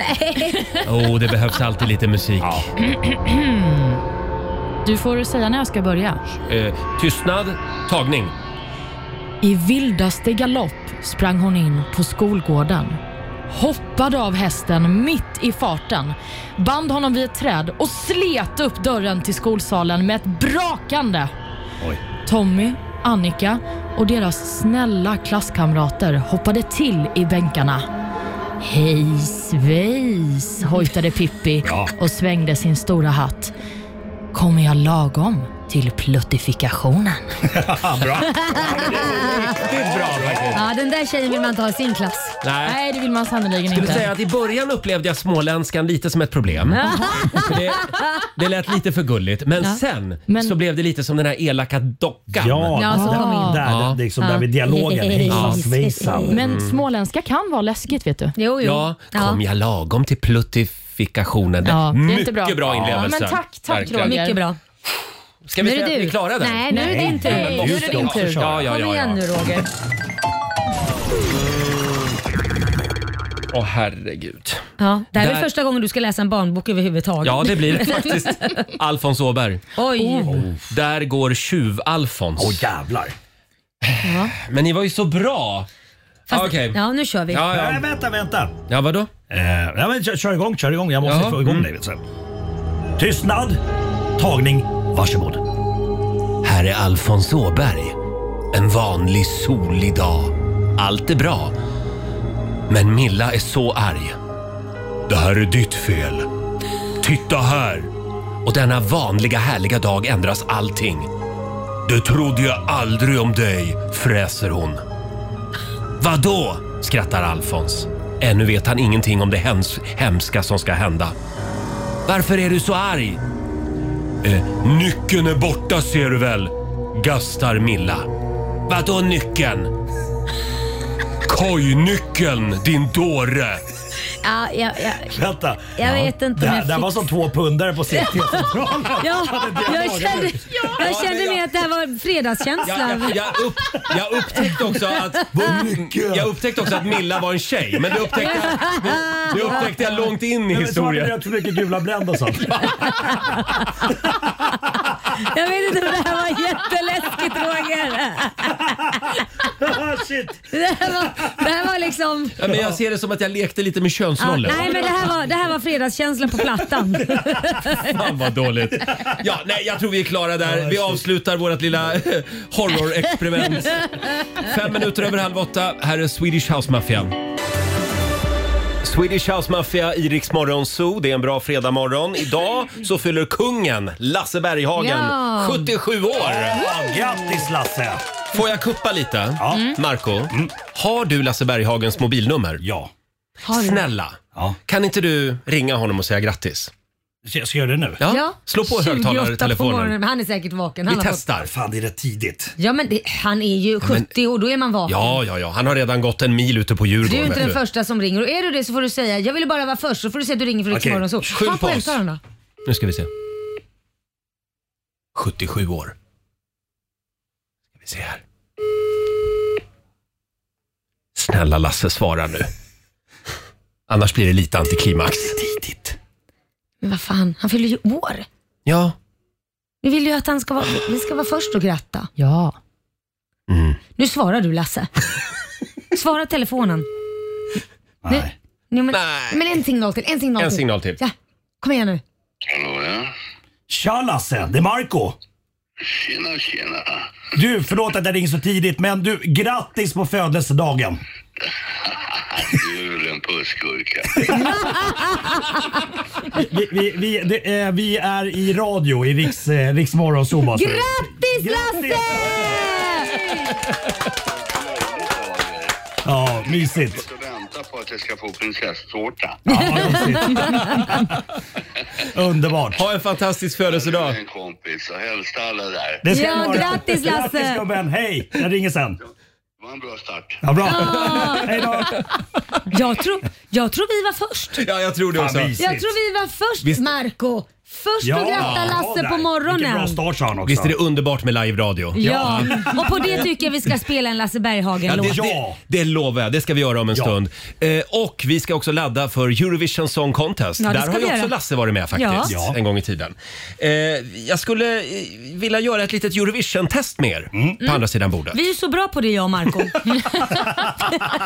Speaker 1: Åh, Oh, det behövs alltid lite musik.
Speaker 4: Du får säga när jag ska börja.
Speaker 1: Eh, tystnad, tagning.
Speaker 4: I vildaste galopp sprang hon in på skolgården. Hoppade av hästen mitt i farten, band honom vid ett träd och slet upp dörren till skolsalen med ett brakande.
Speaker 8: Oj.
Speaker 4: Tommy, Annika och deras snälla klasskamrater hoppade till i bänkarna. Hej svejs, hojtade Pippi och svängde sin stora hatt. Kommer jag lagom till pluttifikationen?
Speaker 8: Ja, bra.
Speaker 1: Riktigt bra faktiskt.
Speaker 2: Ja, den där tjejen vill man inte ha i sin klass.
Speaker 1: Nej.
Speaker 4: Nej, det vill man sannerligen
Speaker 1: Jag
Speaker 4: inte.
Speaker 1: vill säga att I början upplevde jag småländskan lite som ett problem. För det, det lät lite för gulligt. Men sen
Speaker 4: Men-
Speaker 1: så blev det lite som den här elaka dockan.
Speaker 8: Ja,
Speaker 2: Ja, så kom in.
Speaker 8: där,
Speaker 1: Ja.
Speaker 8: där, liksom där med dialogen.
Speaker 2: Ja.
Speaker 8: Hejsan svejsan.
Speaker 4: Men
Speaker 1: Mm.
Speaker 4: småländska kan vara läskigt vet du.
Speaker 2: Jo, jo.
Speaker 1: Ja, kom jag lagom till pluttifikationen.
Speaker 4: Ja, det är inte
Speaker 1: Mycket
Speaker 4: bra.
Speaker 1: inlevelse.
Speaker 4: Ja, men tack, tack,
Speaker 1: Verkligen.
Speaker 4: Roger.
Speaker 2: Mycket bra.
Speaker 1: Ska vi
Speaker 2: Nu är det
Speaker 1: säga att
Speaker 2: du.
Speaker 1: vi klarar den?
Speaker 2: Nej, nu är det din tur.
Speaker 1: men
Speaker 2: Nu
Speaker 1: måste
Speaker 4: är det din
Speaker 1: också
Speaker 4: tur.
Speaker 1: köra. Mm. Ja, ja,
Speaker 2: Kom
Speaker 1: ja,
Speaker 2: igen
Speaker 1: ja.
Speaker 2: nu Roger.
Speaker 1: Åh herregud.
Speaker 2: Ja, det här är
Speaker 1: Där-
Speaker 2: väl första gången du ska läsa en barnbok överhuvudtaget.
Speaker 1: Ja, Oh. det blir det faktiskt. Alfons Åberg.
Speaker 2: Oj.
Speaker 1: Där går tjuv-Alfons.
Speaker 8: Åh jävlar.
Speaker 1: Men ni var ju så bra!
Speaker 2: Fast,
Speaker 1: Ja, okej.
Speaker 2: Ja, nu kör vi.
Speaker 1: Ja,
Speaker 8: Nej,
Speaker 1: ja.
Speaker 8: vänta, vänta.
Speaker 1: ja vadå?
Speaker 8: Eh, ja, men kör, kör igång, kör igång. Jag måste
Speaker 1: Jaha,
Speaker 8: få igång
Speaker 1: mm.
Speaker 8: dig. Vet du. Tystnad, tagning, varsågod.
Speaker 1: Här är Alfons Åberg. En vanlig solig dag. Allt är bra. Men Milla är så arg. Det här är ditt fel. Titta här! Och denna vanliga härliga dag ändras allting. Det trodde jag aldrig om dig, fräser hon. Vadå? skrattar Alfons. Ännu vet han ingenting om det hems- hemska som ska hända. Varför är du så arg? Eh, nyckeln är borta ser du väl? Gastar Milla. Vadå nyckeln? Kojnyckeln din dåre!
Speaker 2: Ja, ja, ja.
Speaker 8: Vänta.
Speaker 2: Jag vet inte om
Speaker 8: Det,
Speaker 2: jag
Speaker 8: det här
Speaker 2: fick-
Speaker 8: var som två pundare på CT-centralen.
Speaker 2: Ja, jag kände, jag kände
Speaker 1: men
Speaker 2: mer att det här var
Speaker 1: Jag,
Speaker 2: fredagskänsla.
Speaker 1: jag, jag, upp, jag, upptäckte också att, jag upptäckte också att Milla var en tjej, men det upptäckte jag, det- det upptäckte jag långt in i
Speaker 8: Jag vet inte, det
Speaker 1: historien.
Speaker 8: rök för mycket gula Blend och sånt.
Speaker 2: Jag vet inte om det här var jätteläskigt Roger.
Speaker 8: Ah, Shit.
Speaker 2: Det här var, det här var liksom...
Speaker 1: Ja, men jag ser det som att jag lekte lite med
Speaker 2: Ja,
Speaker 1: könsroller.
Speaker 2: nej men det här var, det här var fredagskänslan på plattan.
Speaker 1: Fan vad dåligt. Ja, nej, jag tror vi är klara där. Vi avslutar vårt lilla eh, horrorexperiment. Fem minuter över halv åtta. Här är Swedish House Mafia. Swedish House Mafia i Rix Morgon Zoo. Det är en bra fredagmorgon. Idag så fyller kungen, Lasse Berghagen,
Speaker 2: Ja.
Speaker 1: 77 år.
Speaker 8: Ja, grattis Lasse!
Speaker 1: Får jag kuppa lite?
Speaker 8: Ja. Mm.
Speaker 1: Marco, har du Lasse Berghagens mobilnummer?
Speaker 8: Ja.
Speaker 1: Snälla,
Speaker 8: ja.
Speaker 1: kan inte du ringa honom och säga grattis?
Speaker 8: Ska jag- ska jag göra det nu?
Speaker 1: Ja, slå på
Speaker 2: 28
Speaker 1: högtalartelefonen.
Speaker 2: morgonen. Han är säkert vaken.
Speaker 1: Vi
Speaker 2: Han har fått,
Speaker 1: testar.
Speaker 8: Fan, det är rätt tidigt.
Speaker 2: ja men det, han är ju 70 år, då är man vaken.
Speaker 1: Ja, ja, ja. Han har redan gått en mil ute på Djurgården.
Speaker 2: Du är ju inte
Speaker 1: vet
Speaker 2: den första som ringer och är du det så får du säga jag ville bara vara först så får du säga att du ringer för
Speaker 8: Okej,
Speaker 2: Riksmorgon så.
Speaker 1: skyll
Speaker 2: Han
Speaker 1: på
Speaker 2: får
Speaker 1: oss.
Speaker 2: hälsa då.
Speaker 1: Nu ska vi se. 77 år. Ska vi se här. Snälla Lasse, svara nu. Annars blir det lite antiklimax. Tidigt.
Speaker 2: Men vad fan, han fyller ju år.
Speaker 1: Ja.
Speaker 2: Vi vill ju att han ska vara, vi ska vara först och gratta.
Speaker 4: Ja.
Speaker 1: Mm.
Speaker 2: Nu svarar du Lasse. Svara telefonen.
Speaker 8: Nej.
Speaker 2: Jo, men,
Speaker 1: Nej.
Speaker 2: men en signal till, en signal
Speaker 1: En
Speaker 2: till.
Speaker 1: signal till. Mm.
Speaker 2: Ja, kom igen nu.
Speaker 8: Tja Lasse, det är Marco
Speaker 10: Tjena, tjena.
Speaker 8: Du, förlåt att jag ringer så tidigt men du, grattis på födelsedagen.
Speaker 10: Du är väl en pussgurka.
Speaker 8: Vi, vi, vi, det, eh, vi är i radio i Riks, eh, Riks Morgonzoo. bara så.
Speaker 2: Grattis Lasse!
Speaker 8: Ja, mysigt.
Speaker 10: Jag väntar på att jag ska få prinsesstårta.
Speaker 8: Underbart.
Speaker 1: Ha en fantastisk födelsedag.
Speaker 10: En kompis och hälsa alla där.
Speaker 8: Det ska
Speaker 2: Ja,
Speaker 8: ni ha.
Speaker 2: grattis, Lasse.
Speaker 8: Grattis gubben, hej! Jag ringer sen.
Speaker 10: Det var en bra start.
Speaker 8: Ja, bra. Hej då.
Speaker 2: Jag tror, jag tror vi var först.
Speaker 1: Ja, jag tror det också.
Speaker 8: Fan, mysigt.
Speaker 2: Jag tror vi var först
Speaker 1: Visst-
Speaker 2: Marco Först
Speaker 8: Ja,
Speaker 2: att gratta
Speaker 8: ja,
Speaker 2: Lasse
Speaker 8: där.
Speaker 2: på
Speaker 8: Vilken bra
Speaker 2: morgonen.
Speaker 8: start sa han också.
Speaker 1: Visst är det underbart med live-radio?
Speaker 2: Ja. och på det tycker jag vi ska spela en Lasse Berghagen-låt.
Speaker 1: det, det,
Speaker 8: Ja.
Speaker 1: det lovar jag. Det ska vi göra om en
Speaker 8: Ja.
Speaker 1: stund. Eh, och vi ska också ladda för Eurovision Song Contest.
Speaker 2: Ja, det
Speaker 1: Där
Speaker 2: ska
Speaker 1: har ju
Speaker 2: vi
Speaker 1: också
Speaker 2: göra.
Speaker 1: Lasse varit med faktiskt
Speaker 8: Ja.
Speaker 1: en gång i tiden. Eh, jag skulle eh, vilja göra ett litet Eurovision-test med er på andra sidan bordet.
Speaker 2: Mm. Vi är så bra på det jag och Marco
Speaker 1: Det är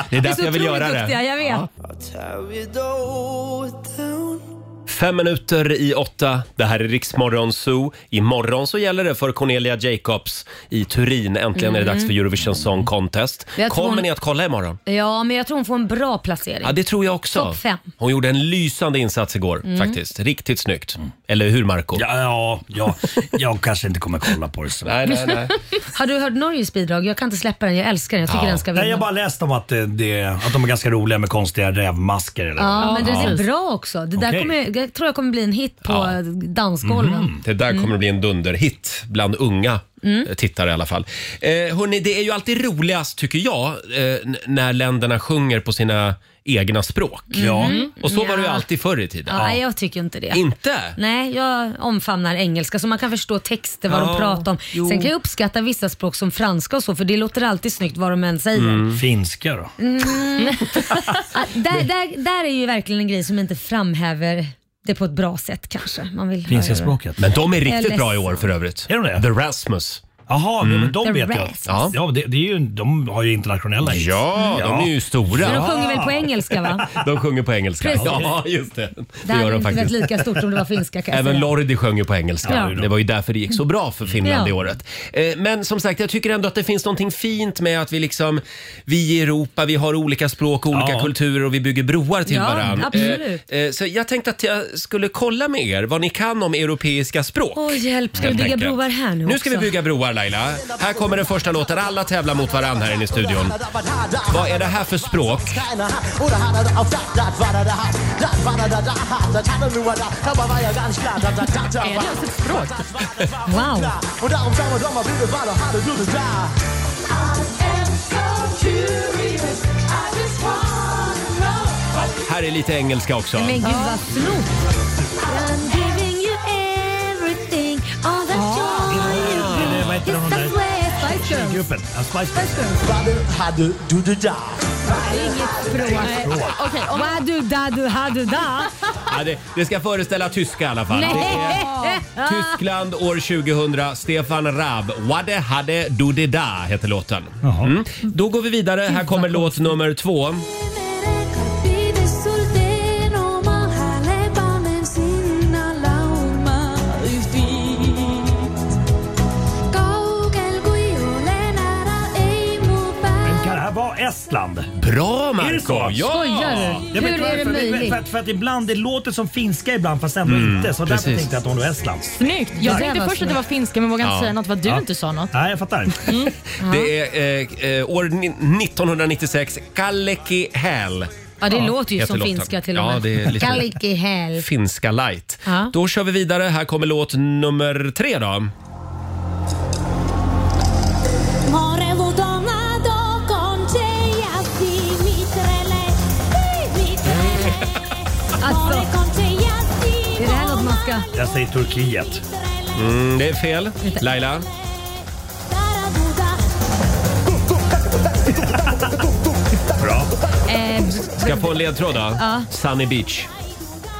Speaker 2: Vi är
Speaker 1: därför
Speaker 2: så
Speaker 1: jag vill
Speaker 2: otroligt
Speaker 1: göra det.
Speaker 2: duktiga, jag vet.
Speaker 1: Fem minuter i åtta. Det här är Riksmorgon Zoo. Imorgon så gäller det för Cornelia Jacobs i Turin. Äntligen är det dags för Eurovision Song Contest.
Speaker 2: Mm. Jag tror
Speaker 1: Kommer
Speaker 2: hon-
Speaker 1: ni att kolla imorgon?
Speaker 2: Ja, men jag tror hon får en bra placering.
Speaker 1: Ja, det tror jag också.
Speaker 2: Topp fem. Mm.
Speaker 1: Hon gjorde en lysande insats igår faktiskt. Riktigt snyggt. Eller hur Marco?
Speaker 8: Ja, ja, ja, jag kanske inte kommer kolla på det så.
Speaker 1: Nej, nej, nej.
Speaker 2: Har du hört Norges bidrag? Jag kan inte släppa den, jag älskar den. Jag tycker
Speaker 1: Ja.
Speaker 2: den ska vinna.
Speaker 8: Nej, jag har bara läst om att, eh, det, att de är ganska roliga med konstiga rävmasker. Eller
Speaker 2: Ja,
Speaker 8: vad.
Speaker 2: men
Speaker 4: Ja.
Speaker 2: den är bra också. Det där
Speaker 8: Okej.
Speaker 2: kommer, jag tror jag kommer bli en hit på
Speaker 1: Ja. Mhm.
Speaker 2: ja. dansgolven.
Speaker 1: Det där
Speaker 2: Mm.
Speaker 1: kommer att bli en dunderhit bland unga eh, tittare i alla fall. Eh, hörni, det är ju alltid roligast tycker jag eh, n- när länderna sjunger på sina egna språk. Mm.
Speaker 8: Ja.
Speaker 1: Och så var det ju
Speaker 2: Ja.
Speaker 1: alltid förr i tiden.
Speaker 2: Ja, nej, jag tycker inte det.
Speaker 1: Inte?
Speaker 2: Nej, jag omfamnar engelska så man kan förstå texter, vad
Speaker 1: Ja,
Speaker 2: de pratar om.
Speaker 1: jo.
Speaker 2: Sen kan jag uppskatta vissa språk som franska och så, för det låter alltid snyggt vad de än säger.
Speaker 1: Mm.
Speaker 8: Finska då?
Speaker 2: Ah, där, där, där är ju verkligen en grej som inte framhäver det på ett bra sätt kanske. Man vill
Speaker 8: Finska
Speaker 2: höra.
Speaker 8: språket?
Speaker 1: Men de är riktigt
Speaker 2: Eller
Speaker 1: bra i
Speaker 2: så.
Speaker 1: år för övrigt.
Speaker 8: Är de det?
Speaker 1: The Rasmus.
Speaker 8: Jaha, mm. men de
Speaker 2: The
Speaker 8: vet jag.
Speaker 2: rest.
Speaker 1: Ja.
Speaker 8: Ja, det, det är ju, de har ju internationella hits.
Speaker 1: Mm. Ja, de är ju
Speaker 2: Men de
Speaker 1: stora.
Speaker 2: sjunger väl på engelska va?
Speaker 1: De sjunger på engelska.
Speaker 2: Precis.
Speaker 1: Ja, just det.
Speaker 2: Det
Speaker 1: Det
Speaker 2: hade
Speaker 1: gör de
Speaker 2: inte varit
Speaker 1: faktiskt.
Speaker 2: lika stort om det var finska kan jag
Speaker 1: Även
Speaker 2: säga.
Speaker 1: Lordi sjöng ju på engelska.
Speaker 2: Ja.
Speaker 1: Det var ju därför det gick så bra för Finland
Speaker 2: Ja.
Speaker 1: i året. Eh, Men som sagt, jag tycker ändå att det finns någonting fint med att vi liksom, vi i Europa, vi har olika språk och olika
Speaker 8: Ja.
Speaker 1: kulturer och vi bygger broar till
Speaker 2: Ja,
Speaker 1: varandra.
Speaker 2: absolut.
Speaker 1: Så jag tänkte att jag skulle kolla med er vad ni kan om europeiska språk.
Speaker 2: Åh hjälp, ska vi
Speaker 1: helt
Speaker 2: bygga
Speaker 1: enkelt.
Speaker 2: broar här nu
Speaker 1: Nu ska vi
Speaker 2: också?
Speaker 1: bygga broar Laila. Här kommer den första låten. Alla tävlar mot varandra här inne i studion. Vad är det här för språk?
Speaker 4: Är det ens ett språk?
Speaker 2: Wow.
Speaker 1: Här är lite engelska också.
Speaker 2: Men gud vad snott. I'm giving you everything, all that joy you
Speaker 8: Det är- Vad heter
Speaker 2: bring.
Speaker 8: de där
Speaker 2: It's the way Spice Girls.
Speaker 8: gruppen? Ja, Spice Girls.
Speaker 2: Okej, om- Wadu dadu hadu da.
Speaker 1: Ja, det, det ska föreställa tyska i alla fall. Det är Tyskland år 2000. Stefan Raab. Wade hade du det da heter låten. Mm. Då går vi vidare. Här kommer låt nummer två.
Speaker 8: Men kan det här vara Estland?
Speaker 1: Bra
Speaker 8: Är det
Speaker 1: Marco!
Speaker 8: så?
Speaker 2: Skojar du?
Speaker 8: Ja, men
Speaker 2: Hur
Speaker 8: för-
Speaker 2: är det
Speaker 8: för-
Speaker 2: möjligt?
Speaker 8: För, för, för att ibland det låter som finska ibland fast ändå inte. Så därför
Speaker 1: Mm, precis.
Speaker 8: tänkte jag att hon var Estland.
Speaker 4: Snyggt. Jag
Speaker 2: Det var
Speaker 4: tänkte först att det
Speaker 2: snyggt.
Speaker 4: var finska men vågade inte
Speaker 1: Ja.
Speaker 4: säga något vad du inte sa något.
Speaker 8: Nej, jag fattar.
Speaker 2: Mm.
Speaker 1: Det är eh, eh, år ni- 1996. Kalleki Häl.
Speaker 2: Ja, det låter ju
Speaker 1: heter
Speaker 2: som
Speaker 1: låten.
Speaker 2: finska till och
Speaker 1: Ja,
Speaker 2: med.
Speaker 1: det är lite-
Speaker 2: Kaliki hell.
Speaker 1: Finska light.
Speaker 2: Ja.
Speaker 1: Då kör vi vidare. Här kommer låt nummer tre då. Mm,
Speaker 2: Alltså, är det här något man ska...
Speaker 8: Jag säger Turkiet.
Speaker 1: Mm, det är fel. Laila?
Speaker 8: Bra.
Speaker 2: Eh, Eh,
Speaker 1: Ska jag få en ledtråd då? Sunny Beach.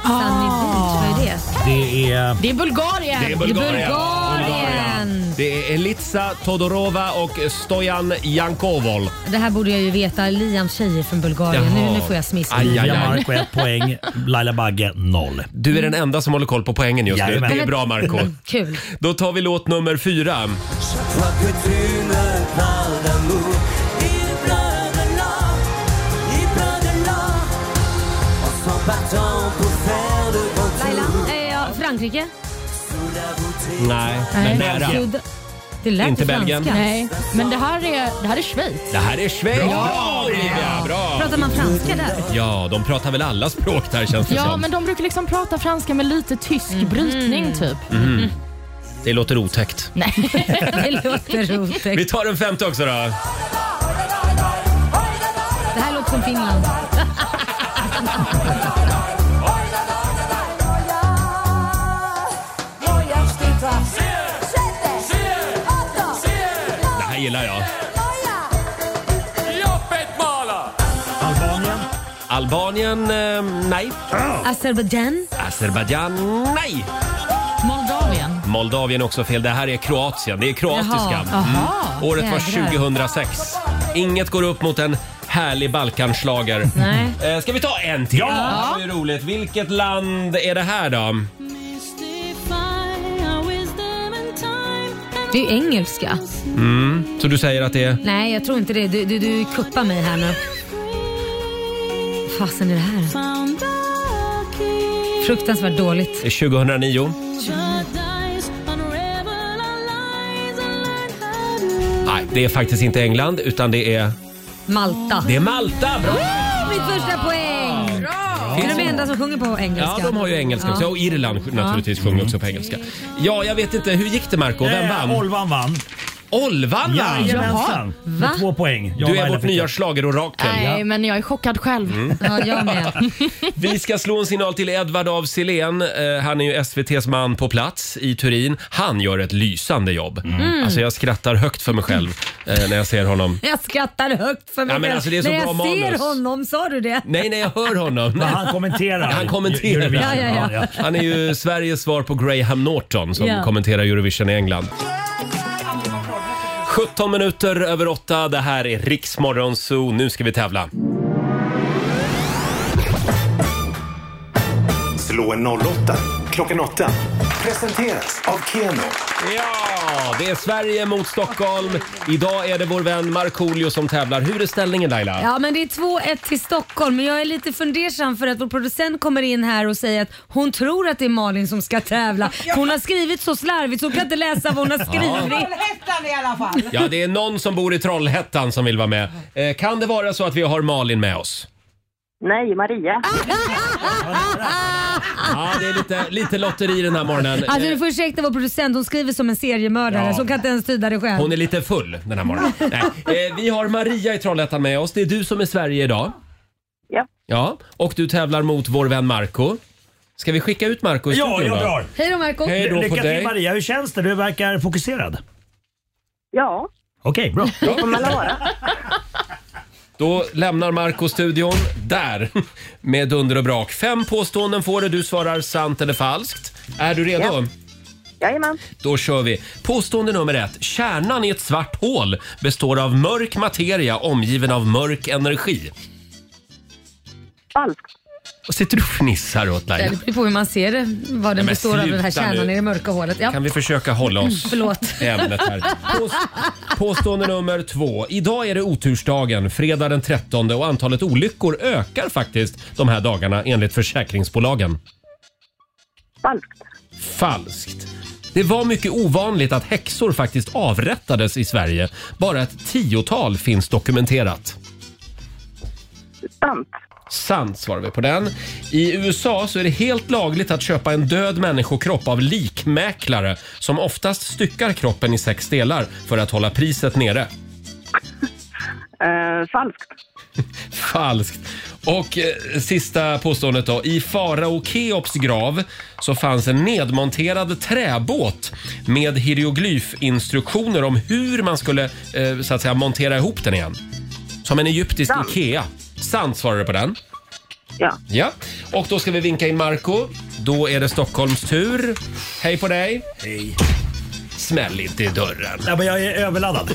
Speaker 2: Sunny Beach,
Speaker 1: Ah.
Speaker 2: vad är det?
Speaker 1: Det är...
Speaker 4: Det är Bulgarien.
Speaker 1: Det är Bulgarien.
Speaker 2: Bulgarien.
Speaker 1: Det är Elitsa Todorova och Stojan Jankovol.
Speaker 2: Det här borde jag ju veta. Liams tjejer från Bulgarien.
Speaker 1: Jaha.
Speaker 2: Nu, nu får jag smisk.
Speaker 1: Aj, aj,
Speaker 8: Julia
Speaker 1: aj.
Speaker 8: Marko ett poäng, Laila Bagge noll.
Speaker 1: Du är den enda som håller koll på poängen just nu.
Speaker 8: Jajamän.
Speaker 1: Det är bra Marco.
Speaker 2: Mm, Kul.
Speaker 1: Då tar vi låt nummer fyra.
Speaker 2: Laila, eh, ja, Frankrike?
Speaker 1: Nej, men
Speaker 4: Nej.
Speaker 1: nära.
Speaker 2: Sud- Det lät
Speaker 1: Inte
Speaker 2: ju franska.
Speaker 1: Belgien.
Speaker 4: Nej, men det här är, det här är Schweiz.
Speaker 1: Det här är Schweiz. Bra Olivia! Bra!
Speaker 2: Pratar man franska där?
Speaker 1: Ja, de pratar väl alla språk där känns det
Speaker 4: Ja,
Speaker 1: som.
Speaker 4: men de brukar liksom prata franska med lite tysk
Speaker 2: Mhm.
Speaker 4: brytning typ.
Speaker 1: Det låter otäckt.
Speaker 4: Nej.
Speaker 2: Det låter
Speaker 1: Vi
Speaker 2: otäckt.
Speaker 1: tar den femte också då.
Speaker 2: Det här låter som Finland.
Speaker 1: Det här gillar jag.
Speaker 8: Albanien.
Speaker 1: Albanien, eh, nej.
Speaker 2: Azerbajdzjan?
Speaker 1: Azerbajdzjan, nej.
Speaker 4: Moldavien.
Speaker 2: Mm.
Speaker 1: Moldavien också fel. Det här är Kroatien. Det är kroatiska.
Speaker 2: Jaha, aha.
Speaker 1: Mm. Året var
Speaker 2: Jädrar.
Speaker 1: 2006. Inget går upp mot en härlig Balkanslager.
Speaker 2: Nej.
Speaker 1: Eh, Ska vi ta en till? Ja! Det är roligt. Vilket land är det här då?
Speaker 2: Det är ju engelska.
Speaker 1: Så du säger att det är...
Speaker 2: Nej, jag tror inte det. Du, du, du kuppar mig här nu. fasen är det här? Fruktansvärt dåligt.
Speaker 1: det är 2009? Nej, det är faktiskt inte England utan det är...
Speaker 2: Malta.
Speaker 1: Det är Malta! Bra!
Speaker 2: Woo! Mitt första poäng! Det är de enda som sjunger på engelska.
Speaker 1: Ja, de har ju engelska också. Och Irland naturligtvis sjunger också på engelska. Ja, jag vet inte. Hur gick det Marco? Vem
Speaker 8: Eh,
Speaker 1: vann?
Speaker 8: Olvan vann.
Speaker 1: Olvan vann!
Speaker 8: Jajamensan.
Speaker 2: Va?
Speaker 8: Med två poäng. Jag och
Speaker 1: Du är
Speaker 8: Laila
Speaker 1: vårt
Speaker 8: fick
Speaker 1: nya
Speaker 8: ett.
Speaker 1: schlagerorakel.
Speaker 4: Nej, men jag är chockad själv.
Speaker 1: Mm.
Speaker 2: Ja, jag med.
Speaker 1: Vi ska slå en signal till Edvard af Sillén. Eh, Han är ju SVTs man på plats i Turin. Han gör ett lysande jobb. Alltså jag skrattar högt för mig själv eh, när jag ser honom.
Speaker 2: Jag skrattar högt för mig
Speaker 1: Ja, men
Speaker 2: själv.
Speaker 1: alltså, det är så
Speaker 2: När
Speaker 1: bra
Speaker 2: jag ser
Speaker 1: manus.
Speaker 2: honom, sa du det?
Speaker 1: Nej, när jag hör honom.
Speaker 8: Men han kommenterar.
Speaker 1: Han kommenterar.
Speaker 8: Eurovision.
Speaker 2: Ja, ja, ja.
Speaker 1: Han är ju Sveriges svar på Graham Norton som
Speaker 2: Ja.
Speaker 1: kommenterar Eurovision i England. 17 minuter över 8. Det här är Riksmorgon Zoo. Nu ska vi tävla.
Speaker 5: Slå en 08 klockan 8. Presenteras av Keno.
Speaker 1: Ja, det är Sverige mot Stockholm. Idag är det vår vän Markoolio som tävlar. Hur är ställningen Laila?
Speaker 2: Ja, men det är 2-1 till Stockholm, men jag är lite fundersam för att vår producent kommer in här och säger att hon tror att det är Malin som ska tävla. Hon har skrivit så slarvigt så hon kan inte läsa vad hon har skrivit.
Speaker 3: Hästan i alla fall.
Speaker 1: Ja, det är någon som bor i Trollhättan som vill vara med. Eh, kan det vara så att vi har Malin med oss?
Speaker 7: Nej, Maria.
Speaker 1: Ja, det är lite, lite lotteri den här morgonen.
Speaker 2: Alltså
Speaker 1: Eh,
Speaker 2: du får ursäkta vår producent, hon skriver som en seriemördare så hon kan inte ens tyda det själv.
Speaker 1: Hon är lite full den här morgonen. Nej. Eh, vi har Maria i Trollhättan med oss. Det är du som är Sverige idag.
Speaker 7: Ja.
Speaker 1: Ja, och du tävlar mot vår vän Marco. Ska vi skicka ut Marco i
Speaker 8: Ja,
Speaker 1: studion
Speaker 8: jag
Speaker 1: då?
Speaker 8: drar.
Speaker 2: Hej då Marco.
Speaker 1: Hej då på
Speaker 8: Lycka till
Speaker 1: dig.
Speaker 8: Maria. Hur känns det? Du verkar fokuserad.
Speaker 7: Ja,
Speaker 8: Okej, bra.
Speaker 7: får man vara.
Speaker 1: Då lämnar Marco studion där med dunder och brak. Fem påståenden får du. Du svarar sant eller falskt. Är du redo?
Speaker 7: Ja. Jajamän.
Speaker 1: Då kör vi. Påstående nummer ett. Kärnan i ett svart hål består av mörk materia omgiven av mörk energi.
Speaker 7: Falskt.
Speaker 1: Vad sitter du och fnissar åt
Speaker 2: Det
Speaker 1: Laila?
Speaker 2: beror på hur man ser det, vad den
Speaker 1: men
Speaker 2: består av den här
Speaker 1: sluta nu.
Speaker 2: kärnan i det mörka hålet. Ja,
Speaker 1: Kan vi försöka hålla oss
Speaker 2: förlåt.
Speaker 1: i ämnet här? Pås- Påstående nummer två. Idag är det otursdagen, fredag den 13 och antalet olyckor ökar faktiskt de här dagarna enligt försäkringsbolagen.
Speaker 7: Falskt.
Speaker 1: Falskt. Det var mycket ovanligt att häxor faktiskt avrättades i Sverige. Bara ett tiotal finns dokumenterat.
Speaker 7: Sant.
Speaker 1: Sant svarar vi på den. I USA så är det helt lagligt att köpa en död människokropp av likmäklare som oftast styckar kroppen i sex delar för att hålla priset nere.
Speaker 7: Eh, falskt.
Speaker 1: Falskt. Och eh, sista påståendet då. I farao Keops grav så fanns en nedmonterad träbåt med hieroglyfinstruktioner om hur man skulle eh, så att säga montera ihop den igen. Som en egyptisk
Speaker 7: Sant.
Speaker 1: Ikea. Sant svarar du på den.
Speaker 7: Ja.
Speaker 1: Ja, Och då ska vi vinka in Marco. Då är det Stockholms tur. Hej på dig! Hej! Smäll inte i dörren.
Speaker 8: Ja, men jag är överladdad.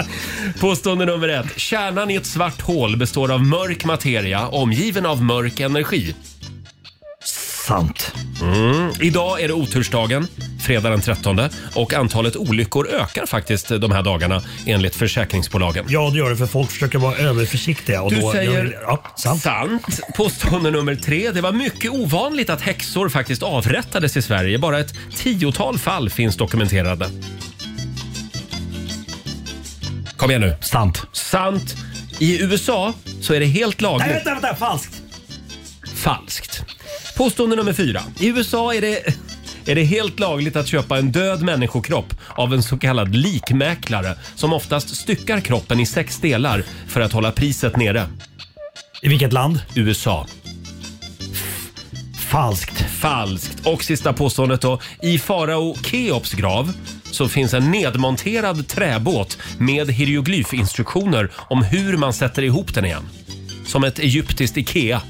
Speaker 1: Påstående nummer ett. Kärnan i ett svart hål består av mörk materia omgiven av mörk energi.
Speaker 8: Sant.
Speaker 1: Mm. Idag är det otursdagen, fredag den 13. Och antalet olyckor ökar faktiskt de här dagarna enligt försäkringsbolagen.
Speaker 8: Ja, det gör det för folk försöker vara överförsiktiga. Och
Speaker 1: Du
Speaker 8: då
Speaker 1: säger
Speaker 8: Ja, sant.
Speaker 1: sant. Påstående nummer tre. Det var mycket ovanligt att häxor faktiskt avrättades i Sverige. Bara ett tiotal fall finns dokumenterade. Kom igen nu.
Speaker 8: Sant.
Speaker 1: Sant. I USA så är det helt
Speaker 8: Nej,
Speaker 1: lagligt.
Speaker 8: vänta, vänta. Falskt.
Speaker 1: Falskt. Påstående nummer fyra. I USA är det, är det helt lagligt att köpa en död människokropp av en så kallad likmäklare som oftast styckar kroppen i sex delar för att hålla priset nere.
Speaker 8: I vilket land?
Speaker 1: USA.
Speaker 8: Falskt.
Speaker 1: Falskt. Och sista påståendet då. I farao Keops grav så finns en nedmonterad träbåt med hieroglyfinstruktioner om hur man sätter ihop den igen. Som ett egyptiskt Ikea.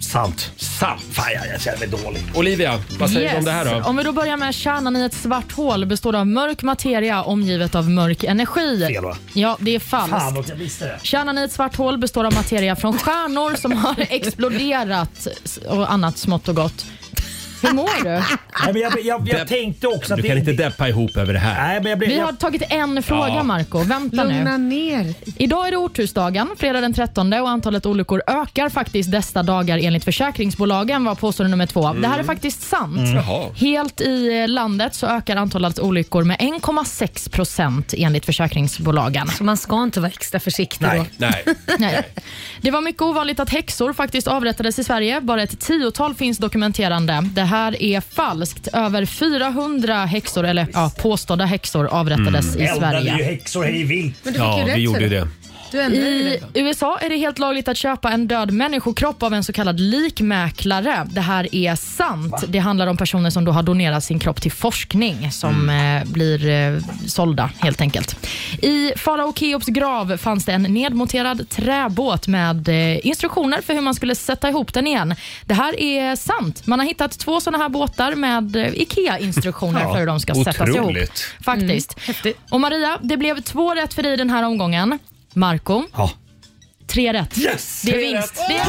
Speaker 8: Sant.
Speaker 1: Sant!
Speaker 8: Fan, jag, jag känner mig dålig.
Speaker 1: Olivia, vad säger du om det här då?
Speaker 4: Om vi då börjar med kärnan i ett svart hål består av mörk materia omgivet av mörk energi.
Speaker 8: Fel, va?
Speaker 4: Ja, det är falskt.
Speaker 8: Fan också, jag visste det.
Speaker 4: Kärnan i ett svart hål består av materia från stjärnor som har exploderat och annat smått och gott. Hur mår du?
Speaker 8: Nej, men jag, jag, jag tänkte också att
Speaker 1: Du kan
Speaker 8: det-
Speaker 1: inte deppa ihop över det
Speaker 2: Äh.
Speaker 1: här.
Speaker 8: Nej, men jag blev...
Speaker 4: Vi
Speaker 8: jag-
Speaker 4: har tagit en fråga,
Speaker 1: Ja.
Speaker 4: Marco. Vänta nu.
Speaker 2: Lugna ner
Speaker 4: Idag är det otursdagen, fredag den 13 och antalet olyckor ökar faktiskt dessa dagar enligt försäkringsbolagen var påstående nummer två. Det
Speaker 1: Mm.
Speaker 4: här är faktiskt sant.
Speaker 1: Jaha.
Speaker 4: Helt i eh, landet så ökar antalet olyckor med 1,6 procent enligt försäkringsbolagen.
Speaker 2: Så man ska inte vara extra försiktig då.
Speaker 8: Nej.
Speaker 1: Nej.
Speaker 4: Nej. Det var mycket ovanligt att häxor faktiskt avrättades i Sverige. Bara ett tiotal finns dokumenterande. Det här är falskt. Över 400 häxor, eller ja, påstådda häxor avrättades i
Speaker 8: Mm. eldade
Speaker 4: Sverige.
Speaker 8: ju häxor hej vilt.
Speaker 2: Men du fick
Speaker 1: Ja,
Speaker 2: ju rätt
Speaker 1: vi
Speaker 2: för
Speaker 1: gjorde ju det.
Speaker 2: Du ändrade ju
Speaker 4: I
Speaker 2: det.
Speaker 4: USA är det helt lagligt att köpa en död människokropp av en så kallad likmäklare. Det här är sant. Det handlar om personer som då har donerat sin kropp till forskning som eh, blir eh, sålda helt enkelt. I farao Keops grav fanns det en nedmonterad träbåt med eh, instruktioner för hur man skulle sätta ihop den igen. Det här är sant. Man har hittat två sådana här båtar med eh, IKEA-instruktioner för hur de ska sättas ihop.
Speaker 1: otroligt.
Speaker 4: Faktiskt. Och Maria, det blev två rätt för dig i den här omgången. Marco,
Speaker 8: Ja.
Speaker 4: Tre rätt.
Speaker 8: Yes!
Speaker 4: Det är
Speaker 8: Tre
Speaker 4: vinst.
Speaker 8: rätt.
Speaker 4: Det är...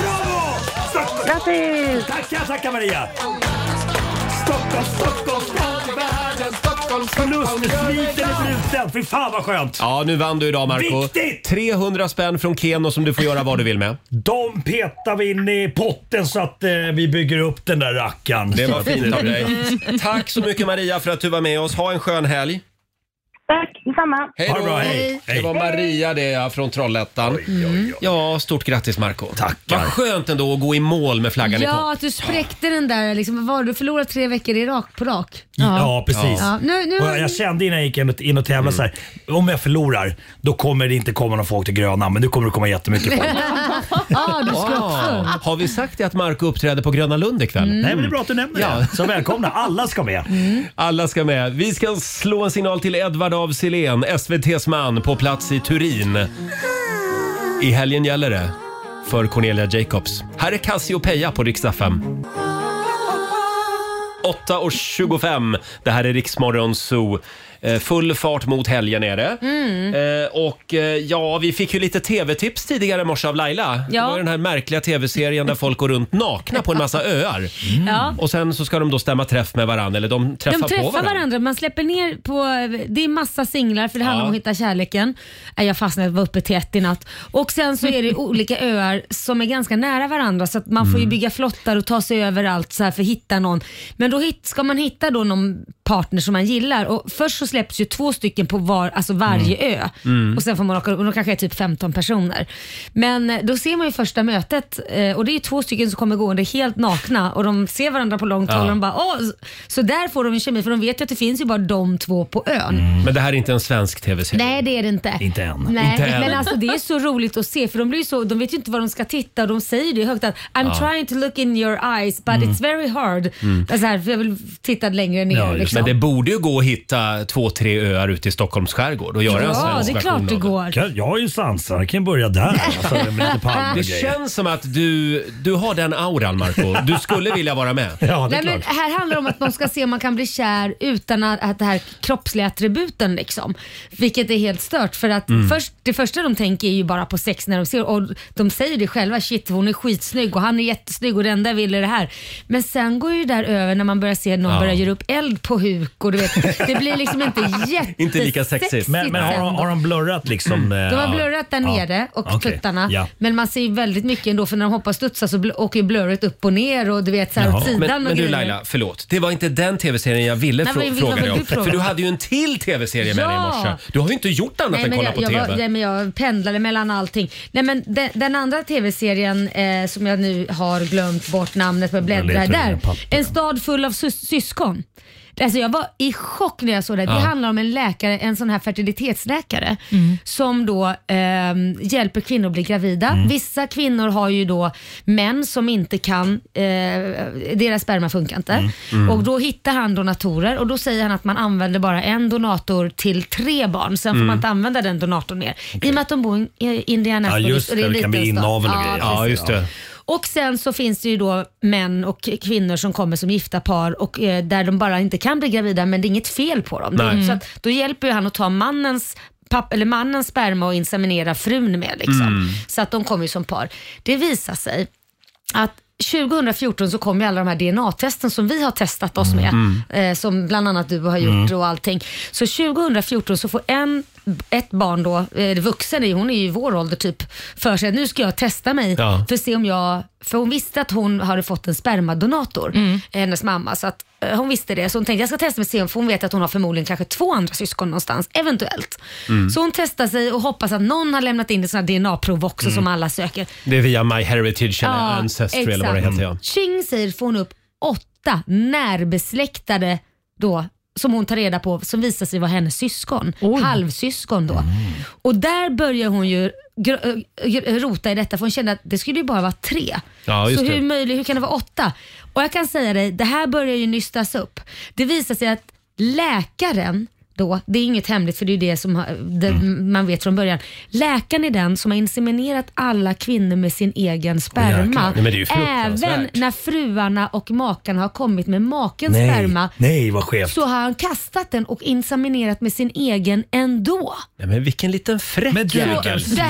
Speaker 8: Bravo! Stockholm!
Speaker 7: Grattis!
Speaker 8: Tackar, tackar Maria! Stockholm, Stockholm, Stockholm, Stockholm, Förlustbesviken är bruten. Fy fan vad skönt!
Speaker 1: Ja, nu vann du idag Marco.
Speaker 8: Viktigt!
Speaker 1: 300 spänn från Keno som du får göra vad du vill med.
Speaker 8: De petar vi in i potten så att eh, vi bygger upp den där rackaren.
Speaker 1: Det var fint av dig. Tack så mycket Maria för att du var med oss. Ha en skön helg.
Speaker 7: Tack, detsamma.
Speaker 1: Hej
Speaker 8: Ha det
Speaker 1: då.
Speaker 8: bra, hej.
Speaker 1: Det var Maria det ja, från Trollhättan. Ja, stort grattis Marco
Speaker 8: Tackar.
Speaker 1: Vad skönt ändå att gå i mål med flaggan i topp.
Speaker 2: Ja, att du spräckte den där. Liksom, vad var det? Du förlorade tre veckor i rak, på rak.
Speaker 8: Ja, precis.
Speaker 2: Ja, nu, nu,
Speaker 8: Och jag, jag kände innan jag gick in och- in och tävlade så här. Om jag förlorar, då kommer det inte komma någon folk till Gröna, men nu kommer det komma jättemycket folk.
Speaker 2: ja, du ska
Speaker 1: Ah,
Speaker 2: också.
Speaker 1: har vi sagt det att Marco uppträder på Gröna Lund ikväll?
Speaker 8: Nej, men det är bra att du nämner
Speaker 1: Ja.
Speaker 8: det. Så välkomna, alla ska med.
Speaker 1: Alla ska med. Vi ska slå en signal till Edvard av Silén, SVT's man på plats i Turin. I helgen gäller det för Cornelia Jacobs. Här är Cassiopeia på riksdag 5. 8.25. Det här är Riksmorgon Zoo. Eh, Full fart mot helgen är det. Eh, och eh, ja, vi fick ju lite tv-tips tidigare i morse av Laila.
Speaker 2: Ja.
Speaker 1: Det var den här märkliga tv-serien där folk går runt nakna på en massa öar.
Speaker 2: Ja.
Speaker 1: Och sen så ska de då stämma träff med varandra, eller de träffar,
Speaker 2: De
Speaker 1: på
Speaker 2: träffar
Speaker 1: varandra.
Speaker 2: varandra, man släpper ner på, det är massa singlar för det handlar
Speaker 1: Ja.
Speaker 2: om att hitta kärleken. Nej, Jag fastnade, var uppe till ett i natt. Och sen så är det olika öar som är ganska nära varandra så att man får ju
Speaker 1: Mm.
Speaker 2: bygga flottar och ta sig överallt så här för att hitta någon. Men då hit, ska man hitta då någon partner som man gillar och först så släpps ju två stycken på var, alltså varje
Speaker 8: Mm.
Speaker 2: ö och sen får man åka upp och de kanske är typ 15 personer. Men eh, då ser man ju första mötet eh, och det är ju två stycken som kommer gående helt nakna och de ser varandra på långt håll och de bara åh, så- så där får de en kemi för de vet ju att det finns ju bara de två på ön.
Speaker 1: Men det här är inte en svensk tv-serie.
Speaker 2: Nej det är det inte.
Speaker 8: Mm. Inte än.
Speaker 2: Nej,
Speaker 1: Inte än.
Speaker 2: men alltså det är så roligt att se för de blir ju så, de vet ju inte vad de ska titta och de säger det högt att I'm trying to look in your eyes but it's very hard. Alltså här, för jag vill titta längre ner.
Speaker 8: Mm. Ja, just det.
Speaker 2: liksom.
Speaker 1: Men det borde ju gå att hitta två, tre öar ute i Stockholms skärgård och göra en svensk version av
Speaker 8: Kan- Jag har ju sansar, jag kan börja där. Alltså, med lite palmer och
Speaker 1: Det
Speaker 8: grejer.
Speaker 1: känns som att du, du har den auran Marco. Du skulle vilja vara med.
Speaker 8: Ja,
Speaker 2: Nej, men här handlar det om att man ska se om man kan bli kär utan att, att det här kroppsliga attributen liksom. Vilket är helt stört för att
Speaker 11: Mm.
Speaker 2: först, det första de tänker är ju bara på sex när de ser och de säger det själva, shit hon är skitsnygg och han är jättesnygg och det enda jag vill är det här. Men sen går ju där över när man börjar se någon
Speaker 8: Ja.
Speaker 2: börja göra upp eld på huk och du vet, det blir liksom inte jättesexigt.
Speaker 8: Men, men har, de, har de blurrat liksom? eh,
Speaker 2: Mm. De har
Speaker 8: ja.
Speaker 2: blurrat där
Speaker 8: Ja.
Speaker 2: nere och
Speaker 8: Okej.
Speaker 2: tuttarna.
Speaker 8: Ja.
Speaker 2: Men man ser ju väldigt mycket ändå för när de hoppar och studsar så bl- åker ju blurret upp och ner och du vet så här åt sidan
Speaker 1: Men,
Speaker 2: och
Speaker 1: men du
Speaker 2: grejer.
Speaker 1: Laila, förlåt. Det var inte den tv-serien jag ville
Speaker 2: Nej,
Speaker 1: frå-
Speaker 2: men vad
Speaker 1: fråga
Speaker 2: vill
Speaker 1: dig om.
Speaker 2: du fråga?
Speaker 1: För du hade ju en till tv-serie med dig i
Speaker 2: Ja!
Speaker 1: morse. Du har ju inte gjort annat än
Speaker 2: men
Speaker 1: kolla
Speaker 2: jag,
Speaker 1: på
Speaker 2: jag
Speaker 1: tv.
Speaker 2: var- nej, men jag pendlade mellan allting. Nej, men den, den andra tv-serien eh, som jag nu har glömt bort namnet på,
Speaker 11: letar
Speaker 2: bläddrar
Speaker 11: i mina
Speaker 2: där.
Speaker 11: papper.
Speaker 2: En stad full av sys- syskon. Alltså jag var i chock när jag såg det.
Speaker 11: Ja.
Speaker 2: Det handlar om en läkare, en sån här fertilitetsläkare som då ehm, hjälper kvinnor att bli gravida.
Speaker 11: Mm.
Speaker 2: Vissa kvinnor har ju då män som inte kan, eh, deras sperma funkar inte.
Speaker 11: Mm. Mm.
Speaker 2: Och då hittar han donatorer och då säger han att man använder bara en donator till tre barn. Sen får
Speaker 1: Mm.
Speaker 2: man inte använda den donatorn mer. I och med att de bor i Indianapolis och det är en liten stad. Ja,
Speaker 1: Ja,
Speaker 2: precis.
Speaker 1: just det.
Speaker 2: Och sen så finns det ju då män och kvinnor som kommer som gifta par och eh, där de bara inte kan bli gravida men det är inget fel på dem.
Speaker 11: Nej.
Speaker 2: Så att då hjälper ju han att ta mannens papp, eller mannens sperma och inseminera frun med. Liksom.
Speaker 11: Mm.
Speaker 2: Så att de kommer ju som par. Det visar sig att 2014 så kom ju alla de här DNA-testen som vi har testat oss med,
Speaker 11: Mm.
Speaker 2: eh, som bland annat du har gjort
Speaker 11: Mm.
Speaker 2: och allting. Så 2014 så får en, ett barn då, eh, vuxen, är- hon är ju i vår ålder typ, för sig att nu ska jag testa mig
Speaker 11: Ja.
Speaker 2: för att se om jag, för hon visste att hon hade fått en spermadonator, hennes mamma. Så att, eh, hon visste det, så hon tänkte jag ska testa mig och se om, för hon vet att hon har förmodligen kanske två andra syskon någonstans, eventuellt.
Speaker 1: Mm.
Speaker 2: Så hon testar sig och hoppas att någon har lämnat in ett sånt här DNA-prov också
Speaker 1: Mm.
Speaker 2: som alla söker.
Speaker 1: Det är via My Heritage eller Ancestry eller vad det
Speaker 2: exakt.
Speaker 1: heter. Ja.
Speaker 2: Tjing säger får hon upp åtta närbesläktade då som hon tar reda på som visar sig vara hennes syskon. Halvsyskon då.
Speaker 11: Mm.
Speaker 2: Och där börjar hon ju gr- äh, gr- rota i detta för hon kände att det skulle ju bara vara tre.
Speaker 11: Ja, just
Speaker 2: Så
Speaker 11: det.
Speaker 2: hur, möjligt, hur kan det vara åtta? Och jag kan säga dig, det här börjar ju nystas upp. Det visar sig att läkaren då, det är inget hemligt för det är ju det som har- det
Speaker 11: Mm.
Speaker 2: man vet från början. Läkaren är den som har inseminerat alla kvinnor med sin egen sperma.
Speaker 11: jäklar. Nej, men det är ju fruktansvärt.
Speaker 2: Även när fruarna och makarna har kommit med makens sperma
Speaker 8: nej vad skevt.
Speaker 2: så har han kastat den och inseminerat med sin egen ändå.
Speaker 1: Nej, men vilken liten fräck
Speaker 8: Men du,
Speaker 1: jävel.
Speaker 2: Det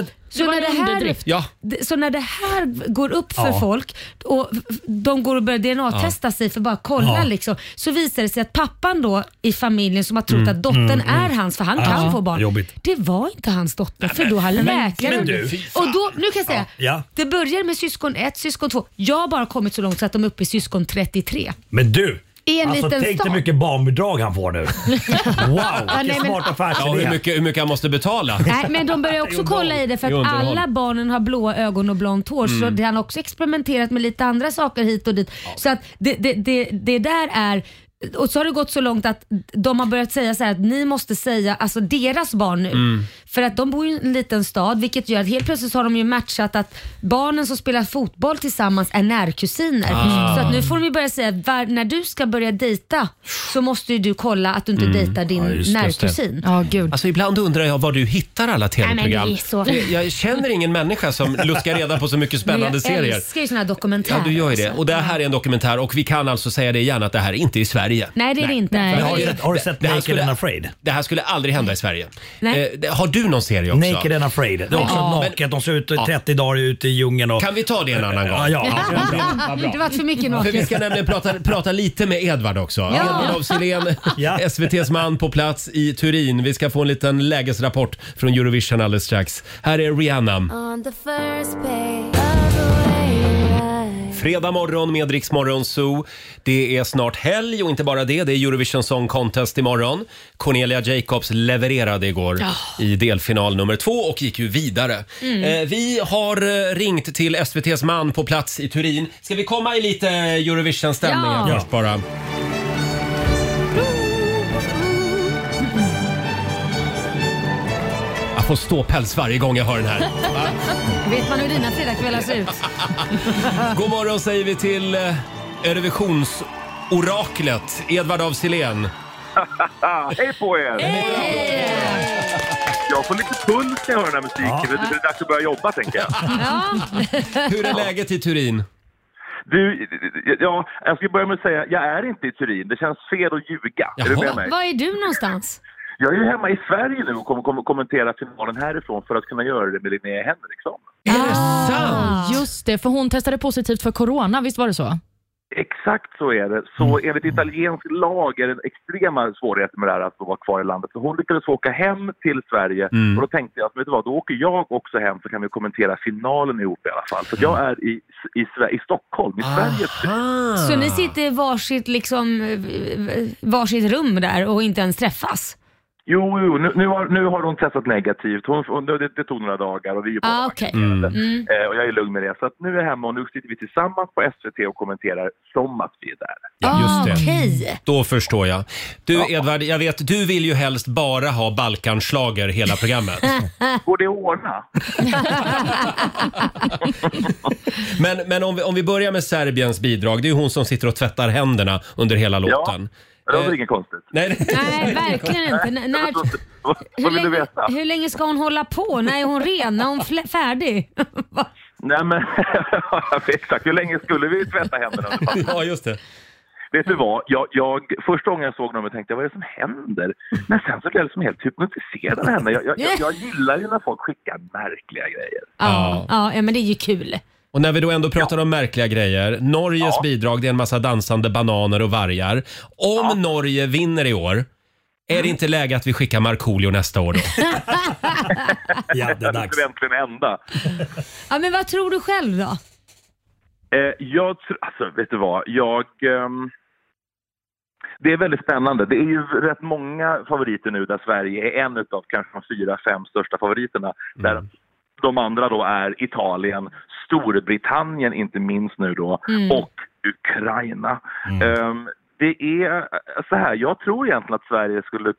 Speaker 2: här, så,
Speaker 11: var en
Speaker 2: när det här,
Speaker 11: underdrift.
Speaker 1: Ja.
Speaker 2: d- så när det här går upp för
Speaker 1: Ja.
Speaker 2: folk och f- de går och börjar DNA-testa sig för att bara kolla
Speaker 11: Ja.
Speaker 2: liksom, så visar det sig att pappan då i familjen som har trott
Speaker 11: Mm,
Speaker 2: att dottern
Speaker 11: mm, mm.
Speaker 2: är hans, för han
Speaker 11: Ja.
Speaker 2: kan få barn.
Speaker 11: Jobbigt.
Speaker 2: Det var inte hans dotter för då har
Speaker 11: men-
Speaker 2: läkaren...
Speaker 11: men du, fy
Speaker 2: och då, nu kan jag säga,
Speaker 8: Ja.
Speaker 2: det börjar med syskon 1, syskon 2. Jag har bara kommit så långt så att de är uppe i syskon 33.
Speaker 8: Men du!
Speaker 2: I en
Speaker 8: alltså,
Speaker 2: liten
Speaker 8: tänk
Speaker 2: stad.
Speaker 8: dig mycket barnbidrag han får nu. Wow,
Speaker 2: Ja, nej,
Speaker 8: vilken
Speaker 2: men-
Speaker 8: smart affärsidé.
Speaker 1: Ja, hur, mycket, hur mycket jag måste betala.
Speaker 2: Nej, men de börjar också kolla i det för
Speaker 1: Det är
Speaker 2: att
Speaker 1: underhåll.
Speaker 2: alla barnen har blåa ögon och blont hår så
Speaker 1: Mm.
Speaker 2: det- han har också experimenterat med lite andra saker hit och dit. Så att det, det, det, det där är och så har det gått så långt att de har börjat säga så här att ni måste säga, alltså deras barn nu,
Speaker 11: Mm.
Speaker 2: för att de bor ju i en liten stad vilket gör att helt plötsligt har de ju matchat att barnen som spelar fotboll tillsammans är närkusiner.
Speaker 11: Ah.
Speaker 2: Så att nu får de ju börja säga att var, när du ska börja dejta så måste ju du kolla att du inte dejtar din närkusin.
Speaker 1: Ja, gud. Alltså, ibland undrar jag var du hittar alla
Speaker 2: Nej, men
Speaker 1: tv-program.
Speaker 2: det är så-
Speaker 1: Jag- Jag känner ingen människa som luskar reda på så mycket spännande
Speaker 2: Men
Speaker 1: serier.
Speaker 2: Jag älskar ju såna här dokumentärer.
Speaker 1: Ja, du gör ju det.
Speaker 2: alltså.
Speaker 1: Och det här är en dokumentär och vi kan alltså säga det igen att det här är inte i Sverige.
Speaker 2: Nej, det är det inte.
Speaker 1: För
Speaker 2: Nej.
Speaker 1: det här är-
Speaker 8: Har du sett
Speaker 1: det här
Speaker 8: Naked
Speaker 1: skulle-
Speaker 8: and Afraid?
Speaker 1: Det här skulle aldrig hända i Sverige.
Speaker 2: Nej.
Speaker 1: Eh, det- har du någon serie också?
Speaker 8: Naked and Afraid. Det är också
Speaker 1: Ja.
Speaker 8: naket. De ser ut 30 dagar ute i djungeln. Och...
Speaker 1: Kan vi ta det en annan gång?
Speaker 8: Ja, ja.
Speaker 2: det var för mycket
Speaker 1: För vi ska
Speaker 2: naket.
Speaker 1: nämligen prata, prata lite med Edvard också.
Speaker 2: Ja.
Speaker 1: Edvard af Sillén, SVTs man på plats i Turin. Vi ska få en liten lägesrapport från Eurovision alldeles strax. Här är Rihanna.
Speaker 11: On the first page.
Speaker 1: Fredag morgon med Rix Morgon Zoo. Det är snart helg och inte bara det, det är Eurovision Song Contest imorgon. Cornelia Jacobs levererade igår
Speaker 11: Ja.
Speaker 1: i delfinal nummer två och gick ju vidare.
Speaker 11: Mm.
Speaker 1: Eh, vi har eh, ringt till SVTs man på plats i Turin. Ska vi komma i lite Eurovision-stämning
Speaker 11: Ja.
Speaker 1: här först bara? Jag får ståpäls varje gång jag hör den här.
Speaker 2: Vet man hur dina fredagskvällar ser ut?
Speaker 1: God morgon säger vi till eh, Eurovisionsoraklet Edvard af Sillén.
Speaker 12: Hej på er! Jag får lite puls när jag hör den här musiken.
Speaker 1: Ja.
Speaker 12: Det är det dags att börja jobba, tänker jag.
Speaker 1: Hur är läget i Turin?
Speaker 12: Du, ja, jag ska börja med att säga, jag är inte i Turin. Det känns fel att ljuga. Är du med mig?
Speaker 2: Var är du någonstans?
Speaker 12: Jag är ju hemma i Sverige nu och kommer, kommer kommentera finalen härifrån för att kunna göra det med Linnea Henriksson.
Speaker 4: Ah, just det, för hon testade positivt för corona, visst var det så?
Speaker 12: Exakt så är det. Så
Speaker 2: Mm.
Speaker 12: enligt italiensk lag är det extrema svårigheter med det här att få vara kvar i landet. Så hon lyckades åka hem till Sverige
Speaker 2: Mm.
Speaker 12: och då tänkte jag att vet du vad, då åker jag också hem så kan vi kommentera finalen ihop i alla fall. Så att jag är i, i, Sve- i Stockholm, i Sverige.
Speaker 2: Så
Speaker 1: Ah.
Speaker 2: ni sitter i varsitt, liksom, eh, varsitt rum där och inte ens träffas?
Speaker 12: Jo, jo nu, nu, har, nu har hon testat negativt. Hon, hon, det, det tog några dagar och vi är båda
Speaker 2: Ah, okej.
Speaker 12: vaccinerade.
Speaker 2: Mm.
Speaker 12: Eh, och jag är lugn med det. Så att nu är jag hemma och nu sitter vi tillsammans på SVT och kommenterar som att vi är där.
Speaker 1: Ja, just det.
Speaker 2: Ah, Okej.
Speaker 1: Då förstår jag. Du Edvard, jag vet du vill ju helst bara ha Balkanslager hela programmet.
Speaker 12: Går det att ordna?
Speaker 1: Men, men om, vi, om vi börjar med Serbiens bidrag, det är ju hon som sitter och tvättar händerna under hela låten. Eh,
Speaker 12: Ja, det var väl inget konstigt.
Speaker 1: Nej,
Speaker 2: Nej, verkligen inte. N- när, hur,
Speaker 12: Vad vill du
Speaker 2: länge,
Speaker 12: veta?
Speaker 2: hur länge ska hon hålla på? När är hon ren? När är hon flä- färdig?
Speaker 12: Nej men, exakt. Hur länge skulle vi tvätta händerna?
Speaker 1: ja, just det.
Speaker 12: Vet du vad? Jag, jag, första gången jag såg numret tänkte jag, vad är det som händer? Men sen så blev jag liksom helt hypnotiserad av henne. Jag, jag, jag, jag gillar ju när folk skickar märkliga grejer.
Speaker 2: Ja. Ja, ja, men det är ju kul.
Speaker 1: Och när vi då ändå pratar om märkliga grejer. Norges bidrag det är en massa dansande bananer och vargar. Om Norge vinner i år, är det inte läge att vi skickar Markoolio nästa år då?
Speaker 8: ja, det är
Speaker 12: dags. Det äntligen hända.
Speaker 2: Ja, men vad tror du själv då?
Speaker 12: Eh, jag tror, alltså vet du vad, jag... ehm, det är väldigt spännande. Det är ju rätt många favoriter nu där Sverige är en utav kanske de fyra, fem största favoriterna. Där de andra då är Italien, Storbritannien inte minst nu då
Speaker 13: Mm.
Speaker 12: och Ukraina. Ehm, det är eh, så här, jag tror egentligen att Sverige skulle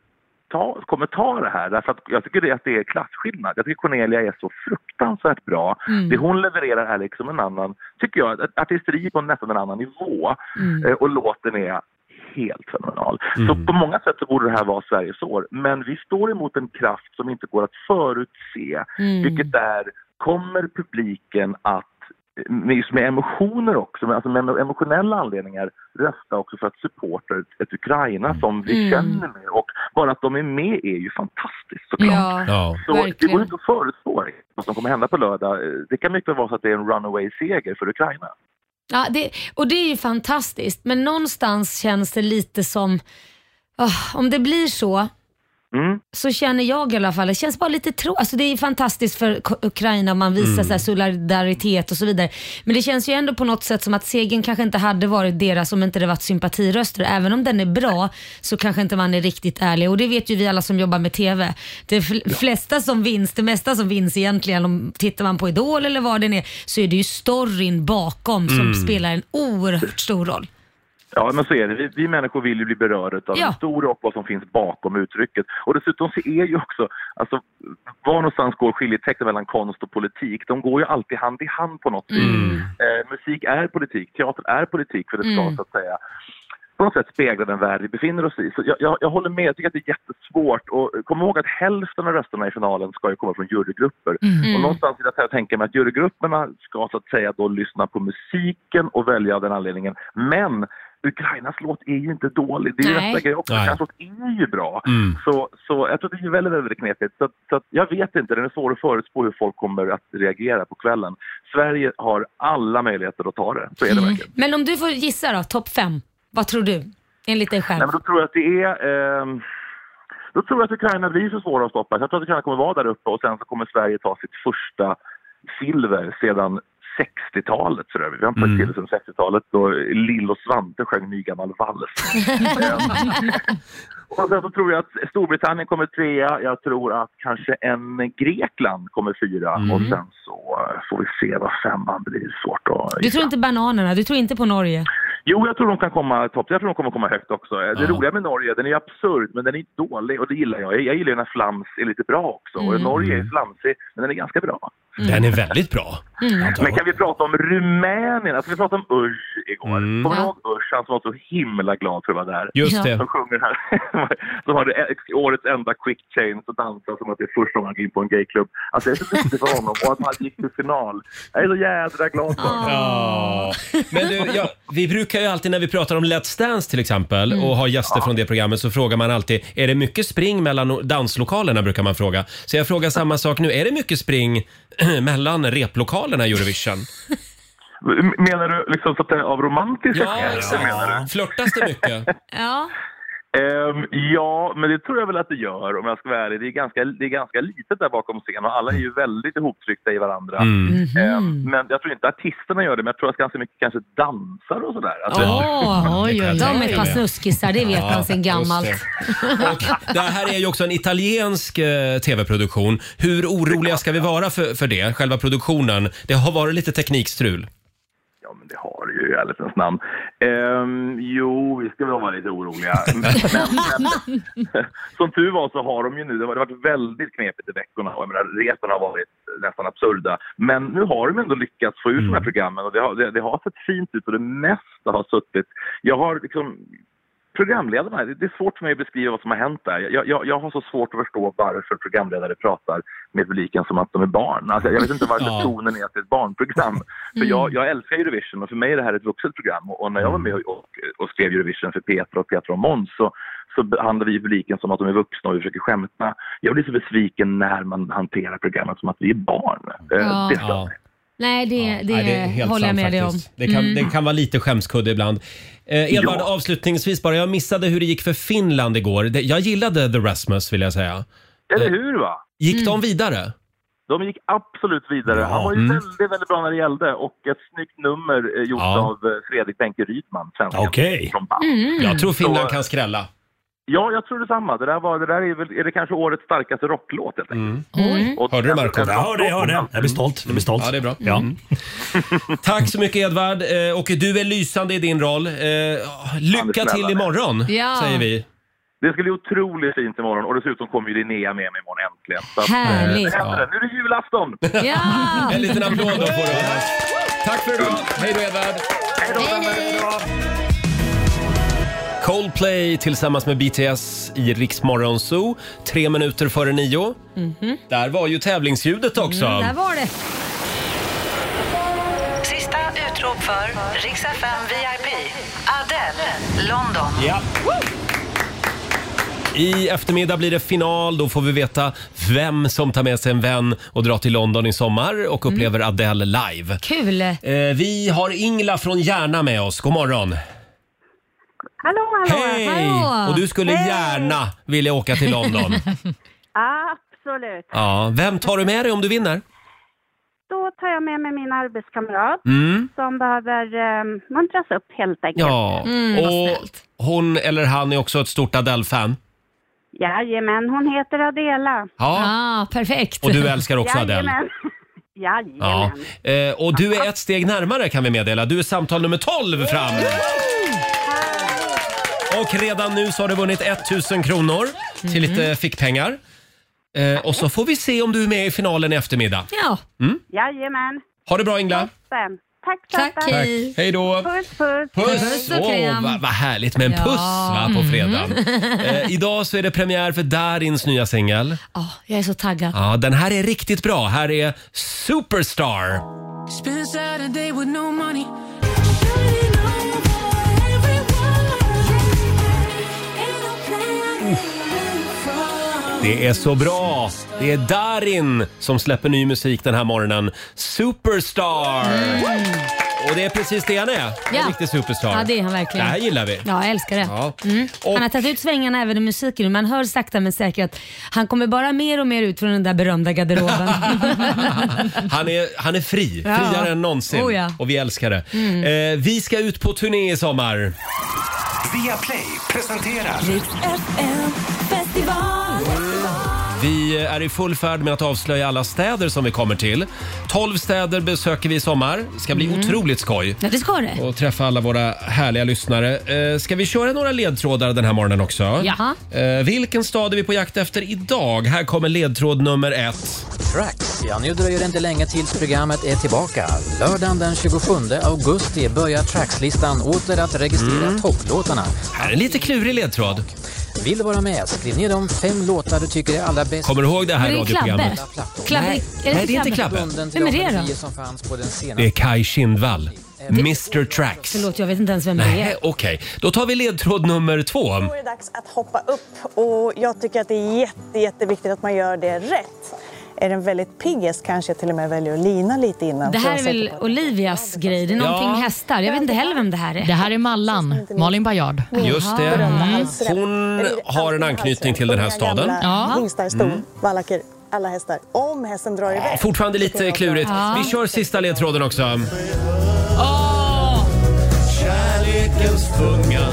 Speaker 12: ta, kommer ta det här därför att jag tycker det, att det är klasskillnad. Jag tycker Cornelia är så fruktansvärt bra.
Speaker 13: Mm.
Speaker 12: Det hon levererar är liksom en annan, tycker jag, ett artisteri på nästan en annan nivå
Speaker 13: Mm.
Speaker 12: Eh, och låten är helt fenomenal. Så på många sätt så borde det här vara Sveriges år. Men vi står emot en kraft som inte går att förutse.
Speaker 13: Mm.
Speaker 12: Vilket är, kommer publiken att eh, med, med emotioner också, med, alltså med emotionella anledningar rösta också för att supporta ett, ett Ukraina som vi
Speaker 13: Mm.
Speaker 12: känner med. Och bara att de är med är ju fantastiskt såklart.
Speaker 13: Ja, Ja.
Speaker 12: Så det
Speaker 13: verkligen.
Speaker 12: går inte att förutspå vad som kommer hända på lördag. Eh, Det kan mycket väl vara så att det är en runaway-seger för Ukraina.
Speaker 2: Ja, det, och det är ju fantastiskt, men någonstans känns det lite som, ah, om det blir så,
Speaker 12: Mm.
Speaker 2: så känner jag i alla fall, det känns bara lite tråkigt. Alltså det är fantastiskt för K- Ukraina om man
Speaker 14: Mm.
Speaker 2: visar så här solidaritet och så vidare. Men det känns ju ändå på något sätt som att segern kanske inte hade varit deras om inte det varit sympatiröster. Även om den är bra så kanske inte man är riktigt ärlig. Och det vet ju vi alla som jobbar med TV. Det fl- flesta som vinns, det mesta som vinns egentligen, om tittar man på Idol eller vad det är, så är det ju storyn bakom som
Speaker 12: Mm.
Speaker 2: spelar en oerhört stor roll.
Speaker 12: Ja, men så är det. Vi, vi människor vill ju bli berörda av
Speaker 2: Ja.
Speaker 12: historia och vad som finns bakom uttrycket. Och dessutom så är ju också, alltså, var någonstans går skiljetecknen mellan konst och politik? De går ju alltid hand i hand på
Speaker 1: Mm.
Speaker 12: något vis. Eh, musik är politik, teater är politik för det ska
Speaker 13: Mm.
Speaker 12: så att säga på något sätt spegla den värld vi befinner oss i. Så jag, jag, jag håller med, jag tycker att det är jättesvårt. Och eh, kom ihåg att hälften av rösterna i finalen ska ju komma från jurygrupper.
Speaker 13: Mm.
Speaker 12: Och någonstans i det här jag tänker mig att jurygrupperna ska så att säga då lyssna på musiken och välja av den anledningen. Men Ukrainas låt är ju inte dålig. Det är ju
Speaker 13: Nej.
Speaker 12: nästa grej också.
Speaker 13: Nej.
Speaker 12: Ukrainas låt är ju bra.
Speaker 13: Mm.
Speaker 12: Så, så jag tror det är väldigt, väldigt knepigt. Så, att- så att jag vet inte, den är svår att förutspå hur folk kommer att reagera på kvällen. Sverige har alla möjligheter att ta det, så är det verkligen.
Speaker 2: Men om du får gissa då, topp fem. Vad tror du? Enligt dig själv.
Speaker 12: Nej, men då tror jag att det är... ehm, då tror jag att Ukraina blir så svåra att stoppa. Jag tror att Ukraina kommer vara där uppe och sen så kommer Sverige ta sitt första silver sedan 60-talet. Så där. Vi har inte mm. silver sedan 60-talet då Lill och Svante sjöng ny gammal vals. och sen så tror jag att Storbritannien kommer trea. Jag tror att kanske en Grekland kommer fyra. Och sen så får vi se vad femman blir. Svårt att
Speaker 2: Du tror inte bananerna, du tror inte på Norge?
Speaker 12: Jo, jag tror de kan komma topp. Jag tror de kommer komma högt också. Det roliga med Norge, den är ju absurd, men den är inte dålig och det gillar jag. Jag gillar ju när flams är lite bra också. Och
Speaker 13: Mm.
Speaker 12: Norge är flamsig, men den är ganska bra.
Speaker 1: Den är väldigt bra.
Speaker 12: Men kan vi prata om Rumänien? Alltså, vi pratade om Urs igår.
Speaker 1: Mm.
Speaker 12: Kommer du
Speaker 13: Ja.
Speaker 12: ihåg Urs? Han som var så himla glad för att vara där.
Speaker 13: Just det.
Speaker 12: Som sjunger här. som har det- årets enda quick change och dansar som att det är första gången han går in på en gayklubb. Alltså, jag är så duktig för honom och att han gick till final. Jag är så jädra glad för honom.
Speaker 1: Ja. Men du, ja, vi brukar ju alltid när vi pratar om Let's Dance till exempel
Speaker 12: Mm.
Speaker 1: och har gäster från det programmet så frågar man alltid, är det mycket spring mellan danslokalerna brukar man fråga. Så jag frågar samma sak nu, är det mycket spring mellan replokalerna i Eurovision?
Speaker 12: Menar du liksom så att det är av romantiska
Speaker 1: Ja,
Speaker 12: skäl?
Speaker 1: exakt.
Speaker 12: Menar du?
Speaker 1: Flörtas det mycket?
Speaker 2: Ja.
Speaker 12: Ehm, ja, men det tror jag väl att det gör om jag ska vara ärlig. Det är ganska, det är ganska litet där bakom scenen och alla är ju väldigt ihoptryckta i varandra.
Speaker 13: Mm.
Speaker 12: Ehm, men jag tror inte artisterna gör det, men jag tror att ganska mycket kanske dansar och sådär. Alltså,
Speaker 2: Åh,
Speaker 1: oj, oj, oj.
Speaker 2: De är ett par snuskisar, det vet
Speaker 1: Ja,
Speaker 2: man sedan
Speaker 1: just
Speaker 2: gammalt.
Speaker 1: Det här är ju också en italiensk eh, tv-produktion. Hur oroliga ska vi vara för, för det, själva produktionen? Det har varit lite teknikstrul.
Speaker 12: Det har det ju i ärlighetens namn. Ehm, jo, vi ska väl vara lite oroliga. Som tur var så har de ju nu, det har varit väldigt knepigt i veckorna och jag menar, resorna har varit nästan absurda. Men nu har de ändå lyckats få ut
Speaker 13: Mm.
Speaker 12: de här programmen och det har, det, det har sett fint ut och det mesta har suttit. Jag har liksom Programledarna, det det är svårt för mig att beskriva vad som har hänt där. Jag, jag, jag har så svårt att förstå varför programledare pratar med publiken som att de är barn. Alltså, jag vet inte varför
Speaker 13: Ja.
Speaker 12: tonen är att det är ett barnprogram. För
Speaker 13: Mm.
Speaker 12: jag, jag älskar Eurovision och för mig är det här ett vuxet program. Och, och när jag var med och, och, och skrev Eurovision för Petra och Petra och Måns så, så behandlar vi publiken som att de är vuxna och vi försöker skämta. Jag blir så besviken när man hanterar programmet som att vi är barn. Eh,
Speaker 2: Ja.
Speaker 12: Det stör mig.
Speaker 2: Nej, det, det,
Speaker 1: Nej, är helt
Speaker 2: håller jag
Speaker 1: sant
Speaker 2: med dig om.
Speaker 1: faktiskt. Det kan,
Speaker 2: Mm.
Speaker 1: det kan vara lite skämskudde ibland. Eh, Edvard,
Speaker 12: Ja.
Speaker 1: avslutningsvis bara. Jag missade hur det gick för Finland igår. Det- Jag gillade The Rasmus vill jag säga.
Speaker 12: Eller hur va?
Speaker 1: Gick
Speaker 2: Mm.
Speaker 1: de vidare?
Speaker 12: De gick absolut vidare. Han var ju
Speaker 1: Mm.
Speaker 12: väldigt, väldigt bra när det gällde och ett snyggt nummer eh, gjort
Speaker 1: Ja.
Speaker 12: av eh, Fredrik Benke Rydman, svensken
Speaker 1: Okej.
Speaker 12: från Bam.
Speaker 1: Mm. Jag tror Finland
Speaker 12: Så,
Speaker 1: kan skrälla.
Speaker 12: Ja, jag tror detsamma. Det där, var, det där är, väl, är det kanske årets starkaste rocklåt helt enkelt. Och-
Speaker 1: Mm. Hörde du Marco?
Speaker 12: Jag hörde, jag hörde.
Speaker 1: Jag blir stolt. Jag blir stolt. Ja, det är bra. Mm. Tack så mycket Edvard. Eh, Och du är lysande i din roll. Eh, Lycka
Speaker 12: snälla
Speaker 1: till
Speaker 12: dig.
Speaker 1: imorgon,
Speaker 12: Ja.
Speaker 1: säger vi.
Speaker 12: Det ska bli otroligt fint imorgon och dessutom kommer ju Linnea med mig imorgon äntligen. Så att, eh,
Speaker 1: Härligt.
Speaker 12: det händer. Nu är det julafton!
Speaker 2: Ja!
Speaker 1: En liten applåd då får du. Tack för idag. Hej då Edvard. Coldplay tillsammans med BTS i Riksmorgon Zoo. Tre minuter före nio. Där var ju tävlingsljudet också.
Speaker 2: Där var det.
Speaker 9: Sista utrop för Rix FM VIP. Adele, London.
Speaker 1: Ja. I eftermiddag blir det final. Då får vi veta vem som tar med sig en vän och drar till London i sommar och upplever Adele live.
Speaker 2: Kul.
Speaker 1: Eh, Vi har Ingla från Järna med oss. God morgon.
Speaker 14: Hallå, hallå!
Speaker 1: Och du skulle gärna vilja åka till London.
Speaker 14: Absolut.
Speaker 1: Ja, vem tar du med dig om du vinner?
Speaker 14: Då tar jag med mig min arbetskamrat
Speaker 1: Mm.
Speaker 14: som behöver um, muntras upp helt enkelt.
Speaker 1: Ja,
Speaker 14: Mm,
Speaker 1: och hon eller han är också ett stort Adele-fan.
Speaker 14: Jajamän, hon heter Adela.
Speaker 1: Ja.
Speaker 2: perfekt.
Speaker 1: Och du älskar också Adele.
Speaker 14: Jajamän. Jajamän.
Speaker 1: Ja. Eh, och du är ett steg närmare kan vi meddela. Du är samtal nummer 12 fram. Och redan nu så har du vunnit 1000 kronor till lite
Speaker 14: Mhm.
Speaker 1: fickpengar. Eh, och så får vi se om du är med i finalen i eftermiddag.
Speaker 2: Ja.
Speaker 1: Mm.
Speaker 14: Jajamän.
Speaker 1: Ha det bra Ingla.
Speaker 14: Toppen. Tack, tack, tack.
Speaker 1: Tack. Hej då.
Speaker 14: Puss, puss.
Speaker 1: Puss! Åh, vad, vad härligt med en
Speaker 14: Ja.
Speaker 1: puss va, på
Speaker 2: Mm.
Speaker 1: fredagen. Eh, idag så är det premiär för Darins nya singel.
Speaker 2: Ja, jag är så taggad.
Speaker 1: Ja, den här är riktigt bra. Här är Superstar.
Speaker 13: Spend Saturday with no money.
Speaker 1: Det är så bra! Det är Darin som släpper ny musik den här morgonen. Superstar! Och det är precis det han är. En
Speaker 2: Ja.
Speaker 1: riktig superstar.
Speaker 2: Ja, det är han verkligen.
Speaker 1: Det här gillar vi.
Speaker 2: Ja, jag älskar det.
Speaker 1: Ja.
Speaker 2: Mm. Han har tagit ut svängarna även i musiken nu. Man hör sakta men säkert att han kommer bara mer och mer ut från den där berömda garderoben.
Speaker 1: Han, är, han är fri,
Speaker 2: Ja.
Speaker 1: friare än någonsin.
Speaker 2: Oh, ja.
Speaker 1: Och vi älskar det.
Speaker 2: Mm.
Speaker 1: Eh, vi ska ut på turné i sommar.
Speaker 5: Via Play presenterar
Speaker 13: Festival.
Speaker 1: Vi är i full färd med att avslöja alla städer som vi kommer till. 12 städer besöker vi i sommar. Det ska bli
Speaker 2: Mm.
Speaker 1: otroligt skoj.
Speaker 2: Ja, det ska det.
Speaker 1: Och träffa alla våra härliga lyssnare. Eh, Ska vi köra några ledtrådar den här morgonen också?
Speaker 2: Jaha.
Speaker 1: Eh, Vilken stad är vi på jakt efter idag? Här kommer ledtråd nummer ett.
Speaker 15: Tracks. Ja, nu dröjer det inte länge tills programmet är tillbaka. Lördagen den 27 augusti börjar Trackslistan åter att registrera topplåtarna.
Speaker 1: Här är en lite klurig ledtråd.
Speaker 15: Vill du vara med? Skriv ner de fem låtar du tycker är allra bäst.
Speaker 1: Kommer du ihåg det här
Speaker 2: Men det är
Speaker 1: radioprogrammet?
Speaker 2: Klabbe. Klabbe.
Speaker 15: Nej,
Speaker 2: är
Speaker 1: nej, det är inte Klabbe.
Speaker 2: Vem är det då?
Speaker 15: som fanns på den senaste
Speaker 1: Det är Kai Kindvall. Mr Tracks.
Speaker 2: Förlåt, jag vet inte ens vem det
Speaker 1: Nej,
Speaker 2: är.
Speaker 1: okej. Då tar vi ledtråd nummer två.
Speaker 16: Då är det dags att hoppa upp och jag tycker att det är jätte, jätteviktigt att man gör det rätt. Är den väldigt pigg häst kanske jag till och med väljer att lina lite innan.
Speaker 2: Det
Speaker 16: så jag
Speaker 2: här är väl Olivias grej? Det är
Speaker 16: Ja.
Speaker 2: någonting med hästar. Jag vet inte heller vem det här är.
Speaker 4: Det här är Mallan, Malin Bajard.
Speaker 1: Just det. Hon har en anknytning till den här staden.
Speaker 16: Ja. Hingstar, ston,
Speaker 1: Mm.
Speaker 16: vallacker, alla hästar. Om hästen drar iväg.
Speaker 1: Ja, Fortfarande
Speaker 16: tycker
Speaker 1: lite
Speaker 16: jag-
Speaker 1: klurigt.
Speaker 16: Ja.
Speaker 1: Vi kör sista ledtråden också.
Speaker 17: Kärlekens tunga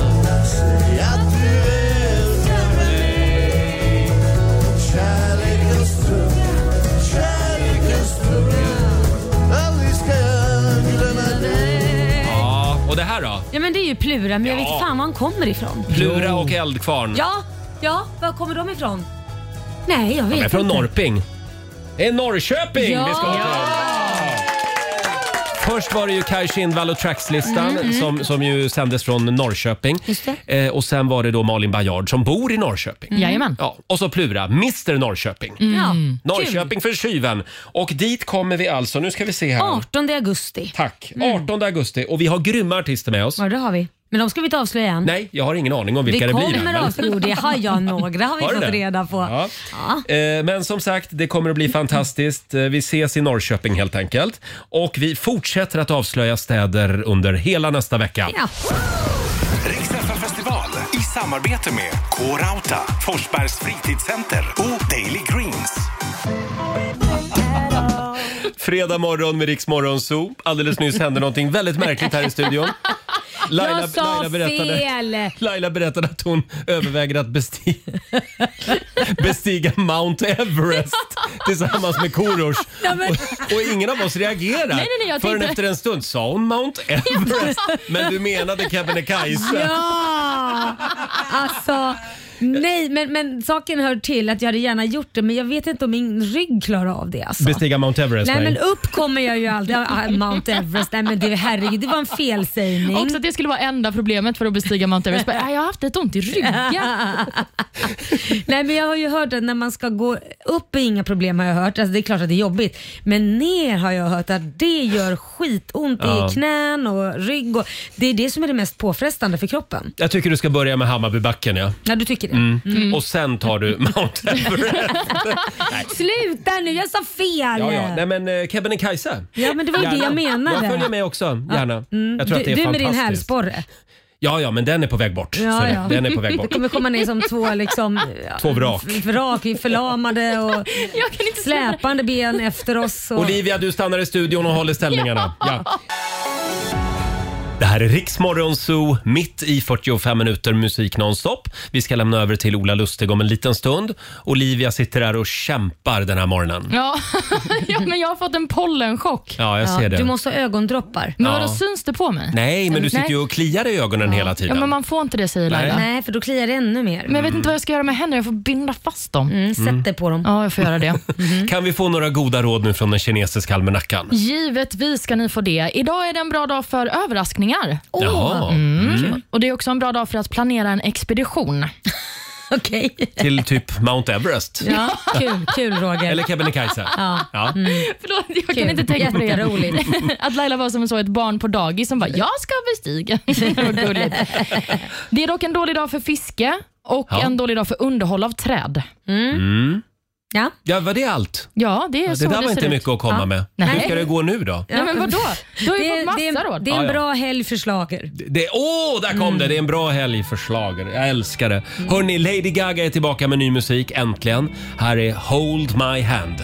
Speaker 17: säg att du älskar mig Kärlekens tunga, kärlekens tunga Aldrig ska jag glömma dig
Speaker 1: Ja, och det här då?
Speaker 2: Ja, men det är ju Plura, men jag
Speaker 1: Ja.
Speaker 2: vet fan var han kommer ifrån.
Speaker 1: Plura och Eldkvarn.
Speaker 2: Ja, ja, var kommer de ifrån? Nej, jag vet
Speaker 1: De är
Speaker 2: inte.
Speaker 1: från Norrping. Det är Norrköping
Speaker 2: Ja.
Speaker 1: vi ska till. Först var det ju Kaj Kindvall och Trackslistan
Speaker 2: Mm, mm.
Speaker 1: Som, som ju sändes från Norrköping. Eh, och sen var det då Malin Bajard som bor i Norrköping.
Speaker 4: Mm. Jajamän.
Speaker 1: Ja, och så Plura, Mr Norrköping.
Speaker 2: Mm.
Speaker 1: Norrköping för tjuven. Och dit kommer vi alltså, nu ska vi se här.
Speaker 2: 18 augusti.
Speaker 1: Tack.
Speaker 2: Mm.
Speaker 1: 18 augusti och vi har grymma artister med oss.
Speaker 2: Ja, det har vi. Men de ska vi inte avslöja än.
Speaker 1: Nej, jag har ingen aning om vilka
Speaker 2: vi
Speaker 1: det blir.
Speaker 2: kommer
Speaker 1: än, men-
Speaker 2: av... Jo, det har jag. Några har vi
Speaker 1: Har du
Speaker 2: fått
Speaker 1: det?
Speaker 2: reda på.
Speaker 1: Ja. Eh, Men som sagt, det kommer att bli fantastiskt. Eh, Vi ses i Norrköping helt enkelt. Och vi fortsätter att avslöja städer under hela nästa vecka.
Speaker 2: Ja.
Speaker 5: Riksfestival i samarbete med K-Rauta, Forsbergs fritidscenter och Daily Greens.
Speaker 1: Fredag morgon med Rix Morgon Zoo. Alldeles nyss hände någonting väldigt märkligt här i studion.
Speaker 2: jag sa Alltså, fel!
Speaker 1: Laila berättade att hon överväger att besti bestiga Mount Everest tillsammans med Korosh.
Speaker 4: Ja, men-
Speaker 1: Och, och ingen av oss reagerar.
Speaker 4: Nej, nej, nej, jag
Speaker 1: Förrän
Speaker 4: tänkte-
Speaker 1: efter en stund sa hon Mount Everest. Men du menade Kebnekaise.
Speaker 2: Ja! Alltså, nej, men, men saken hör till att jag hade gärna gjort det, men jag vet inte om min rygg klarar av det. Alltså.
Speaker 1: Bestiga Mount Everest.
Speaker 2: Nej men upp kommer jag ju aldrig. Ah, Mount Everest, nej men det, herregud, det var en felsägning.
Speaker 4: Också att det skulle vara enda problemet för att bestiga Mount Everest. Bara, "Ah, Jag har haft ett ont i ryggen.
Speaker 2: Nej men jag har ju hört att när man ska gå upp är inga problem har jag hört. Alltså, det är klart att det är jobbigt. Men ner har jag hört att det gör skitont
Speaker 1: Ja.
Speaker 2: i knän och rygg. Och, det är det som är det mest påfrestande för kroppen.
Speaker 1: Jag tycker du ska börja med Hammarbybacken. Ja.
Speaker 2: Ja du tycker det?
Speaker 1: Mm.
Speaker 2: Mm.
Speaker 1: Och sen tar du Mount Everest.
Speaker 2: Sluta nu, jag sa fel!
Speaker 1: Ja, ja. Nej, men eh, Kebnekaise.
Speaker 2: Ja, men det var ju det jag menade.
Speaker 1: Jag följer med också, gärna.
Speaker 2: Mm.
Speaker 1: Jag tror
Speaker 2: du,
Speaker 1: att det är
Speaker 2: du med din
Speaker 1: fantastiskt.
Speaker 2: hälsporre.
Speaker 1: Ja, ja, men den är på väg bort. Så
Speaker 2: Ja,
Speaker 1: det-
Speaker 2: ja.
Speaker 1: Den är på väg bort.
Speaker 2: Det kommer komma ner som två liksom... ja,
Speaker 1: Två vrak.
Speaker 2: Vrak, vi är förlamade och släpande ben efter oss. Och...
Speaker 1: Olivia, du stannar i studion och håller ställningarna. Ja. Det här är Riksmorgon Zoo, mitt i 45 minuter musik nonstop. Vi ska lämna över till Ola Lustig om en liten stund. Olivia sitter där och kämpar den här morgonen.
Speaker 4: Ja. ja, men jag har fått en pollenchock.
Speaker 1: Ja, jag ser det.
Speaker 2: Du måste ha ögondroppar.
Speaker 4: Men
Speaker 1: Ja.
Speaker 4: vadå, syns det på mig?
Speaker 1: Nej, men du sitter
Speaker 4: Nej.
Speaker 1: ju och kliar i ögonen hela
Speaker 4: Ja,
Speaker 1: tiden.
Speaker 4: men man får inte det säger
Speaker 1: Nej.
Speaker 4: Laila.
Speaker 2: Nej, för då kliar det ännu mer.
Speaker 4: Men jag vet inte vad jag ska göra med händerna. Jag får binda fast dem.
Speaker 1: sätt Mm.
Speaker 2: dig på dem.
Speaker 4: Ja, jag får göra det.
Speaker 1: Kan vi få några goda råd nu från den kinesiska almanackan?
Speaker 4: Givetvis ska ni få det. Idag är det en bra dag för överraskningar.
Speaker 1: Jaha.
Speaker 4: Mm.
Speaker 1: Mm.
Speaker 4: Och Det är också en bra dag för att planera en expedition.
Speaker 2: Okej.
Speaker 1: Till typ Mount Everest?
Speaker 4: Ja, kul,
Speaker 2: kul Roger.
Speaker 1: Eller Kebnekaise?
Speaker 2: Ja.
Speaker 4: Förlåt, jag kan inte tänka på det.
Speaker 2: Jätteroligt.
Speaker 4: Att Laila var som så ett barn på dagis som bara “jag ska bestiga”. Vad gulligt. Det är dock en dålig dag för fiske och
Speaker 1: Ja.
Speaker 4: en dålig dag för underhåll av träd.
Speaker 1: Mm.
Speaker 2: Ja.
Speaker 1: ja, var det allt?
Speaker 4: Ja, det är
Speaker 1: Ja,
Speaker 4: så
Speaker 1: det där
Speaker 4: det
Speaker 1: var
Speaker 4: ser
Speaker 1: inte
Speaker 4: ut.
Speaker 1: mycket att komma
Speaker 4: Ja.
Speaker 1: med.
Speaker 4: Nej.
Speaker 1: Hur ska det gå nu då?
Speaker 4: Nej, men vadå? Du har ju
Speaker 2: Det-
Speaker 4: fått massa
Speaker 2: det är-
Speaker 4: råd.
Speaker 2: Det är en
Speaker 1: Ja, ja.
Speaker 2: bra helg för slager.
Speaker 1: Det, åh, där kom det! Det är en bra helg för schlager. Jag älskar det.
Speaker 4: Mm.
Speaker 1: Hörni, Lady Gaga är tillbaka med ny musik, äntligen. Här är Hold My Hand.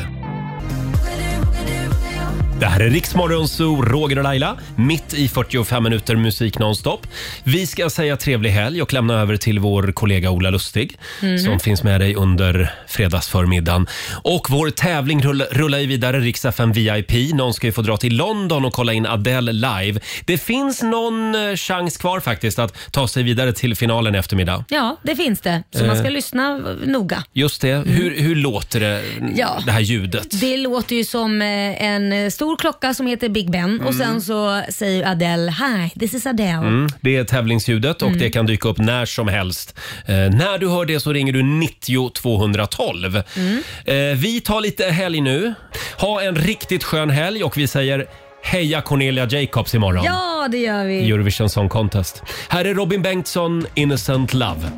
Speaker 1: Det här är Riksmorgon Zoo, Roger och Laila. Mitt i 45 minuter musik nonstop. Vi ska säga trevlig helg och lämna över till vår kollega Ola Lustig
Speaker 17: Mhm.
Speaker 1: som finns med dig under fredagsförmiddagen. Och vår tävling rull, rullar ju vidare, Rix FM VIP. Någon ska ju få dra till London och kolla in Adele live. Det finns någon eh, chans kvar faktiskt att ta sig vidare till finalen i eftermiddag.
Speaker 2: Ja, det finns det. Så man ska
Speaker 1: Eh.
Speaker 2: lyssna noga.
Speaker 1: Just det. Hur, hur låter det,
Speaker 2: Ja.
Speaker 1: det här ljudet?
Speaker 2: Det låter ju som eh, en stor klocka som heter Big Ben och sen så säger Adele Hi, this is Adele.
Speaker 1: Mm, det är tävlingsljudet och
Speaker 2: Mm.
Speaker 1: det kan dyka upp när som helst. Eh, när du hör det så ringer du 90 212.
Speaker 2: Mm.
Speaker 1: Eh, vi tar lite helg nu. Ha en riktigt skön helg och vi säger heja Cornelia Jacobs imorgon.
Speaker 2: Ja, det gör vi.
Speaker 1: i Eurovision Song Contest. Här är Robin Bengtsson, Innocent Love.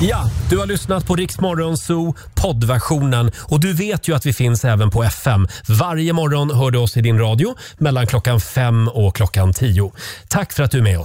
Speaker 1: Ja, du har lyssnat på Rix Morgon Zoo poddversionen och du vet ju att vi finns även på FM. Varje morgon hör du oss i din radio mellan klockan fem och klockan tio. Tack för att du är med oss.